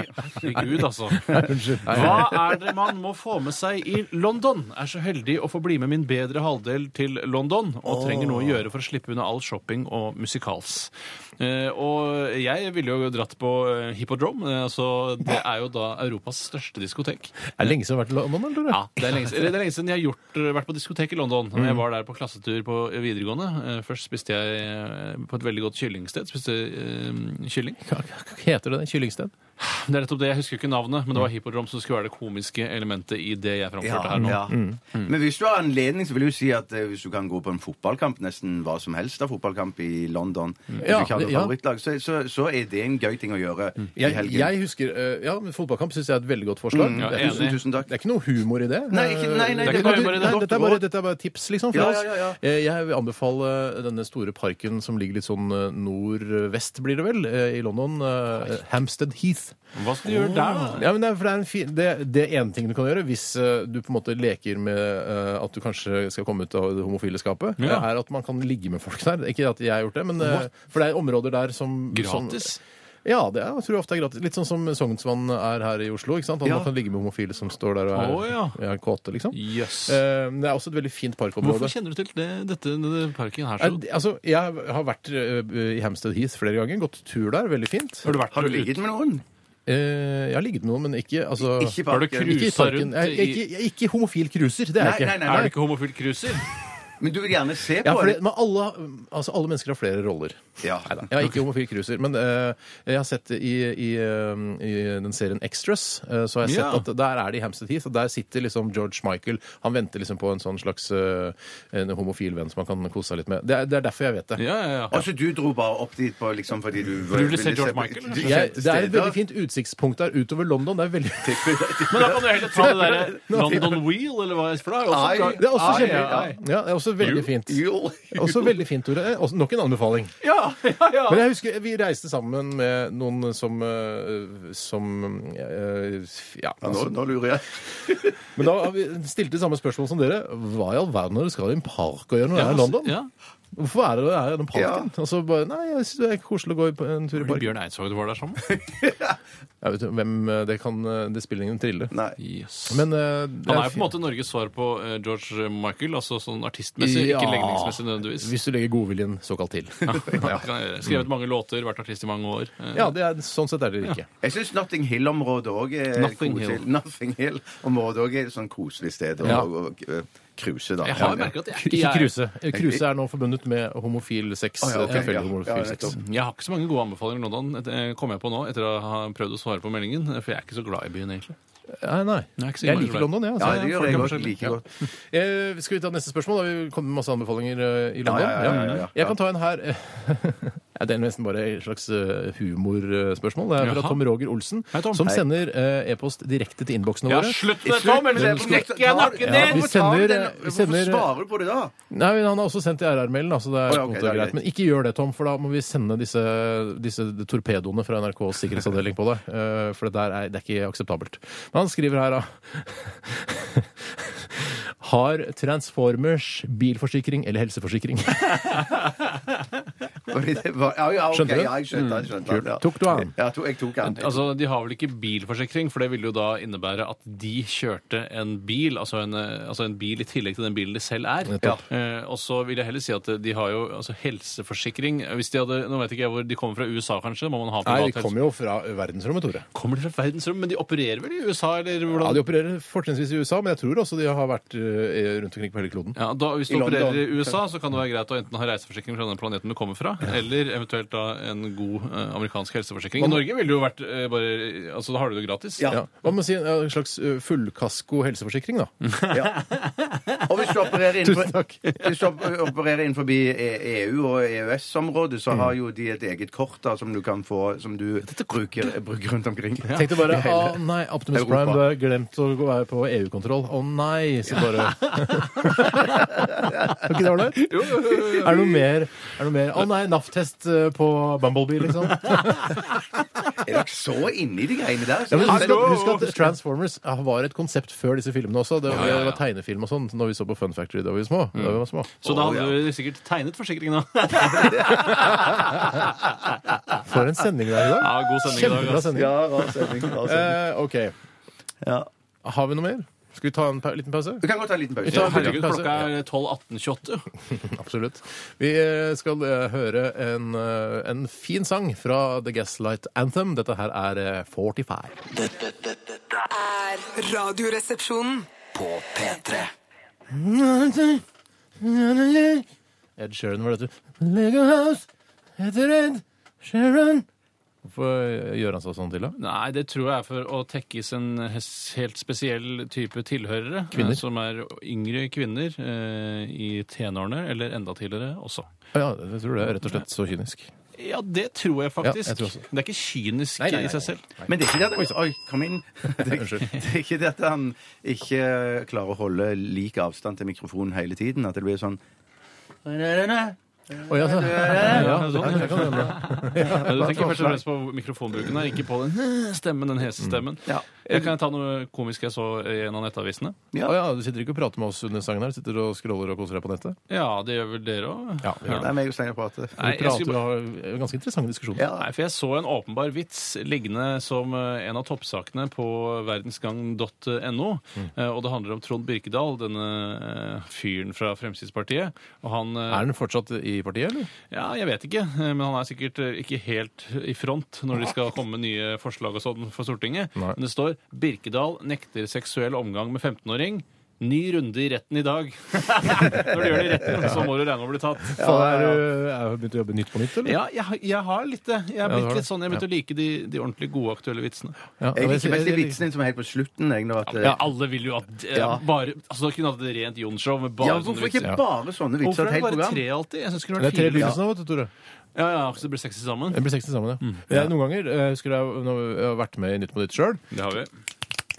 Speaker 3: Herregud, altså. Hva er det man må få med seg i London? Er så heldig å få bli med min bedre halvdel til London, og trenger noe å gjøre for å slippe unna all shopping og musikals. Eh, og jeg ville jo dratt på eh, Hippodrome. eh, altså, det er jo da Europas største diskotek.
Speaker 1: Er det lenge siden du har vært i London? Eller?
Speaker 3: Ja, det er lenge, siden- eller det er lenge siden jeg har gjort, eh, vært på diskotek i London.
Speaker 1: Mm.
Speaker 3: Jeg var der på klassetur på videregående. Eh, Først spiste jeg eh, på et veldig godt kyllingsted. Spiste eh, kylling.
Speaker 1: Hva, hva heter det det? Kyllingsted?
Speaker 3: Det er nettopp det, Jeg husker ikke navnet, men
Speaker 1: Mm.
Speaker 3: det var hippodrom som skulle være det komiske elementet i det jeg framførte her nå.
Speaker 2: Ja.
Speaker 1: Mm.
Speaker 2: Men hvis du har anledning, så vil jeg jo si at eh, hvis du kan gå på en fotballkamp, nesten hva som helst av fotballkamp i London, hvis
Speaker 1: Mm. Ja,
Speaker 2: du ikke har noe
Speaker 1: ja. Mm.
Speaker 2: favorittlag, så, så, så er det en gøy ting å gjøre i
Speaker 1: Jeg,
Speaker 2: helgen.
Speaker 1: jeg husker, eh, ja, men Fotballkamp syns jeg er et veldig godt forslag.
Speaker 2: Mm,
Speaker 3: Ja,
Speaker 1: det, er,
Speaker 3: enig.
Speaker 2: tusen, tusen takk.
Speaker 1: det er ikke noe humor i det.
Speaker 2: Nei, ikke- nei, nei,
Speaker 1: det er ikke
Speaker 3: det er ikke
Speaker 1: noe,
Speaker 3: humor i det.
Speaker 1: nei, dette, er bare,
Speaker 3: Godt.
Speaker 1: dette er bare tips liksom, for
Speaker 2: Ja,
Speaker 1: oss.
Speaker 2: ja, ja, ja.
Speaker 1: Eh, Jeg vil anbefale denne store parken som ligger litt sånn eh, nordvest, blir det vel, eh, i London. eh, eh, Hampstead Heath.
Speaker 3: Hva skal du gjøre der, da?
Speaker 1: Ja, men det, er, for det, er en fin, det, det er ene ting du kan gjøre hvis eh, du på en måte leker med eh, at du kanskje skal komme ut av det homofile skapet,
Speaker 3: Ja.
Speaker 1: er at man kan ligge med folk der. Ikke at jeg har gjort det, men eh, for det er områder der som
Speaker 3: Gratis?
Speaker 1: Som, ja, det er, jeg tror ofte er gratis. Litt sånn som Sognsvann er her i Oslo. ikke sant? At
Speaker 2: Ja.
Speaker 1: Man kan ligge med homofile som står der og er,
Speaker 3: Å, ja.
Speaker 1: er kåte, liksom.
Speaker 3: Jøss.
Speaker 1: Eh, det er også et veldig fint parkområde.
Speaker 3: Hvorfor kjenner du til det, dette, denne parken her?
Speaker 1: Nei,
Speaker 3: Så?
Speaker 1: det- altså, jeg har vært eh, i Hampstead Heath flere ganger. Gått tur der. Veldig fint.
Speaker 3: Har du vært
Speaker 2: Har du
Speaker 3: ute-
Speaker 2: ligget med noen?
Speaker 1: Eh, jeg har ligget med noen, men ikke altså,
Speaker 2: Ikke i
Speaker 3: Har du
Speaker 2: parken.
Speaker 3: cruiset
Speaker 1: Ikke i parken.
Speaker 3: rundt
Speaker 1: Jeg, jeg,
Speaker 3: i-
Speaker 1: ikke, jeg, ikke homofil cruiser. Det er
Speaker 2: Nei,
Speaker 1: jeg ikke.
Speaker 2: nei, nei,
Speaker 3: Er
Speaker 2: nei.
Speaker 3: du ikke homofil cruiser?
Speaker 2: Men du vil gjerne se
Speaker 1: Ja,
Speaker 2: på
Speaker 1: for det,
Speaker 2: det.
Speaker 1: men alle, altså, alle mennesker har flere roller.
Speaker 2: Ja.
Speaker 1: Neida, Jeg er ikke homofil cruiser, men eh, jeg har sett det i, i, eh, i den serien Extras, eh, så har jeg sett
Speaker 3: Ja.
Speaker 1: at der er det i Hampstead Heath, og der sitter liksom George Michael. Han venter liksom på en sånn slags eh, en homofil venn som han kan kose seg litt med. Det er, det er derfor jeg vet det.
Speaker 3: Ja, ja, ja.
Speaker 2: Altså, du dro bare opp dit på, liksom, fordi du
Speaker 3: du ville se George Michael, eller?
Speaker 1: Jeg, det er et veldig fint utsiktspunkt der utover London. Det er veldig
Speaker 3: Men da kan du heller ta det derre London Wheel, eller hva? For da er det
Speaker 2: Ai.
Speaker 3: også
Speaker 1: Det er også,
Speaker 2: Ai,
Speaker 1: kjempe, ja,
Speaker 2: ja, ja.
Speaker 1: det er også veldig fint.
Speaker 2: Jo.
Speaker 1: Også veldig fint, Tore. Eh, Også, nok en anbefaling.
Speaker 3: Ja, ja, ja.
Speaker 1: Men jeg husker Vi reiste sammen med noen som eh, Som eh,
Speaker 2: Ja,
Speaker 1: Ja.
Speaker 2: nå,
Speaker 1: Altså,
Speaker 2: nå lurer jeg.
Speaker 1: men da har vi stilte samme spørsmål som dere. Hva i all verden har du skal i en park og gjøre når du er i London?
Speaker 3: Ja.
Speaker 1: Hvorfor er det her i den parken? Og så bare Nei, jeg synes det er koselig å gå i p- en tur i
Speaker 3: Fordi
Speaker 1: parken.
Speaker 3: Bjørn Eidsvåg du var der sammen?
Speaker 1: Jeg vet ikke hvem eh, Det kan eh, Det spiller ingen trille.
Speaker 2: Nei.
Speaker 3: Yes.
Speaker 1: Men eh, det
Speaker 3: Han er jo på en
Speaker 1: fint.
Speaker 3: måte Norges svar på eh, George Michael, altså sånn artistmessig,
Speaker 1: Ja.
Speaker 3: ikke legningsmessig nødvendigvis.
Speaker 1: Hvis du legger godviljen såkalt til.
Speaker 3: Det kan jeg gjøre. Skrevet mange låter, vært artist i mange år. Eh,
Speaker 1: Ja, det er, sånn sett er det ikke.
Speaker 2: Jeg syns Notting Hill-området òg er
Speaker 3: Nothing
Speaker 2: koselig.
Speaker 3: Hill.
Speaker 2: Nothing Hill-området òg er et sånn koselig sted å
Speaker 1: Ja.
Speaker 2: å- å, eh, cruise, da.
Speaker 3: Jeg har
Speaker 2: Ja, ja.
Speaker 3: merket at jeg,
Speaker 1: Ikke
Speaker 3: jeg,
Speaker 1: kruse. Kruse er nå forbundet med homofil sex.
Speaker 2: Å, ja, ok,
Speaker 1: tilfeldig
Speaker 2: ja. Ja,
Speaker 1: homofil sex.
Speaker 2: nettopp.
Speaker 3: jeg har ikke så mange gode anbefalinger nå, Dan, et- eh, kom jeg på nå, etter å ha prøvd å svare på meldingen. eh, For jeg er ikke så glad i byen, egentlig.
Speaker 1: Nei, nei.
Speaker 3: Nei, ikke så
Speaker 1: Jeg
Speaker 3: innmari
Speaker 1: liker
Speaker 3: glad.
Speaker 1: London, jeg.
Speaker 2: Ja,
Speaker 1: så
Speaker 2: det gjør
Speaker 1: folk
Speaker 2: jeg
Speaker 1: er
Speaker 2: godt.
Speaker 1: forskjellige.
Speaker 2: Like godt.
Speaker 1: Eh, skal vi ta neste spørsmål? Da? Vi kommer med masse anbefalinger eh, i London.
Speaker 2: ja, ja, ja, ja, ja.
Speaker 1: Jeg kan ta en her. Ja, det er nesten bare et slags eh, humorspørsmål. Det er fra
Speaker 3: Jaha.
Speaker 1: Tom Roger Olsen,
Speaker 3: Hei, Tom.
Speaker 1: som
Speaker 3: Hei.
Speaker 1: sender eh, e-post direkte til innboksen
Speaker 3: Ja,
Speaker 1: våre.
Speaker 3: slutt
Speaker 2: Slutt
Speaker 3: med det, Tom!
Speaker 2: med det,
Speaker 3: Ellers
Speaker 2: for
Speaker 3: knekker jeg
Speaker 2: tar-
Speaker 3: nakken
Speaker 2: Ja,
Speaker 1: vi
Speaker 3: din!
Speaker 2: hvorfor tar
Speaker 1: sender-
Speaker 2: den-
Speaker 1: vi
Speaker 2: Hvorfor
Speaker 1: sender-
Speaker 2: svarer du på det da?
Speaker 1: Nei, men Han har også sendt i RR-mailen, da, så det er
Speaker 2: Å, ja, ok,
Speaker 1: godt
Speaker 2: det er
Speaker 1: og greit.
Speaker 2: greit.
Speaker 1: Men ikke gjør det, Tom, for da må vi sende disse, disse torpedoene fra NRKs sikkerhetsavdeling på deg. eh, For det der er, det er ikke akseptabelt. Men han skriver her, da. Har Transformers bilforsikring eller helseforsikring?
Speaker 2: Fordi det var- Ja, ja, ok,
Speaker 1: Skjønte du?
Speaker 2: ja, jeg skjønte jeg skjønte
Speaker 1: Kult.
Speaker 2: den, ja.
Speaker 1: Tok du han?
Speaker 2: Ja, to- jeg tok han.
Speaker 3: Altså, De har vel ikke bilforsikring, for det ville jo da innebære at de kjørte en bil, altså en, eh, altså en bil i tillegg til den bilen de selv er.
Speaker 1: Nettopp.
Speaker 3: Eh, og så vil jeg heller si at de har jo altså, helseforsikring. Hvis de hadde, Nå vet ikke jeg hvor de kommer fra, USA kanskje? Må man ha
Speaker 1: Nei,
Speaker 3: privat
Speaker 1: de
Speaker 3: helse-
Speaker 1: kommer jo fra verdensrommet, Tore.
Speaker 3: Kommer de fra verdensrommet? Men de opererer vel i USA, eller
Speaker 1: Ja,
Speaker 3: hvordan?
Speaker 1: De opererer fortrinnsvis i USA, men jeg tror også de har vært eh, rundt omkring på hele kloden.
Speaker 3: Ja, da, hvis du
Speaker 2: I London.
Speaker 3: opererer i USA, så kan det være greit å enten ha reiseforsikring fra den planeten du kommer fra, eller eventuelt da en god eh, amerikansk helseforsikring. I Norge ville det jo vært eh, bare Altså, da har du det gratis.
Speaker 2: Ja.
Speaker 1: Ja. Hva med å si en eh, slags eh, fullkasko helseforsikring, da?
Speaker 2: Og hvis du opererer innenfor,
Speaker 1: Tusen takk.
Speaker 2: hvis du op- opererer innenfor E- EU og EØS-området, så har jo de et eget kort da, som du kan få, som du bruker, bruker rundt omkring.
Speaker 1: Tenkte bare å nei, Optimus
Speaker 2: Europa.
Speaker 1: Prime, du har glemt å gå være på EU-kontroll. Å nei! Så bare Var ikke det ålreit? Er det noe mer? Er det noe mer? Å nei, NAF-test eh, på Bumblebee, liksom.
Speaker 2: Er dere så inne i de greiene der?
Speaker 1: Ja, men husk, at,
Speaker 3: Hallo!
Speaker 1: husk at Transformers var et konsept før disse filmene også. Det,
Speaker 3: ja, ja.
Speaker 1: det var tegnefilm og sånn når vi så på Fun Factory da vi var små. Da vi var små.
Speaker 3: Så da
Speaker 2: Å,
Speaker 3: hadde du sikkert tegnet forsikringen da.
Speaker 1: For en sending det er i dag.
Speaker 3: Ja, god sending i dag, altså.
Speaker 1: Kjempebra
Speaker 3: ass.
Speaker 1: sending.
Speaker 2: Ja, rar sending, rar sending.
Speaker 1: Eh, OK.
Speaker 2: Ja.
Speaker 1: Har vi noe mer? Skal vi ta en pa liten pause?
Speaker 2: Du kan godt ta en liten pause.
Speaker 1: Vi tar-
Speaker 3: Herregud,
Speaker 1: Ja.
Speaker 3: klokka er 12.18,28.
Speaker 1: Absolutt. Vi eh, skal eh, høre en, eh, en fin sang fra The Gaslight Anthem. Dette her er eh, 45.
Speaker 5: Dette, dette, dette er
Speaker 4: Er Radioresepsjonen.
Speaker 5: på P3
Speaker 1: Ed Sheeran var dette. Lego House heter Ed Sheeran. Hvorfor gjør han seg sånn til, da?
Speaker 3: Nei, det tror jeg er for å tekkes en hes- helt spesiell type tilhørere.
Speaker 1: Kvinner.
Speaker 3: eh, Som er yngre kvinner eh, i tenårene, eller enda tidligere også.
Speaker 1: Ja, jeg tror det er rett og slett så kynisk.
Speaker 3: Ja, det tror jeg faktisk.
Speaker 1: jeg tror også.
Speaker 3: Det er ikke kynisk
Speaker 1: Nei, nei, nei,
Speaker 3: i seg selv.
Speaker 2: Men det er ikke det at Oi, kom inn. Det er, det er ikke det at han ikke klarer å holde lik avstand til mikrofonen hele tiden. At det blir sånn
Speaker 1: Å, ja, så-
Speaker 3: Ja,
Speaker 1: ja,
Speaker 3: sånn.
Speaker 1: det kan hende.
Speaker 3: Ja, Du tenker først og fremst på mikrofonbruken her, ikke på den stemmen, den hese stemmen. Jeg kan jeg ta noe komisk jeg så i en av nettavisene?
Speaker 1: Å, ja, du sitter ikke og prater med oss under sangen her? Sitter du og scroller og koser deg på nettet?
Speaker 3: Ja, det gjør vel dere òg?
Speaker 1: Ja, vi gjør
Speaker 2: Det er meg og Steinar prater.
Speaker 1: Vi
Speaker 3: Nei, jeg
Speaker 1: prater
Speaker 3: skulle
Speaker 1: og
Speaker 3: bare...
Speaker 1: har eh, ganske interessante diskusjoner.
Speaker 2: Ja.
Speaker 3: Nei, for jeg så en åpenbar vits liggende som eh, en av toppsakene på verdensgang.no.
Speaker 1: Mm.
Speaker 3: Eh, Og det handler om Trond Birkedal, denne eh, fyren fra Fremskrittspartiet. Og han eh,
Speaker 1: Er den fortsatt i partiet, eller?
Speaker 3: Ja, jeg vet ikke. eh, Men han er sikkert eh, ikke helt i front når de skal komme med nye forslag og sånn for Stortinget.
Speaker 1: Nei.
Speaker 3: Men det står 'Birkedal nekter seksuell omgang med 15-åring'. Ny runde i retten i dag. Når du gjør det i retten, så må du regne med å bli tatt.
Speaker 1: Faen, Er du er du begynt å jobbe nytt på nytt, eller?
Speaker 3: Ja, jeg, har- jeg har litt det. Jeg er
Speaker 1: du har
Speaker 3: blitt litt
Speaker 1: det.
Speaker 3: sånn, jeg begynte å like de, de ordentlig gode, aktuelle vitsene.
Speaker 1: Ja,
Speaker 2: Jeg liker
Speaker 1: men
Speaker 2: best de
Speaker 1: jeg- jeg-
Speaker 2: vitsene som er helt på slutten. Jeg, når at, eh,
Speaker 3: Ja, alle vil jo at eh,
Speaker 2: Ja.
Speaker 3: bare, altså Da kunne hatt et rent Jon-show med bare
Speaker 2: ja,
Speaker 3: sånne
Speaker 2: hvorfor ikke
Speaker 3: vitser.
Speaker 2: bare sånne
Speaker 3: sånn Hvorfor
Speaker 2: vitser?
Speaker 3: er
Speaker 2: Et
Speaker 3: det
Speaker 2: helt
Speaker 3: bare
Speaker 2: program?
Speaker 3: tre sånn. alltid? Jeg synes det kunne
Speaker 1: Det
Speaker 3: vært
Speaker 1: er tre
Speaker 3: fire. Ja,
Speaker 1: begynnelser nå, vet du, Tore.
Speaker 3: ja, så det blir sexy sammen.
Speaker 1: Jeg blir 60 sammen, ja. Jeg, noen ganger eh, husker jeg når jeg har vært med i Nytt på Nytt sjøl.
Speaker 3: Det har vi.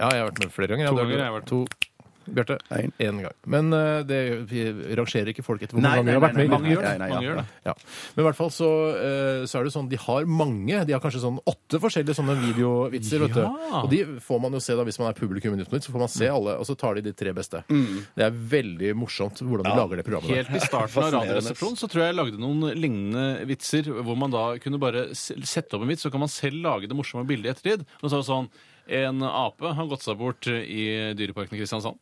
Speaker 1: Ja, jeg har vært med flere ganger.
Speaker 3: To
Speaker 1: det
Speaker 3: ganger har jeg vært med.
Speaker 1: to. Bjarte,
Speaker 2: En.
Speaker 1: én gang. Men eh, det, vi rangerer ikke folk etter hvor
Speaker 2: Nei, nei,
Speaker 1: mange ganger de har vært
Speaker 2: nei, nei,
Speaker 1: med. i Nytt på
Speaker 3: Mange
Speaker 1: Nytt.
Speaker 3: gjør det.
Speaker 2: nei, nei,
Speaker 3: Mange
Speaker 2: ja.
Speaker 3: gjør det.
Speaker 1: Ja. Men i hvert fall så, eh, så er det sånn, de har mange, de har kanskje sånn åtte forskjellige sånne videovitser, vet du.
Speaker 3: Ja.
Speaker 1: Og de får man jo se da, hvis man er publikum i Nytt på Nytt, så får man se alle, og så tar de de tre beste. Det er veldig morsomt hvordan de lager det programmet.
Speaker 3: Helt i starten av Radioresepsjonen så tror jeg jeg lagde noen lignende vitser, hvor man da kunne bare s- sette opp en vits, så kan man selv lage det morsomme bildet i ettertid. Og så er det sånn En ape har gått seg bort i Dyreparken i Kristiansand.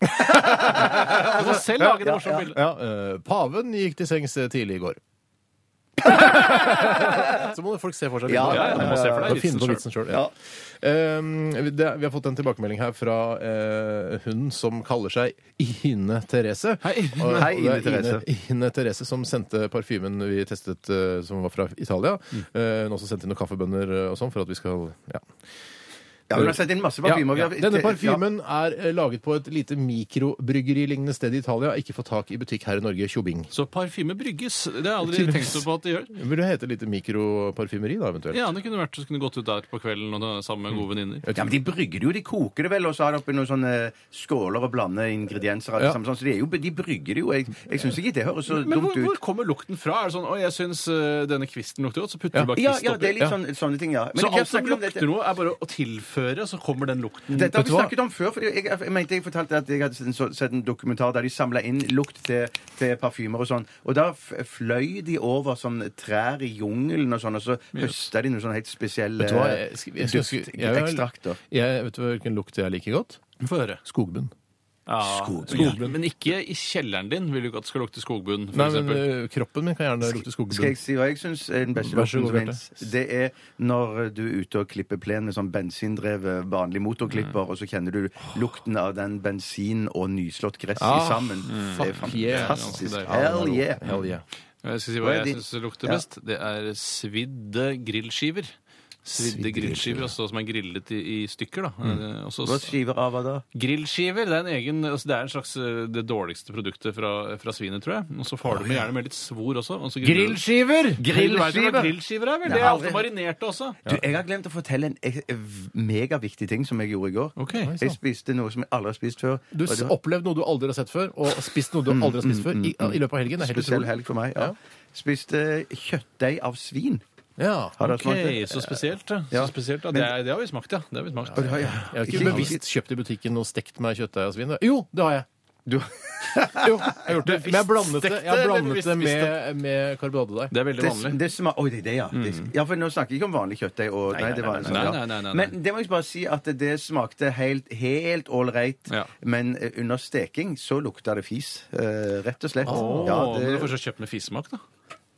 Speaker 3: altså selv lage det morsomme bildet.
Speaker 1: Ja, eh, paven gikk til sengs eh, tidlig i går. så må folk se for seg
Speaker 2: Ja, ja, ja,
Speaker 3: ja, ja.
Speaker 1: Da finne på vitsen sjøl. Ja. Ehm, det, vi har fått en tilbakemelding her fra eh, hun som kaller seg Ine Therese.
Speaker 3: Hei.
Speaker 1: Og- og
Speaker 2: Hei,
Speaker 1: det er
Speaker 2: Ine Therese.
Speaker 1: Ine, Ine Therese som sendte parfymen vi testet, eh, som var fra Italia. Eh, hun også sendte inn noen kaffebønner eh, og sånn for at vi skal ja,
Speaker 2: Ja, hun har sett inn masse
Speaker 1: Eh, ja,
Speaker 2: parfymer. Vi
Speaker 1: ja.
Speaker 2: har-
Speaker 1: Denne parfymen er eh, laget på et lite mikrobryggeri-lignende sted i Italia. Ikke få tak i butikk her i Norge. Tjobing.
Speaker 3: Så parfyme brygges. Det har jeg aldri tenkt på at det gjør.
Speaker 1: Det Burde hete lite mikroparfymeri, da, eventuelt.
Speaker 3: Ja, det kunne vært så kunne gått ut der på kvelden og da, sammen med gode venninner.
Speaker 2: Mm. Ja, men De brygger det jo, de koker det vel, og så har de oppi noen sånne eh, skåler og blander ingredienser. og alt
Speaker 1: Ja.
Speaker 2: sammen sånn, Så de, er jo, de brygger det jo. Jeg, jeg syns ikke det høres så
Speaker 3: Men hvor,
Speaker 2: dumt
Speaker 3: hvor
Speaker 2: ut.
Speaker 3: kommer lukten fra? Er det sånn 'Å, jeg syns denne kvisten lukter godt', så putter du bare
Speaker 2: Ja,
Speaker 3: kvist
Speaker 2: ja,
Speaker 3: oppi?
Speaker 2: det er litt sånn, sånne ting, ja. Men vi
Speaker 3: Så
Speaker 2: har
Speaker 3: alt som
Speaker 2: snakket om dette-
Speaker 3: lukter noe, er bare å tilføre, så kommer den lukten
Speaker 2: Dette har vi
Speaker 1: Vet du hva?
Speaker 2: snakket om før. for Jeg, jeg mente jeg fortalte at jeg hadde sett en, så- sett en dokumentar der de samla inn lukt til, til parfymer og sånn. Og da f fløy de over sånn trær i jungelen og sånn, og så høsta de noen sånne helt spesielle
Speaker 1: Vet du hva? Eh, Jeg, sk- jeg, jeg, jeg,
Speaker 2: duftekstrakter.
Speaker 1: jeg- Vet du hvilken lukt jeg liker godt?
Speaker 3: Få høre.
Speaker 1: Skogbunn.
Speaker 3: Skogbunn. Men ikke i kjelleren din vil du ikke at det skal lukte skogbunn. For
Speaker 1: Nei,
Speaker 2: eh,
Speaker 1: men
Speaker 3: eksempel.
Speaker 1: ø, Kroppen min kan gjerne lukte
Speaker 2: Skal jeg
Speaker 1: skogbunn.
Speaker 2: si hva jeg syns er den beste
Speaker 1: Vær så
Speaker 2: lukten som
Speaker 1: god,
Speaker 2: fins? Det er når du er ute og klipper plen med sånn bensindrevet, vanlig motorklipper,
Speaker 1: Mm.
Speaker 2: og så kjenner du lukten av den bensin og nyslått gress i
Speaker 1: Ah,
Speaker 2: sammen. Det er
Speaker 1: fuck yeah.
Speaker 2: fantastisk.
Speaker 3: Ja,
Speaker 2: Hell yeah!
Speaker 1: Hell yeah.
Speaker 3: jeg skal si
Speaker 2: Hva
Speaker 3: hva
Speaker 2: er
Speaker 3: jeg
Speaker 2: de-
Speaker 3: syns lukter
Speaker 2: Ja.
Speaker 3: best. Det er svidde grillskiver. Svidde
Speaker 1: Svidde
Speaker 3: grillskiver, altså som er grillet i, i stykker. da.
Speaker 2: Mm.
Speaker 3: Eh, og så-
Speaker 2: Hva skiver av hva da?
Speaker 3: grillskiver det er en egen, altså det er en slags eh, det dårligste produktet fra, fra svinet, tror jeg. Og så får du med gjerne med litt svor også. Og så griller du-
Speaker 1: Grillskiver!
Speaker 3: Du vet jo hva
Speaker 2: Grillskiver!
Speaker 3: grillskiver er, vel?
Speaker 2: Nei,
Speaker 3: Det er alltid
Speaker 2: aldri.
Speaker 3: marinerte også.
Speaker 2: Du, jeg har glemt å fortelle en ek- eh, v- megaviktig ting som jeg gjorde i går.
Speaker 3: Ok. Oi,
Speaker 2: Jeg spiste noe som jeg aldri har spist før.
Speaker 1: Du
Speaker 2: og
Speaker 1: Mm,
Speaker 2: det
Speaker 1: har
Speaker 2: var
Speaker 1: opplevd noe du aldri har sett før, og spist noe du aldri har spist før i, i løpet av helgen. Det er
Speaker 2: en
Speaker 1: helt
Speaker 2: spesiell
Speaker 1: utrolig.
Speaker 2: helg for meg. Ja.
Speaker 1: Ja.
Speaker 2: Spiste kjøttdeig av svin.
Speaker 1: Ja.
Speaker 2: Har dere smakt
Speaker 3: Ok,
Speaker 2: det?
Speaker 3: så spesielt. da.
Speaker 2: Ja.
Speaker 3: Så spesielt da.
Speaker 2: Men-
Speaker 3: Det, er, det har vi smakt, ja. Det har vi smakt.
Speaker 2: Og det har jeg-
Speaker 1: Jeg har ikke bevisst kjøpt i butikken og stekt meg kjøttdeig og svin. Jo, det har jeg.
Speaker 2: Du,
Speaker 1: Jo, jeg har gjort det. Men jeg blandet det, jeg
Speaker 3: Bevisst stekte,
Speaker 1: har
Speaker 3: eller
Speaker 1: blandet
Speaker 3: bevisst
Speaker 1: det med, med karbonadedeig.
Speaker 3: Det er veldig
Speaker 2: det,
Speaker 3: vanlig.
Speaker 2: det sma- Oi, det er det, ja. Det, ja, for nå snakker jeg ikke om vanlig kjøttdeig. Og, nei, det var
Speaker 3: nei, nei, nei, nei, nei, nei.
Speaker 2: Men det må jeg bare si at det smakte helt, helt ålreit.
Speaker 3: Ja.
Speaker 2: Men eh, under steking så lukta det fis. eh, rett og slett.
Speaker 3: Åh,
Speaker 2: Ja,
Speaker 3: Men du får så kjøpt med fismak, da.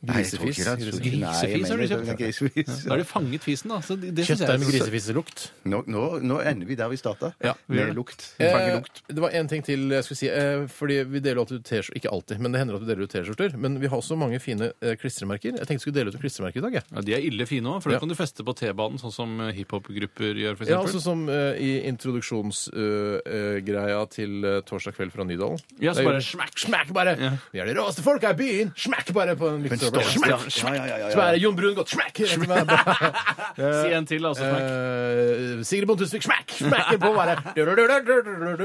Speaker 2: Nei, jeg tror ikke det. Jeg tror ikke- nei, jeg
Speaker 3: Grisefis har du
Speaker 2: mener det.
Speaker 3: kjøpt?
Speaker 2: Grisefis.
Speaker 3: Da har de fanget fisen, da. Så det, det synes
Speaker 1: Kjøttdeig med
Speaker 3: jeg er-
Speaker 1: grisefiselukt.
Speaker 2: Nå, nå, nå ender vi der vi starta.
Speaker 1: Ja, vi gjør
Speaker 2: med
Speaker 1: det.
Speaker 2: lukt.
Speaker 1: Eh, det var en ting til jeg skulle si. Eh, fordi vi deler alltid ut T-skjorter. Ikke alltid, men det hender at vi deler ut T-skjorter. Men vi har også mange fine eh, klistremerker. Jeg tenkte jeg skulle dele ut en klistremerke i dag. Jeg.
Speaker 3: Ja, de er ille fine òg, for da
Speaker 1: Ja.
Speaker 3: kan du feste på T-banen, sånn som eh, hiphop-grupper gjør, for
Speaker 1: Ja,
Speaker 3: eksempel.
Speaker 1: altså Som eh, i introduksjonsgreia til eh, Torsdag kveld fra Nydalen.
Speaker 3: Ja, så
Speaker 1: Der
Speaker 3: bare
Speaker 1: gjør vi-
Speaker 3: smack,
Speaker 1: smack bare!
Speaker 3: Ja.
Speaker 1: Vi er de råeste folka i byen! Smack bare på en
Speaker 2: Men
Speaker 1: mikser står
Speaker 2: Ja,
Speaker 1: smack!
Speaker 2: ja, ja, ja, ja.
Speaker 1: Som er Jon Brun godt smack! rett i meg.
Speaker 3: Si en til, altså. Frank.
Speaker 1: Eh, Sigrid Bonde Tusvik smack! Smacker på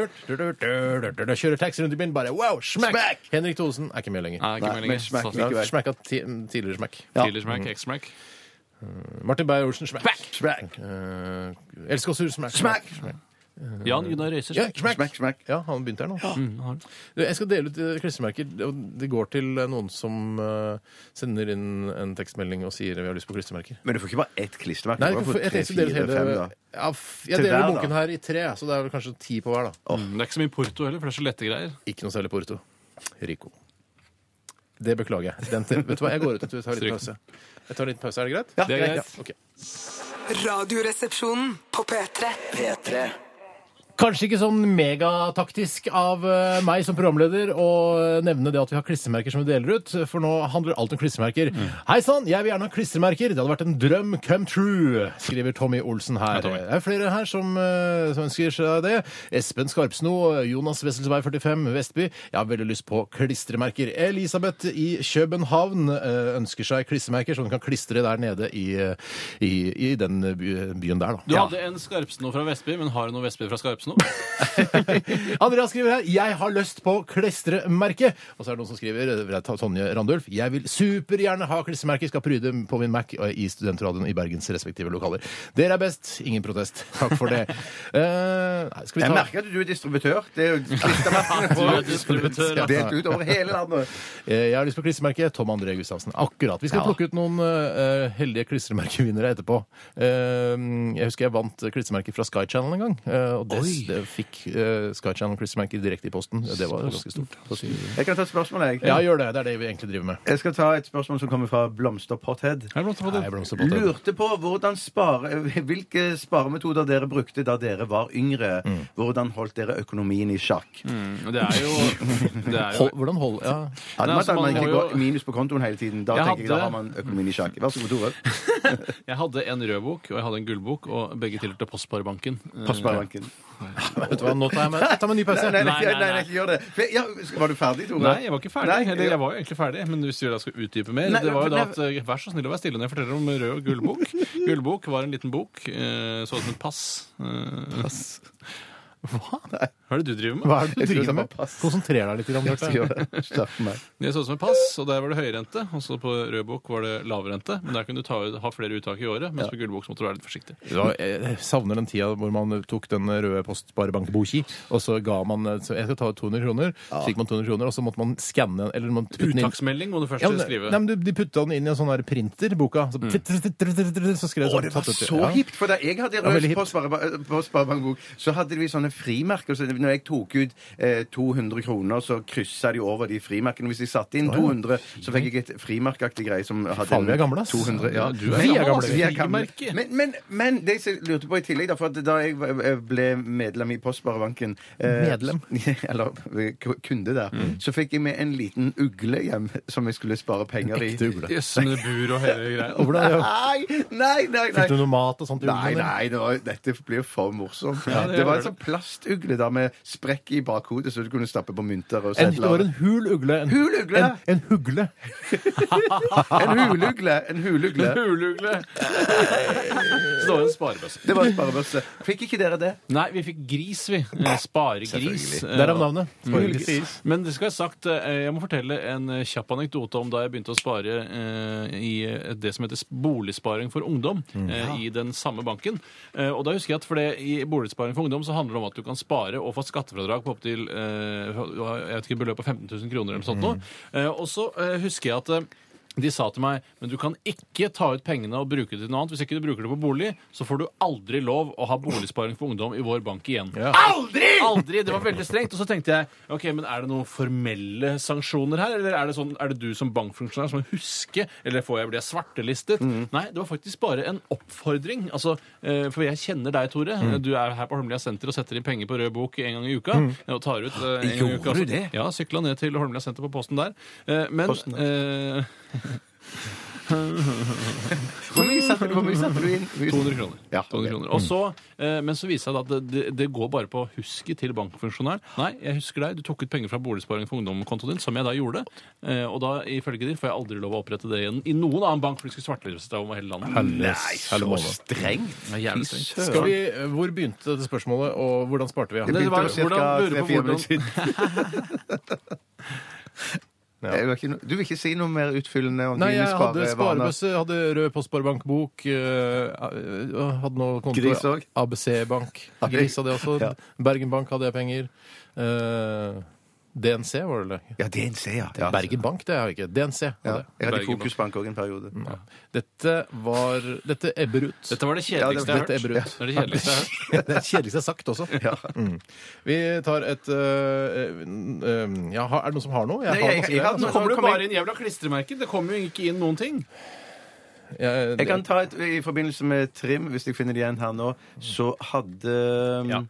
Speaker 1: bare Kjører taxi rundt i byen, bare wow! Smack!
Speaker 2: Smack!
Speaker 1: Henrik Thosen er ikke med lenger.
Speaker 3: Nei, ikke
Speaker 2: Nei,
Speaker 3: mer
Speaker 2: men
Speaker 3: lenger.
Speaker 2: smack
Speaker 3: Sånn.
Speaker 2: likevel.
Speaker 1: Ja, Smacka ti- tidligere smack.
Speaker 3: Tidligere smack, X-smack.
Speaker 1: Martin Beyer-Olsen smack.
Speaker 2: Smack.
Speaker 1: Eh, Elsker oss, smack.
Speaker 2: Smack.
Speaker 3: Jan Gunnar Røise.
Speaker 1: Ja,
Speaker 3: smack.
Speaker 2: Smack,
Speaker 1: smack.
Speaker 2: smack.
Speaker 1: Ja, han begynte her nå. Mm. Du, Jeg skal dele ut eh, klistremerker. og Det går til eh, noen som eh, sender inn en tekstmelding og sier vi har lyst på klistremerker.
Speaker 2: Men du får ikke bare ett klistremerke.
Speaker 1: Nei,
Speaker 2: du
Speaker 1: jeg,
Speaker 2: får
Speaker 1: jeg, jeg,
Speaker 2: tre,
Speaker 1: tenkte å dele
Speaker 2: fire, fem,
Speaker 1: hele
Speaker 2: da.
Speaker 1: ja, f- Jeg
Speaker 2: Til hver,
Speaker 1: deler
Speaker 2: da.
Speaker 1: bunken her i tre, så det er vel kanskje ti på hver, da.
Speaker 3: Mm, Det er ikke så mye porto heller, for det er så lette greier.
Speaker 1: Ikke noe særlig porto. Rico. Det beklager jeg. Den til, vet du hva, jeg går ut og tar en liten pause. Jeg tar en liten pause, Er det greit?
Speaker 3: Det er greit.
Speaker 1: ok.
Speaker 4: Radioresepsjonen på P3.
Speaker 5: P3.
Speaker 1: Kanskje ikke sånn megataktisk av eh, meg som programleder å eh, nevne det at vi har klistremerker som vi deler ut, for nå handler alt om klistremerker.
Speaker 3: Mm.
Speaker 1: Hei sann, jeg vil gjerne ha klistremerker! Det hadde vært en drøm come true, skriver Tommy Olsen her.
Speaker 3: Tommy.
Speaker 1: Det er flere her som, eh, som ønsker seg det. Espen Skarpsno, Jonas Wesselsvei 45, Vestby. Jeg har veldig lyst på klistremerker. Elisabeth i København eh, ønsker seg klistremerker som hun kan klistre der nede i, i, i den by- byen der, da.
Speaker 3: Du hadde en Skarpsno fra Vestby, men har du noe Vestby fra Skarpsno?
Speaker 1: Andreas skriver her 'Jeg har lyst på klistremerke'. Og så er det noen som skriver eh, fra Tonje Randulf 'Jeg vil supergjerne ha klistremerke, skal pryde på min Mac og i studentradioen i Bergens respektive lokaler'. Dere er best. Ingen protest. Takk for det. Eh, nei, skal vi
Speaker 2: Jeg
Speaker 1: ta
Speaker 2: merker at du er distributør. Det er jo klistremerkene
Speaker 3: Du er distributør, ja.
Speaker 2: på- delt ut over hele landet.
Speaker 1: Eh, Jeg har lyst på klistremerke. Tom André Gustavsen. Akkurat. Vi skal plukke ut noen eh, heldige klistremerkevinnere etterpå. Eh, jeg husker jeg vant klistremerke fra Sky Channel en gang. eh, og det,
Speaker 3: Oi.
Speaker 1: det fikk eh, Sky Channel klistremerker direkte i posten. Det var ganske stort.
Speaker 2: Jeg kan ta et spørsmål, jeg.
Speaker 1: Ja, gjør det. Det er det vi egentlig driver med.
Speaker 2: Jeg skal ta et spørsmål som kommer fra Blomsterpothead.
Speaker 1: Nei, blomsterbåt, det er det.
Speaker 2: Lurte på hvordan spare, hvilke sparemetoder dere brukte da dere var yngre. Hvordan holdt dere økonomien i sjakk?
Speaker 3: Mm, Det er jo, det er jo
Speaker 1: Hold, hvordan hold, ja.
Speaker 2: Hadde
Speaker 3: Nei,
Speaker 2: man
Speaker 3: altså,
Speaker 2: at man
Speaker 3: man
Speaker 2: ikke
Speaker 3: må jo-
Speaker 2: går minus på kontoen hele tiden, da
Speaker 3: Jeg
Speaker 2: tenker jeg da
Speaker 3: hadde-
Speaker 2: har man økonomien i sjakk. Vær så god, Tore.
Speaker 3: Jeg hadde en rød bok, og jeg hadde en gullbok, og begge tilhørte Postsparebanken.
Speaker 2: På sparebanken.
Speaker 1: Vet du hva, nå tar jeg meg, jeg tar meg en ny pause.
Speaker 2: Nei, nei,
Speaker 3: Nei,
Speaker 2: nei,
Speaker 3: nei,
Speaker 2: nei,
Speaker 3: nei.
Speaker 2: ikke gjør det. For- Ja, var du ferdig, Tore?
Speaker 3: Nei, jeg var ikke ferdig.
Speaker 2: Nei,
Speaker 3: Eller jeg var jo egentlig ferdig, men hvis du da skal utdype mer
Speaker 2: Nei,
Speaker 3: Det var jo da
Speaker 2: nei,
Speaker 3: at eh, Vær så snill å være stille når jeg forteller om rød og gullbok. Gullbok var en liten bok. eh, Så ut som et pass. pass. Hva? Hva er det du driver med?
Speaker 1: Hva er det du
Speaker 2: Jeg tror
Speaker 1: driver
Speaker 2: jeg
Speaker 1: med?
Speaker 2: tar pass.
Speaker 1: Konsentrer deg litt. Grann,
Speaker 2: Så
Speaker 1: Bjarte.
Speaker 2: gjør det. Slapp meg.
Speaker 3: Det så ut som et pass, og der var det høyrente. Og så på rødbok var det lavrente. Men der kunne du ta, ha flere uttak i året, mens på gullbok så måtte du være litt forsiktig.
Speaker 1: Ja, jeg savner den tida hvor man tok den røde postsparebankboki, og så ga man så Jeg skal ta ut 200 kroner. Så fikk man 200 kroner, og så måtte man skanne Eller man putte den inn.
Speaker 3: Uttaksmelding må du først
Speaker 1: Ja, men,
Speaker 3: skrive.
Speaker 1: nei, men du- De putta den inn i en sånn her printer, boka. Så, så skrev sånn-
Speaker 2: Å, det var så hipt! For da jeg hadde
Speaker 1: Ja, veldig
Speaker 2: røst på Spareba- på Sparebankbok, så hadde vi sånne frimerker. Så når jeg tok ut eh, 200 kroner, så kryssa de over de frimerkene. Hvis de satte inn 200, så fikk jeg et frimerkeaktig greie som hadde
Speaker 1: Faen, vi er
Speaker 2: en
Speaker 1: gamle, ass.
Speaker 2: 200, ja.
Speaker 3: Du er
Speaker 2: Men-
Speaker 3: gammel, ass.
Speaker 2: Vi er gamle.
Speaker 3: Frimerke.
Speaker 2: Men, men, men det jeg lurte på i tillegg, da, for at da jeg ble medlem i Postsparebanken eh,
Speaker 1: Medlem? Mm.
Speaker 2: Eller k- kunde der. Så fikk jeg med en liten ugle hjem som jeg skulle spare penger i.
Speaker 1: Ekte ugle.
Speaker 3: Jøss, med bur og hele greia.
Speaker 1: Og hvordan- ja,
Speaker 2: Nei, nei, nei! nei.
Speaker 1: Fikk du noe mat og sånt? i
Speaker 2: Nei,
Speaker 1: uglen, eller?
Speaker 2: nei, det var, dette blir for morsomt.
Speaker 3: det
Speaker 2: det,
Speaker 3: gjør
Speaker 2: var en
Speaker 3: det.
Speaker 2: sånn plastugle da med sprekk i bakhodet, så du kunne stappe på mynter og
Speaker 1: En, det var
Speaker 2: sedler.
Speaker 1: en hul ugle. En,
Speaker 2: Hul ugle!
Speaker 1: en, en hugle.
Speaker 2: En hulugle! En hulugle.
Speaker 3: Hulugle! Står en sparebøsse.
Speaker 2: Det var en sparebørse. Fikk ikke dere det?
Speaker 3: Nei, vi fikk gris, vi. Eh, Sparegris. Eh,
Speaker 1: Derav navnet. Sparegris.
Speaker 3: Gris. Men det skal jeg sagt, eh, jeg må fortelle en eh, kjapp anekdote om da jeg begynte å spare eh, i eh, det som heter Boligsparing for ungdom eh, i den samme banken. Eh, Og da husker jeg at for det, i Boligsparing for ungdom så handler det om at du kan spare og få skattefradrag på opptil eh, jeg vet ikke, beløp på 15 000 kroner eller noe sånt. nå. Eh, Og så eh, husker jeg at eh, de sa til meg men du kan ikke ta ut pengene og bruke det til noe annet. Hvis ikke du bruker det på bolig, så får du aldri lov å ha boligsparing for ungdom i vår bank igjen. Aldri! Aldri! Det var veldig strengt. Og så tenkte jeg ok, men er det noen formelle sanksjoner her? Eller er det, sånn, er det du som bankfunksjonær som må huske? Eller får jeg bli svartelistet?
Speaker 2: Mm.
Speaker 3: Nei, det var faktisk bare en oppfordring. Altså, eh, For jeg kjenner deg, Tore.
Speaker 2: Mm.
Speaker 3: Du er her på Holmlia senter og setter inn penger på Rød bok en gang i uka. Og tar ut eh, en gang i uka.
Speaker 2: Gjorde du
Speaker 3: også.
Speaker 2: det?
Speaker 3: Ja, sykla ned til Holmlia senter på posten der. Eh, Men
Speaker 2: Posten
Speaker 3: eh,
Speaker 2: Hvor mye satte du, hvor mye satte du inn? Hvor mye-
Speaker 3: 200 kroner.
Speaker 2: Ja,
Speaker 3: 200 kroner. Og så, eh, men så viser det seg da at det, det, det går bare på husket til bankfunksjonæren. Nei, jeg husker deg, du tok ut penger fra Boligsparing for ungdom-kontoen din, som jeg da gjorde. Eh, og da, ifølge de, får jeg aldri lov å opprette det igjen i noen annen bank, for de skulle svartlistes over hele landet.
Speaker 1: Nei, så
Speaker 2: Strengt.
Speaker 3: Det er jævlig strengt.
Speaker 1: Skal vi, eh, hvor begynte dette spørsmålet, og hvordan sparte vi?
Speaker 3: Det
Speaker 2: Begynte
Speaker 3: var-
Speaker 2: for cirka
Speaker 3: hvordan- lurer på
Speaker 2: tre-fire
Speaker 3: hvordan-
Speaker 2: minutter siden. Jeg vil ikke, du vil ikke si noe mer utfyllende om
Speaker 1: Nei,
Speaker 2: dine
Speaker 1: jeg hadde
Speaker 2: sparevaner?
Speaker 1: sparebøsse, hadde rød postbarebankbok, øh, øh, hadde noe konto
Speaker 2: Gris også?
Speaker 1: ABC-bank. Gris hadde jeg også.
Speaker 2: Ja.
Speaker 1: Bergen Bank hadde jeg penger. Eh, DNC var det det?
Speaker 2: Ja, DNC, ja. ja.
Speaker 1: Bergen Bank, det har jeg ikke. DNC
Speaker 2: Ja.
Speaker 1: hadde jeg.
Speaker 2: Jeg hadde
Speaker 3: Bergen Bank.
Speaker 2: fokusbank òg en periode.
Speaker 1: Dette var Dette ebber ut.
Speaker 3: Dette var det
Speaker 2: Ja, det-
Speaker 3: kjedeligste jeg
Speaker 1: dette
Speaker 3: har hørt.
Speaker 1: ebber ut.
Speaker 3: Det er det kjedeligste jeg har hørt.
Speaker 1: det er kjedelig jeg har sagt også. Mm. Vi tar et øh, øh, ja, har- Er det noen som har noe? Jeg
Speaker 2: Nei,
Speaker 1: har
Speaker 2: jeg-
Speaker 1: masse
Speaker 2: jeg
Speaker 1: greier,
Speaker 2: hadde
Speaker 3: Nå
Speaker 1: altså.
Speaker 3: kommer det
Speaker 2: Kom
Speaker 3: bare inn jævla klistremerker. Det kommer jo ikke inn noen ting.
Speaker 1: Jeg- eh,
Speaker 2: Jeg kan ta et i forbindelse med Trim, hvis jeg finner det igjen her nå. Så hadde um,
Speaker 1: Ja.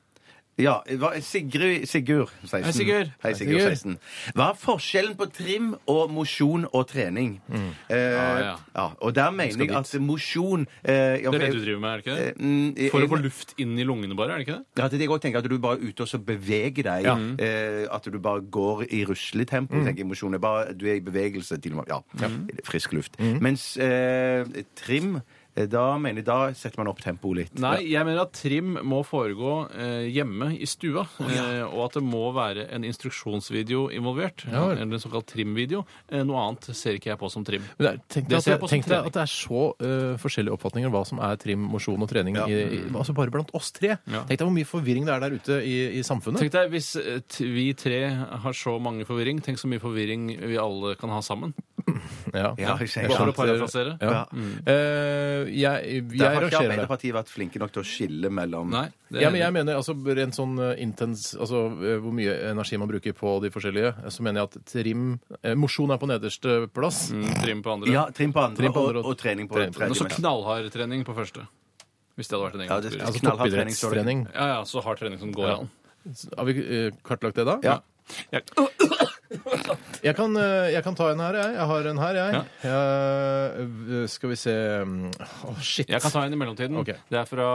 Speaker 2: Ja, hva- Sigrid, Sigurd 16.
Speaker 3: Hei, Sigurd.
Speaker 2: Hei, Sigurd 16. Hva er forskjellen på trim og mosjon og trening? Eh,
Speaker 3: Ah, ja.
Speaker 2: og der mener jeg at mosjon eh, ja,
Speaker 3: Det
Speaker 2: for
Speaker 3: er det
Speaker 2: jeg-
Speaker 3: du driver med, er det ikke det?
Speaker 2: Mm, jeg-
Speaker 3: For å få luft inn i lungene bare, er det ikke det?
Speaker 2: Ja, det er det jeg også tenker, at du bare er ute og så beveger deg. Eh, at du bare går i rusletempo.
Speaker 1: Mm.
Speaker 2: tenker jeg, mosjon. Det er Bare, du er i bevegelse til og med. Ja, Frisk
Speaker 1: Mm.
Speaker 2: luft. Mens eh, trim eh, da mener jeg, da setter man opp tempoet litt.
Speaker 3: Nei, jeg mener at trim må foregå eh, hjemme i stua. eh, og at det må være en instruksjonsvideo involvert.
Speaker 1: Ja vel.
Speaker 3: eller en såkalt trimvideo. Eh, noe annet ser ikke jeg på som trim.
Speaker 1: Men det er- Tenk deg
Speaker 3: Det
Speaker 1: at,
Speaker 3: ser jeg på
Speaker 1: det-
Speaker 3: som
Speaker 1: tenk deg
Speaker 3: trening.
Speaker 1: at det er så øh, forskjellige oppfatninger om hva som er trim, mosjon og trening, i, i, altså bare blant oss tre.
Speaker 3: Mm. Ja.
Speaker 1: Tenk deg hvor mye forvirring det er der ute i, i samfunnet.
Speaker 3: Tenk deg, Hvis eh, t- vi tre har så mange forvirring, tenk så mye forvirring vi alle kan ha sammen.
Speaker 1: Ja.
Speaker 2: Ja, jeg ser-
Speaker 3: Bare for
Speaker 2: sant.
Speaker 3: å parafrasere.
Speaker 1: Ja.
Speaker 3: Mm.
Speaker 1: Eh, jeg jeg
Speaker 2: Der har ikke
Speaker 1: rangerer det.
Speaker 2: Arbeiderpartiet vært flinke nok til å skille mellom
Speaker 3: Nei, det
Speaker 1: Ja, men jeg mener altså rent sånn eh, intens Altså eh, hvor mye energi man bruker på de forskjellige, eh, så mener jeg at trim eh, Mosjon er på nederste plass.
Speaker 3: Mm, trim på andre.
Speaker 2: Ja, trim på andre,
Speaker 1: Trim på andre
Speaker 2: og, og trening på
Speaker 1: trening på
Speaker 3: Men
Speaker 2: tredje.
Speaker 3: så knallhard trening på første. Hvis det hadde vært en egen
Speaker 2: Ja, det-
Speaker 3: oppskrift.
Speaker 1: Altså
Speaker 2: Knallhard trening, så er det
Speaker 1: toppidrettstrening.
Speaker 3: Ja, ja, så hard trening som går an.
Speaker 1: Har vi eh, kartlagt det da?
Speaker 2: Ja.
Speaker 3: Ja.
Speaker 1: Jeg kan, eh, jeg kan ta en her, jeg. Jeg har en her, jeg. Eh, skal vi se mm, Å, shit.
Speaker 3: Jeg kan ta en i mellomtiden.
Speaker 1: Ok.
Speaker 3: Det er fra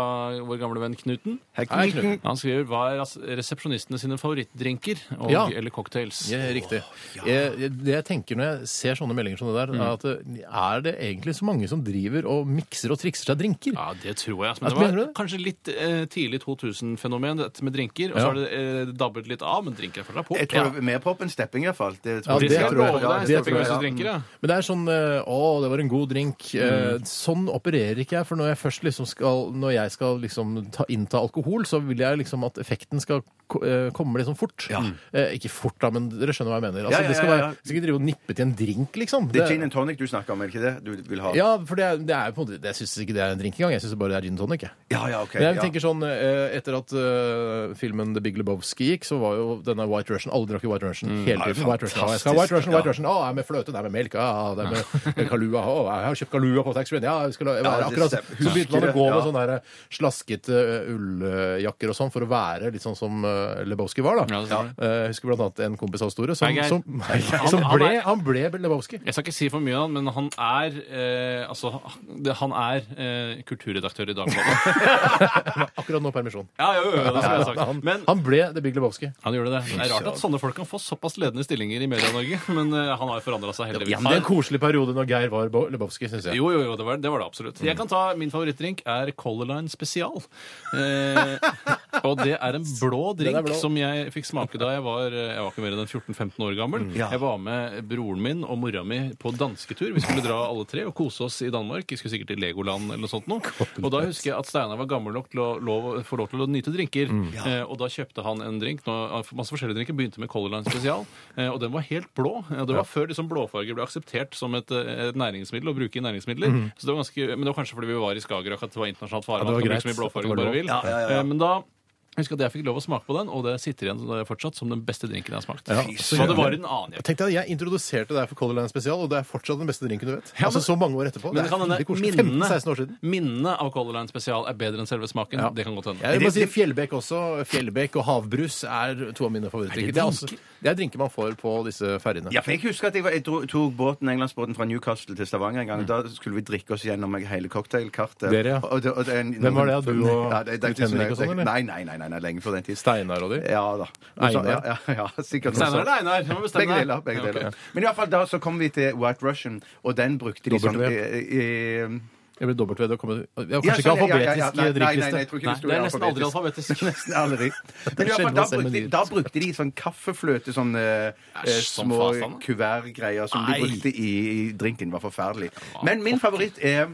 Speaker 3: vår gamle venn Knuten.
Speaker 2: Hei,
Speaker 1: Nei,
Speaker 2: Knut.
Speaker 1: Knut.
Speaker 3: Han skriver hva er ras- resepsjonistene sine favorittdrinker og,
Speaker 1: Ja.
Speaker 3: eller cocktails.
Speaker 1: Ja, riktig. Jeg, jeg- det jeg tenker når jeg ser sånne meldinger som det der,
Speaker 3: Mm.
Speaker 1: er at eh, er det egentlig så mange som driver og mikser og trikser seg drinker?
Speaker 3: Ja, det tror jeg. altså.
Speaker 1: Ja,
Speaker 3: Men det var
Speaker 1: mener du det?
Speaker 3: kanskje litt eh, tidlig 2000-fenomen, dette med drinker. Og så
Speaker 1: Ja.
Speaker 3: har det eh, dabbet litt av, men drinker er fortsatt på.
Speaker 2: Jeg tror det er mer pop enn stepping, iallfall. Det
Speaker 1: Ja,
Speaker 3: Det
Speaker 1: det
Speaker 3: skal jeg
Speaker 1: tror jeg.
Speaker 3: love
Speaker 1: Ja,
Speaker 3: deg.
Speaker 1: det
Speaker 3: Stepping
Speaker 1: tror jeg,
Speaker 3: versus
Speaker 1: ja.
Speaker 3: drinker, ja.
Speaker 1: Men det er sånn eh, Å, det var en god drink.
Speaker 3: Mm.
Speaker 1: Eh, Sånn opererer ikke jeg. For når jeg først liksom skal Når jeg skal liksom ta, innta alkohol, så vil jeg liksom at effekten skal ko- eh, komme liksom fort. Eh, Ikke fort, da, men dere skjønner hva jeg mener. Altså,
Speaker 2: Ja, ja,
Speaker 1: Det skal
Speaker 2: ja,
Speaker 1: være,
Speaker 2: ja.
Speaker 1: skal ikke drive og nippe til en drink, liksom.
Speaker 2: Det er gin and tonic du snakker om, er det ikke det du vil ha?
Speaker 1: ja, for det er, det er jo på en måte Jeg syns ikke det er en drink engang. Jeg syns bare det er gin and tonic. Jeg.
Speaker 2: ja, ja, ok.
Speaker 1: Men jeg
Speaker 2: ja.
Speaker 1: tenker sånn, eh, Etter at eh, filmen The Big Lebowski gikk, så var jo denne White Russian Alle drakk jo White Russian hele
Speaker 2: det er
Speaker 1: tiden. White Russian, ah, jeg
Speaker 2: fantastisk,
Speaker 1: skal ha White Russian, White
Speaker 2: ja.
Speaker 1: Russian, ah, det er med fløte, det er med melk, ah, det er med med kalua ah, Jeg har kjøpt kalua på taxfree. Ja, jeg skal la- være
Speaker 2: det
Speaker 1: akkurat
Speaker 2: stemmer.
Speaker 1: Så begynte man å
Speaker 2: Husker
Speaker 1: gå
Speaker 2: det,
Speaker 1: med
Speaker 2: ja.
Speaker 1: sånne her eh, slaskete eh, ulljakker og sånn for å være litt sånn som eh, Lebowski var. da
Speaker 3: Ja, det stemmer.
Speaker 1: Eh, Jeg husker blant annet en kompis av oss store som,
Speaker 3: Hei, Geir.
Speaker 1: som, som
Speaker 3: han
Speaker 1: ble,
Speaker 3: er-
Speaker 1: han ble Lebowski.
Speaker 3: Jeg skal ikke si for mye om han, men han er eh, altså, det, han er eh, kulturredaktør i Dagbladet.
Speaker 1: Akkurat nå permisjon.
Speaker 3: ja, ja, ja, det skulle jeg sagt.
Speaker 1: Han,
Speaker 3: Men
Speaker 1: han ble The Big Lebowski.
Speaker 3: han gjør det. Det er rart at sånne folk kan få såpass ledende stillinger i Media-Norge, men eh, han har jo forandra seg heldigvis.
Speaker 1: Ja, men det er en koselig periode når Geir var Bo- Lebowski, syns jeg.
Speaker 3: Jo, jo, jo, det var det, var det absolutt. Jeg kan ta Min favorittdrink er Color Line Spesial. Eh, og det er en blå drink
Speaker 1: Den er blå.
Speaker 3: som jeg fikk smake da jeg var eh, Jeg var ikke mer enn 14-15 år gammel.
Speaker 1: Mm.
Speaker 3: Jeg var med broren min og mora mi på dansketur. Vi skulle dra alle tre og kose oss i Danmark. Vi skulle sikkert til Legoland eller noe sånt noe. Og da husker jeg at Steinar var gammel nok til å lov, få lov til å nyte drinker.
Speaker 1: Mm.
Speaker 3: Eh, og da kjøpte han en drink. Nå, eh, masse forskjellige drinker begynte med Color Line Spesial, eh, og den var helt blå. Eh, Det var før liksom blåfarger ble akseptert som et, eh, et næringsmiddel å bruke i næringsmidler. Så det var ganske, men det var kanskje fordi vi var i Skagerrak at det var internasjonalt
Speaker 1: Mm. Ja, det
Speaker 3: farvann.
Speaker 1: var
Speaker 3: Ja,
Speaker 1: greit
Speaker 3: så mye
Speaker 1: at det
Speaker 3: blåfarger
Speaker 1: var
Speaker 3: du bare
Speaker 1: lov.
Speaker 3: vil. Eh, Men da Husk at jeg fikk lov å smake på den, og det sitter igjen fortsatt som den beste drinken jeg har smakt.
Speaker 1: Ja,
Speaker 3: så det var en annen jeg
Speaker 1: Tenk deg, Jeg introduserte deg for Color Line Spesial, og det er fortsatt den beste drinken du vet.
Speaker 3: Ja, men-
Speaker 1: altså Så mange år etterpå.
Speaker 3: Men
Speaker 1: Det
Speaker 3: det
Speaker 1: er
Speaker 3: kan hende
Speaker 1: veldig koselig. 15-16 år siden.
Speaker 3: minnene minnene av Color Line Spesial er bedre enn selve smaken.
Speaker 1: Ja.
Speaker 3: Det kan godt hende.
Speaker 1: Jeg vil bare si Fjellbekk også. Fjellbekk og havbrus er to av mine favorittdrinker.
Speaker 3: Er det
Speaker 1: Det, er også- det er drinker man får på disse ferjene.
Speaker 2: Ja, for jeg husker at jeg, var, jeg dro, tok båten, englandsbåten fra Newcastle til Stavanger en gang. og Da skulle vi drikke oss gjennom hele cocktailkartet.
Speaker 1: Dere, ja.
Speaker 2: Og det- og det- en-
Speaker 1: Hvem var det, du og-
Speaker 2: ja, det, det,
Speaker 1: Knut Henrik og sånn, eller?
Speaker 2: Nei, nei, nei, nei, nei, lenge før den tid.
Speaker 1: Steinar og de.
Speaker 2: Ja da. Noe sånt,
Speaker 1: Einar.
Speaker 2: Ja, ja, ja, sikkert. noe
Speaker 3: Steinar
Speaker 2: sånt.
Speaker 3: eller Einar? Du må
Speaker 2: Begge
Speaker 3: bestemme deg.
Speaker 2: deler. begge
Speaker 3: Ja, ok.
Speaker 2: deler. Men i hvert fall da så kom vi til White Russian, og den brukte de som
Speaker 1: Dobbelt V.
Speaker 2: eh, eh,
Speaker 1: Jeg ble dobbelt ved det å komme ja,
Speaker 2: ja,
Speaker 1: Kanskje ikke
Speaker 2: sånn, ja, ja, ja,
Speaker 1: alfabetisk
Speaker 2: nei, nei, nei, nei, jeg
Speaker 1: drikkeliste.
Speaker 2: tror ikke
Speaker 3: Nei,
Speaker 2: det sto
Speaker 3: det
Speaker 2: i
Speaker 3: er nesten aldri
Speaker 2: alfabetisk.
Speaker 3: alfabetisk.
Speaker 2: Nesten aldri. Men i hvert fall,
Speaker 1: Sjelden
Speaker 2: da
Speaker 1: å se
Speaker 2: brukte,
Speaker 1: menyer.
Speaker 2: da brukte de sånn kaffefløte, sånn eh,
Speaker 3: Æsj, som
Speaker 2: små
Speaker 1: sånn,
Speaker 3: fasan.
Speaker 2: kuvertgreier som
Speaker 3: Nei.
Speaker 2: de brukte i, i drinken. var forferdelig. Men min favoritt er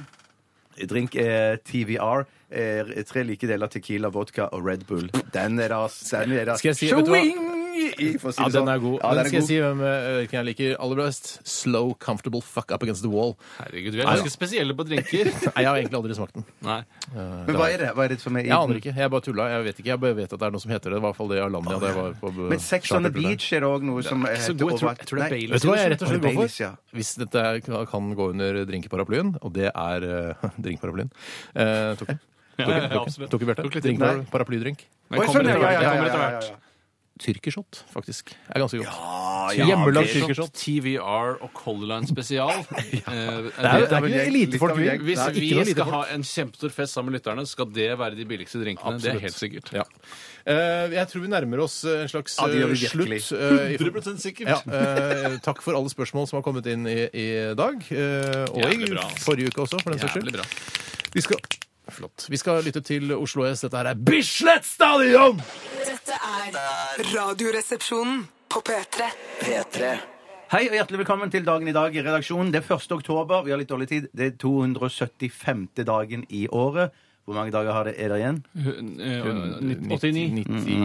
Speaker 2: drink eh, TVR. Er eh, tre like deler Tequila, vodka og Red Bull. Den er da den er da
Speaker 1: Skal jeg si- vet du hva?
Speaker 2: Swing! I, for å si
Speaker 1: Ja,
Speaker 2: det
Speaker 1: den
Speaker 2: sånn.
Speaker 1: er god.
Speaker 2: Ja,
Speaker 1: Men
Speaker 2: den er
Speaker 1: skal jeg
Speaker 2: god.
Speaker 1: si hvem eh, hvilken jeg liker aller best? Slow, comfortable, fuck up against the wall.
Speaker 3: Herregud, vi er ganske spesielle på drinker.
Speaker 1: Nei, jeg har egentlig aldri smakt den.
Speaker 3: Nei.
Speaker 2: Men hva er det? Hva er det som er i
Speaker 1: Jeg
Speaker 2: den?
Speaker 1: aner ikke. Jeg bare tulla. Jeg vet ikke. Jeg bare vet at det er noe som heter det. Det var I hvert fall det i Arlandia da jeg var på eh,
Speaker 2: Men Sex on the
Speaker 1: chartertur der.
Speaker 2: Beach er det òg noe som
Speaker 3: Så
Speaker 2: heter
Speaker 3: god, jeg, tror,
Speaker 2: over-
Speaker 3: jeg tror det er
Speaker 2: Nei.
Speaker 3: Baileys.
Speaker 1: Vet du hva jeg rett og
Speaker 2: Var det
Speaker 1: slett går for?
Speaker 2: Baileys, ja?
Speaker 1: Hvis dette er- kan gå under drinkparaplyen, og det er eh, drinkparaplyen eh, Tok den?
Speaker 3: Ja, ja, ja, absolutt.
Speaker 1: Tok vi Bjarte?
Speaker 3: Tok litt-
Speaker 1: Drinkpar- Paraplydrink.
Speaker 3: Men
Speaker 2: Oi, sånn,
Speaker 3: kommer
Speaker 2: ja,
Speaker 3: etter hvert,
Speaker 2: ja, ja,
Speaker 3: kommer
Speaker 2: ja,
Speaker 3: etter
Speaker 2: ja,
Speaker 3: hvert.
Speaker 2: ja.
Speaker 1: Tyrkershot, faktisk. Er ganske godt.
Speaker 2: Ah, ja,
Speaker 1: Hjemmelagd
Speaker 2: ok.
Speaker 1: tyrkershot.
Speaker 3: TVR og Color Line spesial. Eh,
Speaker 1: Det er, det
Speaker 2: vel
Speaker 1: er ikke
Speaker 2: jeg-
Speaker 1: elitefolk.
Speaker 2: litt av en gjeng.
Speaker 3: Hvis
Speaker 1: Det er ikke
Speaker 3: vi
Speaker 1: noe
Speaker 3: skal
Speaker 1: elitefolk.
Speaker 3: ha en kjempestor fest sammen med lytterne, skal det være de billigste drinkene. Det er
Speaker 1: Absolutt.
Speaker 3: helt sikkert.
Speaker 1: Ja. Eh, jeg tror vi nærmer oss eh, en slags
Speaker 2: Ja, det gjør vi
Speaker 1: eh,
Speaker 2: virkelig.
Speaker 1: slutt. eh, i-
Speaker 3: 100% sikkert.
Speaker 1: Ja, eh, takk for alle spørsmål som har kommet inn i, i dag. eh, og
Speaker 3: Jævlig bra.
Speaker 1: i forrige uke også, for den saks
Speaker 3: Jævlig
Speaker 1: skyld.
Speaker 3: bra.
Speaker 1: Vi skal, flott. Vi skal lytte til Oslo S. Dette her er Bislett Stadion!
Speaker 4: Dette er Radioresepsjonen på P3.
Speaker 5: P3.
Speaker 2: Hei og hjertelig velkommen til dagen i dag i redaksjonen. Det er 1. oktober, vi har litt dårlig tid. Det er 275. dagen i året. Hvor mange dager har det, er det igjen?
Speaker 3: Eh, 89.
Speaker 1: 90.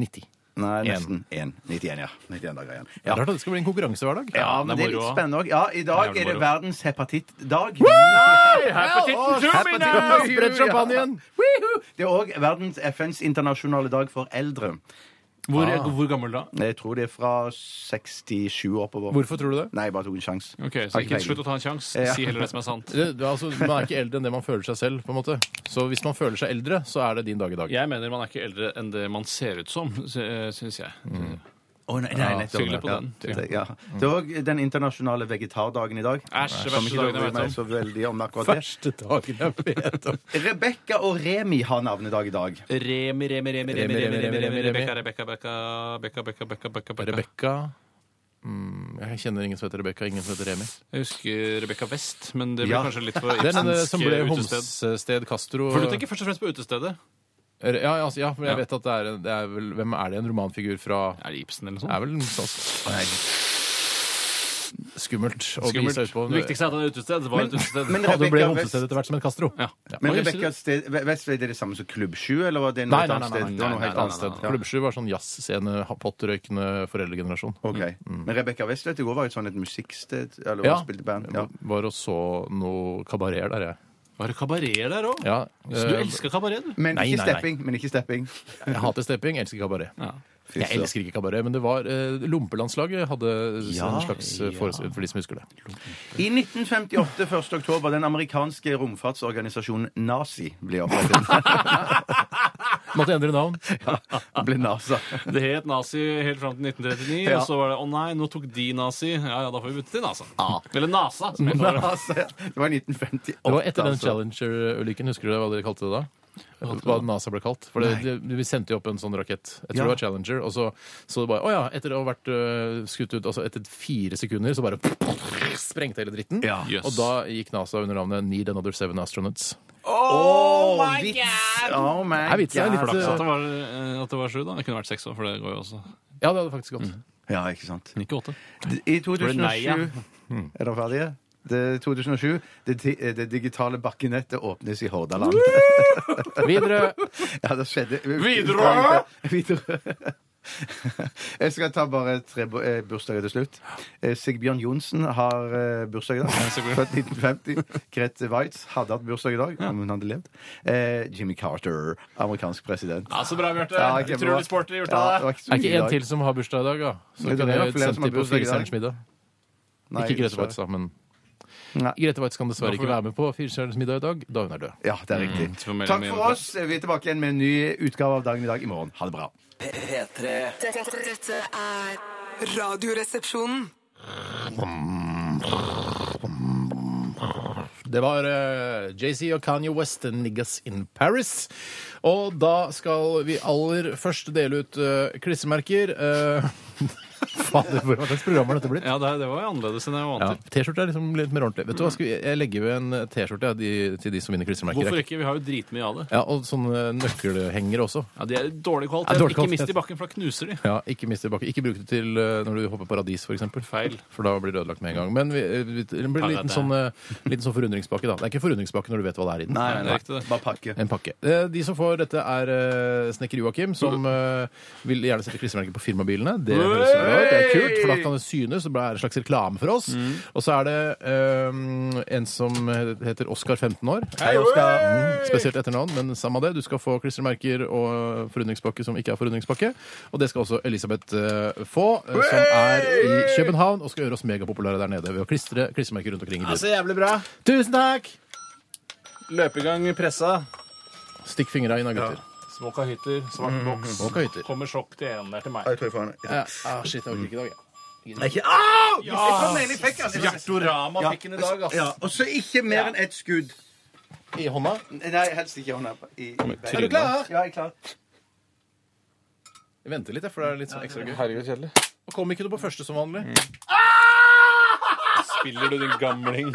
Speaker 1: 90.
Speaker 2: Nei,
Speaker 1: En.
Speaker 2: nesten én. 91, ja. 91 dager igjen.
Speaker 1: Ja. Rart at det skal bli en konkurranse hver dag.
Speaker 2: Ja, men det
Speaker 3: det er
Speaker 2: er litt
Speaker 3: moro.
Speaker 2: spennende òg. Ja, i dag
Speaker 3: Det er
Speaker 2: er det
Speaker 3: moro.
Speaker 2: verdens hepatittdag.
Speaker 1: Hepatitten
Speaker 2: Hepatitten Trumina!
Speaker 1: Spredd champagnen!
Speaker 2: Woohoo! Det er òg verdens FNs internasjonale dag for eldre.
Speaker 3: Hvor, hvor gammel da?
Speaker 2: Jeg tror det er fra 67 oppover.
Speaker 1: Hvorfor tror du det?
Speaker 2: Nei, jeg bare tok en sjanse.
Speaker 3: Ok, så ikke Slutt å ta en sjanse.
Speaker 2: Ja.
Speaker 3: Si heller det som er sant.
Speaker 1: Det, det, er altså, man er ikke eldre enn det man føler seg selv. på en måte Så hvis man føler seg eldre, så er det din dag i dag.
Speaker 3: Jeg mener man er ikke eldre enn det man ser ut som, syns jeg.
Speaker 2: Å, nei, nei, nettopp.
Speaker 3: Skylder på den.
Speaker 2: Ja, det- ja. Det er òg den internasjonale vegetardagen i dag.
Speaker 3: Æsj,
Speaker 2: Som
Speaker 3: det verste
Speaker 2: ikke
Speaker 3: dagen jeg
Speaker 2: bryr meg
Speaker 3: vet om.
Speaker 2: så veldig om akkurat det.
Speaker 1: Første dagen jeg vet om.
Speaker 2: Rebekka og Remi har navnedag i dag.
Speaker 3: Remi, Remi, Remi, Remi, Remi, Remi, Remi, Rebekka, Rebekka, Rebekka, Rebekka, Rebekka, Rebekka, Rebekka.
Speaker 1: Rebekka mm, Jeg kjenner ingen som heter Rebekka, ingen som heter Remi.
Speaker 3: Jeg husker Rebekka West, men det ble
Speaker 2: Ja.
Speaker 3: kanskje litt for
Speaker 1: Det er den eh,
Speaker 3: itsensk
Speaker 1: som ble
Speaker 3: utested.
Speaker 1: Homsested Castro.
Speaker 3: For du tenker først og fremst på utestedet?
Speaker 1: Ja, ja, altså, ja, men
Speaker 3: Ja.
Speaker 1: jeg vet at det er, en- det er vel Hvem er det en romanfigur fra
Speaker 3: Er det Ibsen eller
Speaker 1: Det
Speaker 3: noe sånt?
Speaker 1: er vel en sånn Skummelt å bli
Speaker 3: Skummelt.
Speaker 1: seg ut på.
Speaker 3: Det viktigste er at det er utested. Det var et utested.
Speaker 2: men-
Speaker 1: Ja, det ble
Speaker 2: Rebekka West-
Speaker 1: homsested etter hvert som en Castro.
Speaker 3: Ja.
Speaker 2: Men
Speaker 3: Oi,
Speaker 2: Rebekka Sted- Ve- Vestved er det samme som Klubb 7, eller var det noe
Speaker 1: Nei,
Speaker 2: helt
Speaker 1: nei,
Speaker 2: annet
Speaker 1: nei,
Speaker 2: sted?
Speaker 1: nei,
Speaker 2: Det var noe
Speaker 3: nei,
Speaker 2: helt
Speaker 3: nei,
Speaker 2: annet
Speaker 3: nei,
Speaker 2: sted.
Speaker 3: nei,
Speaker 2: Ja.
Speaker 1: Klubbsky var sånn jazzscene, pottrøykende foreldregenerasjon.
Speaker 2: Ok. Men Rebekka Vestved det går var jo et sånn et musikksted, eller
Speaker 1: Mm, Ja.
Speaker 2: hun spilte i band. Ja.
Speaker 1: Var og så noe kabareter der, jeg.
Speaker 3: Var det kabareter der òg?
Speaker 1: Ja,
Speaker 3: Så du
Speaker 1: eh,
Speaker 3: elsker kabaret, du?
Speaker 2: Men
Speaker 1: Nei,
Speaker 2: ikke
Speaker 1: nei, nei.
Speaker 2: stepping. Men ikke stepping.
Speaker 1: jeg hater stepping, elsker kabaret.
Speaker 3: Ja.
Speaker 1: Jeg elsker ikke kabaret, men det var eh, Lompelandslaget hadde
Speaker 2: Ja.
Speaker 1: en slags eh, forestilling for de som husker det.
Speaker 2: I 1958, 1. oktober, den amerikanske romfartsorganisasjonen Nazi ble opprettet.
Speaker 1: Måtte endre navn.
Speaker 2: ble NASA.
Speaker 3: Det het nazi helt fram til 1939,
Speaker 2: Ja.
Speaker 3: og så var det 'Å nei, nå tok de nazi'. Ja ja, da får vi bytte til NASA. Eller NASA. som jeg kaller det.
Speaker 2: NASA. Det var i 1958.
Speaker 1: Det var etter den
Speaker 2: altså.
Speaker 1: Challenger-ulykken. Husker du det, hva dere kalte det da? Hva NASA ble kalt? For det, det, Vi sendte jo opp en sånn rakett. Jeg tror
Speaker 2: Ja.
Speaker 1: det var Challenger. Og så så det bare Å ja, etter å ha vært øh, skutt ut altså Etter fire sekunder så bare sprengte hele dritten.
Speaker 2: Ja.
Speaker 3: Jøss.
Speaker 1: Og da gikk NASA under navnet Need Another Seven Astronauts.
Speaker 2: Oh my god! Oh my
Speaker 1: Nei, vitsen er litt-
Speaker 2: god.
Speaker 1: altså.
Speaker 3: Flaks at det var, eh, at det var sju, da. Det kunne vært seks år, for det går jo også.
Speaker 1: Ja, det hadde faktisk gått.
Speaker 2: Ja, ikke sant.
Speaker 3: Men ikke åtte.
Speaker 2: I
Speaker 3: det nei, ja?
Speaker 2: 2007 Er dere ferdige? Det er 2007. Det, ti- eh, det digitale bakkenettet åpnes i Hordaland.
Speaker 1: Videre.
Speaker 2: Ja, det skjedde
Speaker 3: Widerøe!
Speaker 2: Widerøe. Jeg skal ta bare tre bu- eh, bursdager til slutt. Eh, Sigbjørn Johnsen har eh, bursdag i dag. Født 1950. Grete Waitz hadde hatt bursdag i dag, om hun hadde levd. Eh, Jimmy Carter, amerikansk president.
Speaker 3: Ja, så bra, Bjarte.
Speaker 2: Ja, kjempebra.
Speaker 3: Utrolig sporty gjort
Speaker 2: Ja,
Speaker 3: av
Speaker 2: det var
Speaker 3: deg.
Speaker 2: ikke så mye
Speaker 1: Er ikke
Speaker 2: i
Speaker 1: en
Speaker 2: dag.
Speaker 1: til som har bursdag i dag, da? Så
Speaker 2: Men det
Speaker 1: kunne
Speaker 2: er
Speaker 1: jeg
Speaker 2: flere
Speaker 1: sendt
Speaker 2: som har
Speaker 1: dem på
Speaker 2: bursdag i dag.
Speaker 1: Firestjerners middag.
Speaker 2: Nei,
Speaker 1: Ikke Grete
Speaker 2: dessverre.
Speaker 1: Waitz, altså. da, men
Speaker 2: Nei.
Speaker 1: Grete Waitz kan dessverre ikke være med på Firestjerners middag i dag, da hun er død.
Speaker 2: Ja, det er riktig.
Speaker 3: Mm, så får vi
Speaker 2: Takk for
Speaker 3: melde meg inn.
Speaker 2: oss. Vi er tilbake igjen med en ny utgave av Dagen i dag i morgen. Ha det bra.
Speaker 5: P3.
Speaker 4: Dette, dette er Radioresepsjonen.
Speaker 1: Det var eh, Jay-Z og Kanye West, 'Niggas in Paris'. Og da skal vi aller først dele ut eh, klissemerker. eh, Fader, hvor- hva slags program har dette blitt?
Speaker 3: Ja, det, det var jo annerledes enn jeg var
Speaker 1: Ja,
Speaker 3: vant til.
Speaker 1: T-skjorte er liksom litt mer ordentlig. Vet du hva, skal vi, Jeg legger ved en T-skjorte ja, de- til de som vinner klissemerker.
Speaker 3: Hvorfor ikke? Vi har jo dritmye av det.
Speaker 1: Ja, Og sånne nøkkelhengere også.
Speaker 3: Ja, De er dårlig kvalitet.
Speaker 1: Ja, dårlig
Speaker 3: Ikke
Speaker 1: kvalitet.
Speaker 3: mist i bakken, for da knuser de.
Speaker 1: Ja, Ikke mist tilbake. Ikke bruk det til eh, når du hopper paradis, f.eks.
Speaker 3: Feil.
Speaker 1: For da blir det ødelagt med en gang. Men vi, eh, vi, det blir en liten
Speaker 3: Paradis.
Speaker 1: sånn, eh, liten sånn forundringspakke, da. Det er ikke forundringspakke når du vet hva det er i den.
Speaker 3: nei, det er riktig det.
Speaker 2: Bare pakke.
Speaker 1: En pakke. Eh, De som får dette, er eh, snekker Joakim, som eh, vil gjerne sette klistremerker på firmabilene. Det høres bra ut. Det er kult, for da kan det synes. Det er en slags reklame for oss. Og så er det eh, en som heter Oskar, 15 år.
Speaker 2: Hei, Oskar.
Speaker 1: Mm, spesielt etternavn, men samme det. Du skal få klistremerker og forundringspakke som ikke er forundringspakke. Og det skal også Elisabeth eh, få, eh, som er i København og skal gjøre oss megapopulære der nede ved å klistre klistremerker rundt omkring i byen.
Speaker 3: jævlig bra.
Speaker 1: Tusen takk!
Speaker 3: Løpe i gang pressa.
Speaker 1: Stikk fingra inn da, gutter.
Speaker 3: Små kahytter, svart boks.
Speaker 1: Og køyter.
Speaker 3: Kommer sjokk til en der til meg.
Speaker 1: Ja, ah, shit, jeg orker ikke i dag, jeg.
Speaker 2: altså
Speaker 3: Hjertorama fikk den i dag, ass.
Speaker 2: Ja, og så ikke mer enn ett skudd.
Speaker 1: I hånda?
Speaker 2: Nei, helst ikke i hånda. I- i-
Speaker 3: Er du
Speaker 1: klar?
Speaker 2: Ja, jeg er klar.
Speaker 1: Jeg venter litt, jeg, for det er litt sånn ekstra gøy.
Speaker 3: Herregud, kjedelig.
Speaker 1: Og kom ikke du på første som vanlig?
Speaker 3: Mm. Spiller du din gamling?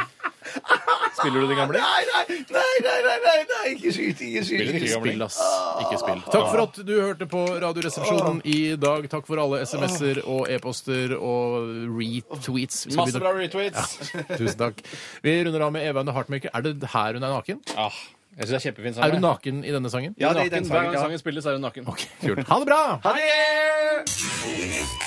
Speaker 3: Spiller du din gamling?
Speaker 2: Nei, nei, nei, nei, nei, nei, nei, ikke skyt, ikke skyt.
Speaker 3: Ikke
Speaker 1: Spill,
Speaker 3: gamling. Ah,
Speaker 1: ass. Ikke spill. Takk for at du hørte på Radioresepsjonen i dag. Takk for alle SMS-er og e-poster og retweets. Vi skal
Speaker 3: Masse
Speaker 1: begynne-
Speaker 3: bra retweets.
Speaker 1: Tusen takk. Vi runder av med Eva and the Heartmaker. Er det her hun er naken?
Speaker 3: Ah, jeg synes det er sånn kjempefin sang.
Speaker 1: Er hun
Speaker 3: jeg.
Speaker 1: naken i denne sangen?
Speaker 2: Ja, det er i
Speaker 3: Naken.
Speaker 2: den
Speaker 3: Hver
Speaker 2: sangen.
Speaker 3: gang
Speaker 2: ja.
Speaker 3: sangen spilles, er hun naken.
Speaker 1: Kult. Ha det bra!
Speaker 2: Ha det!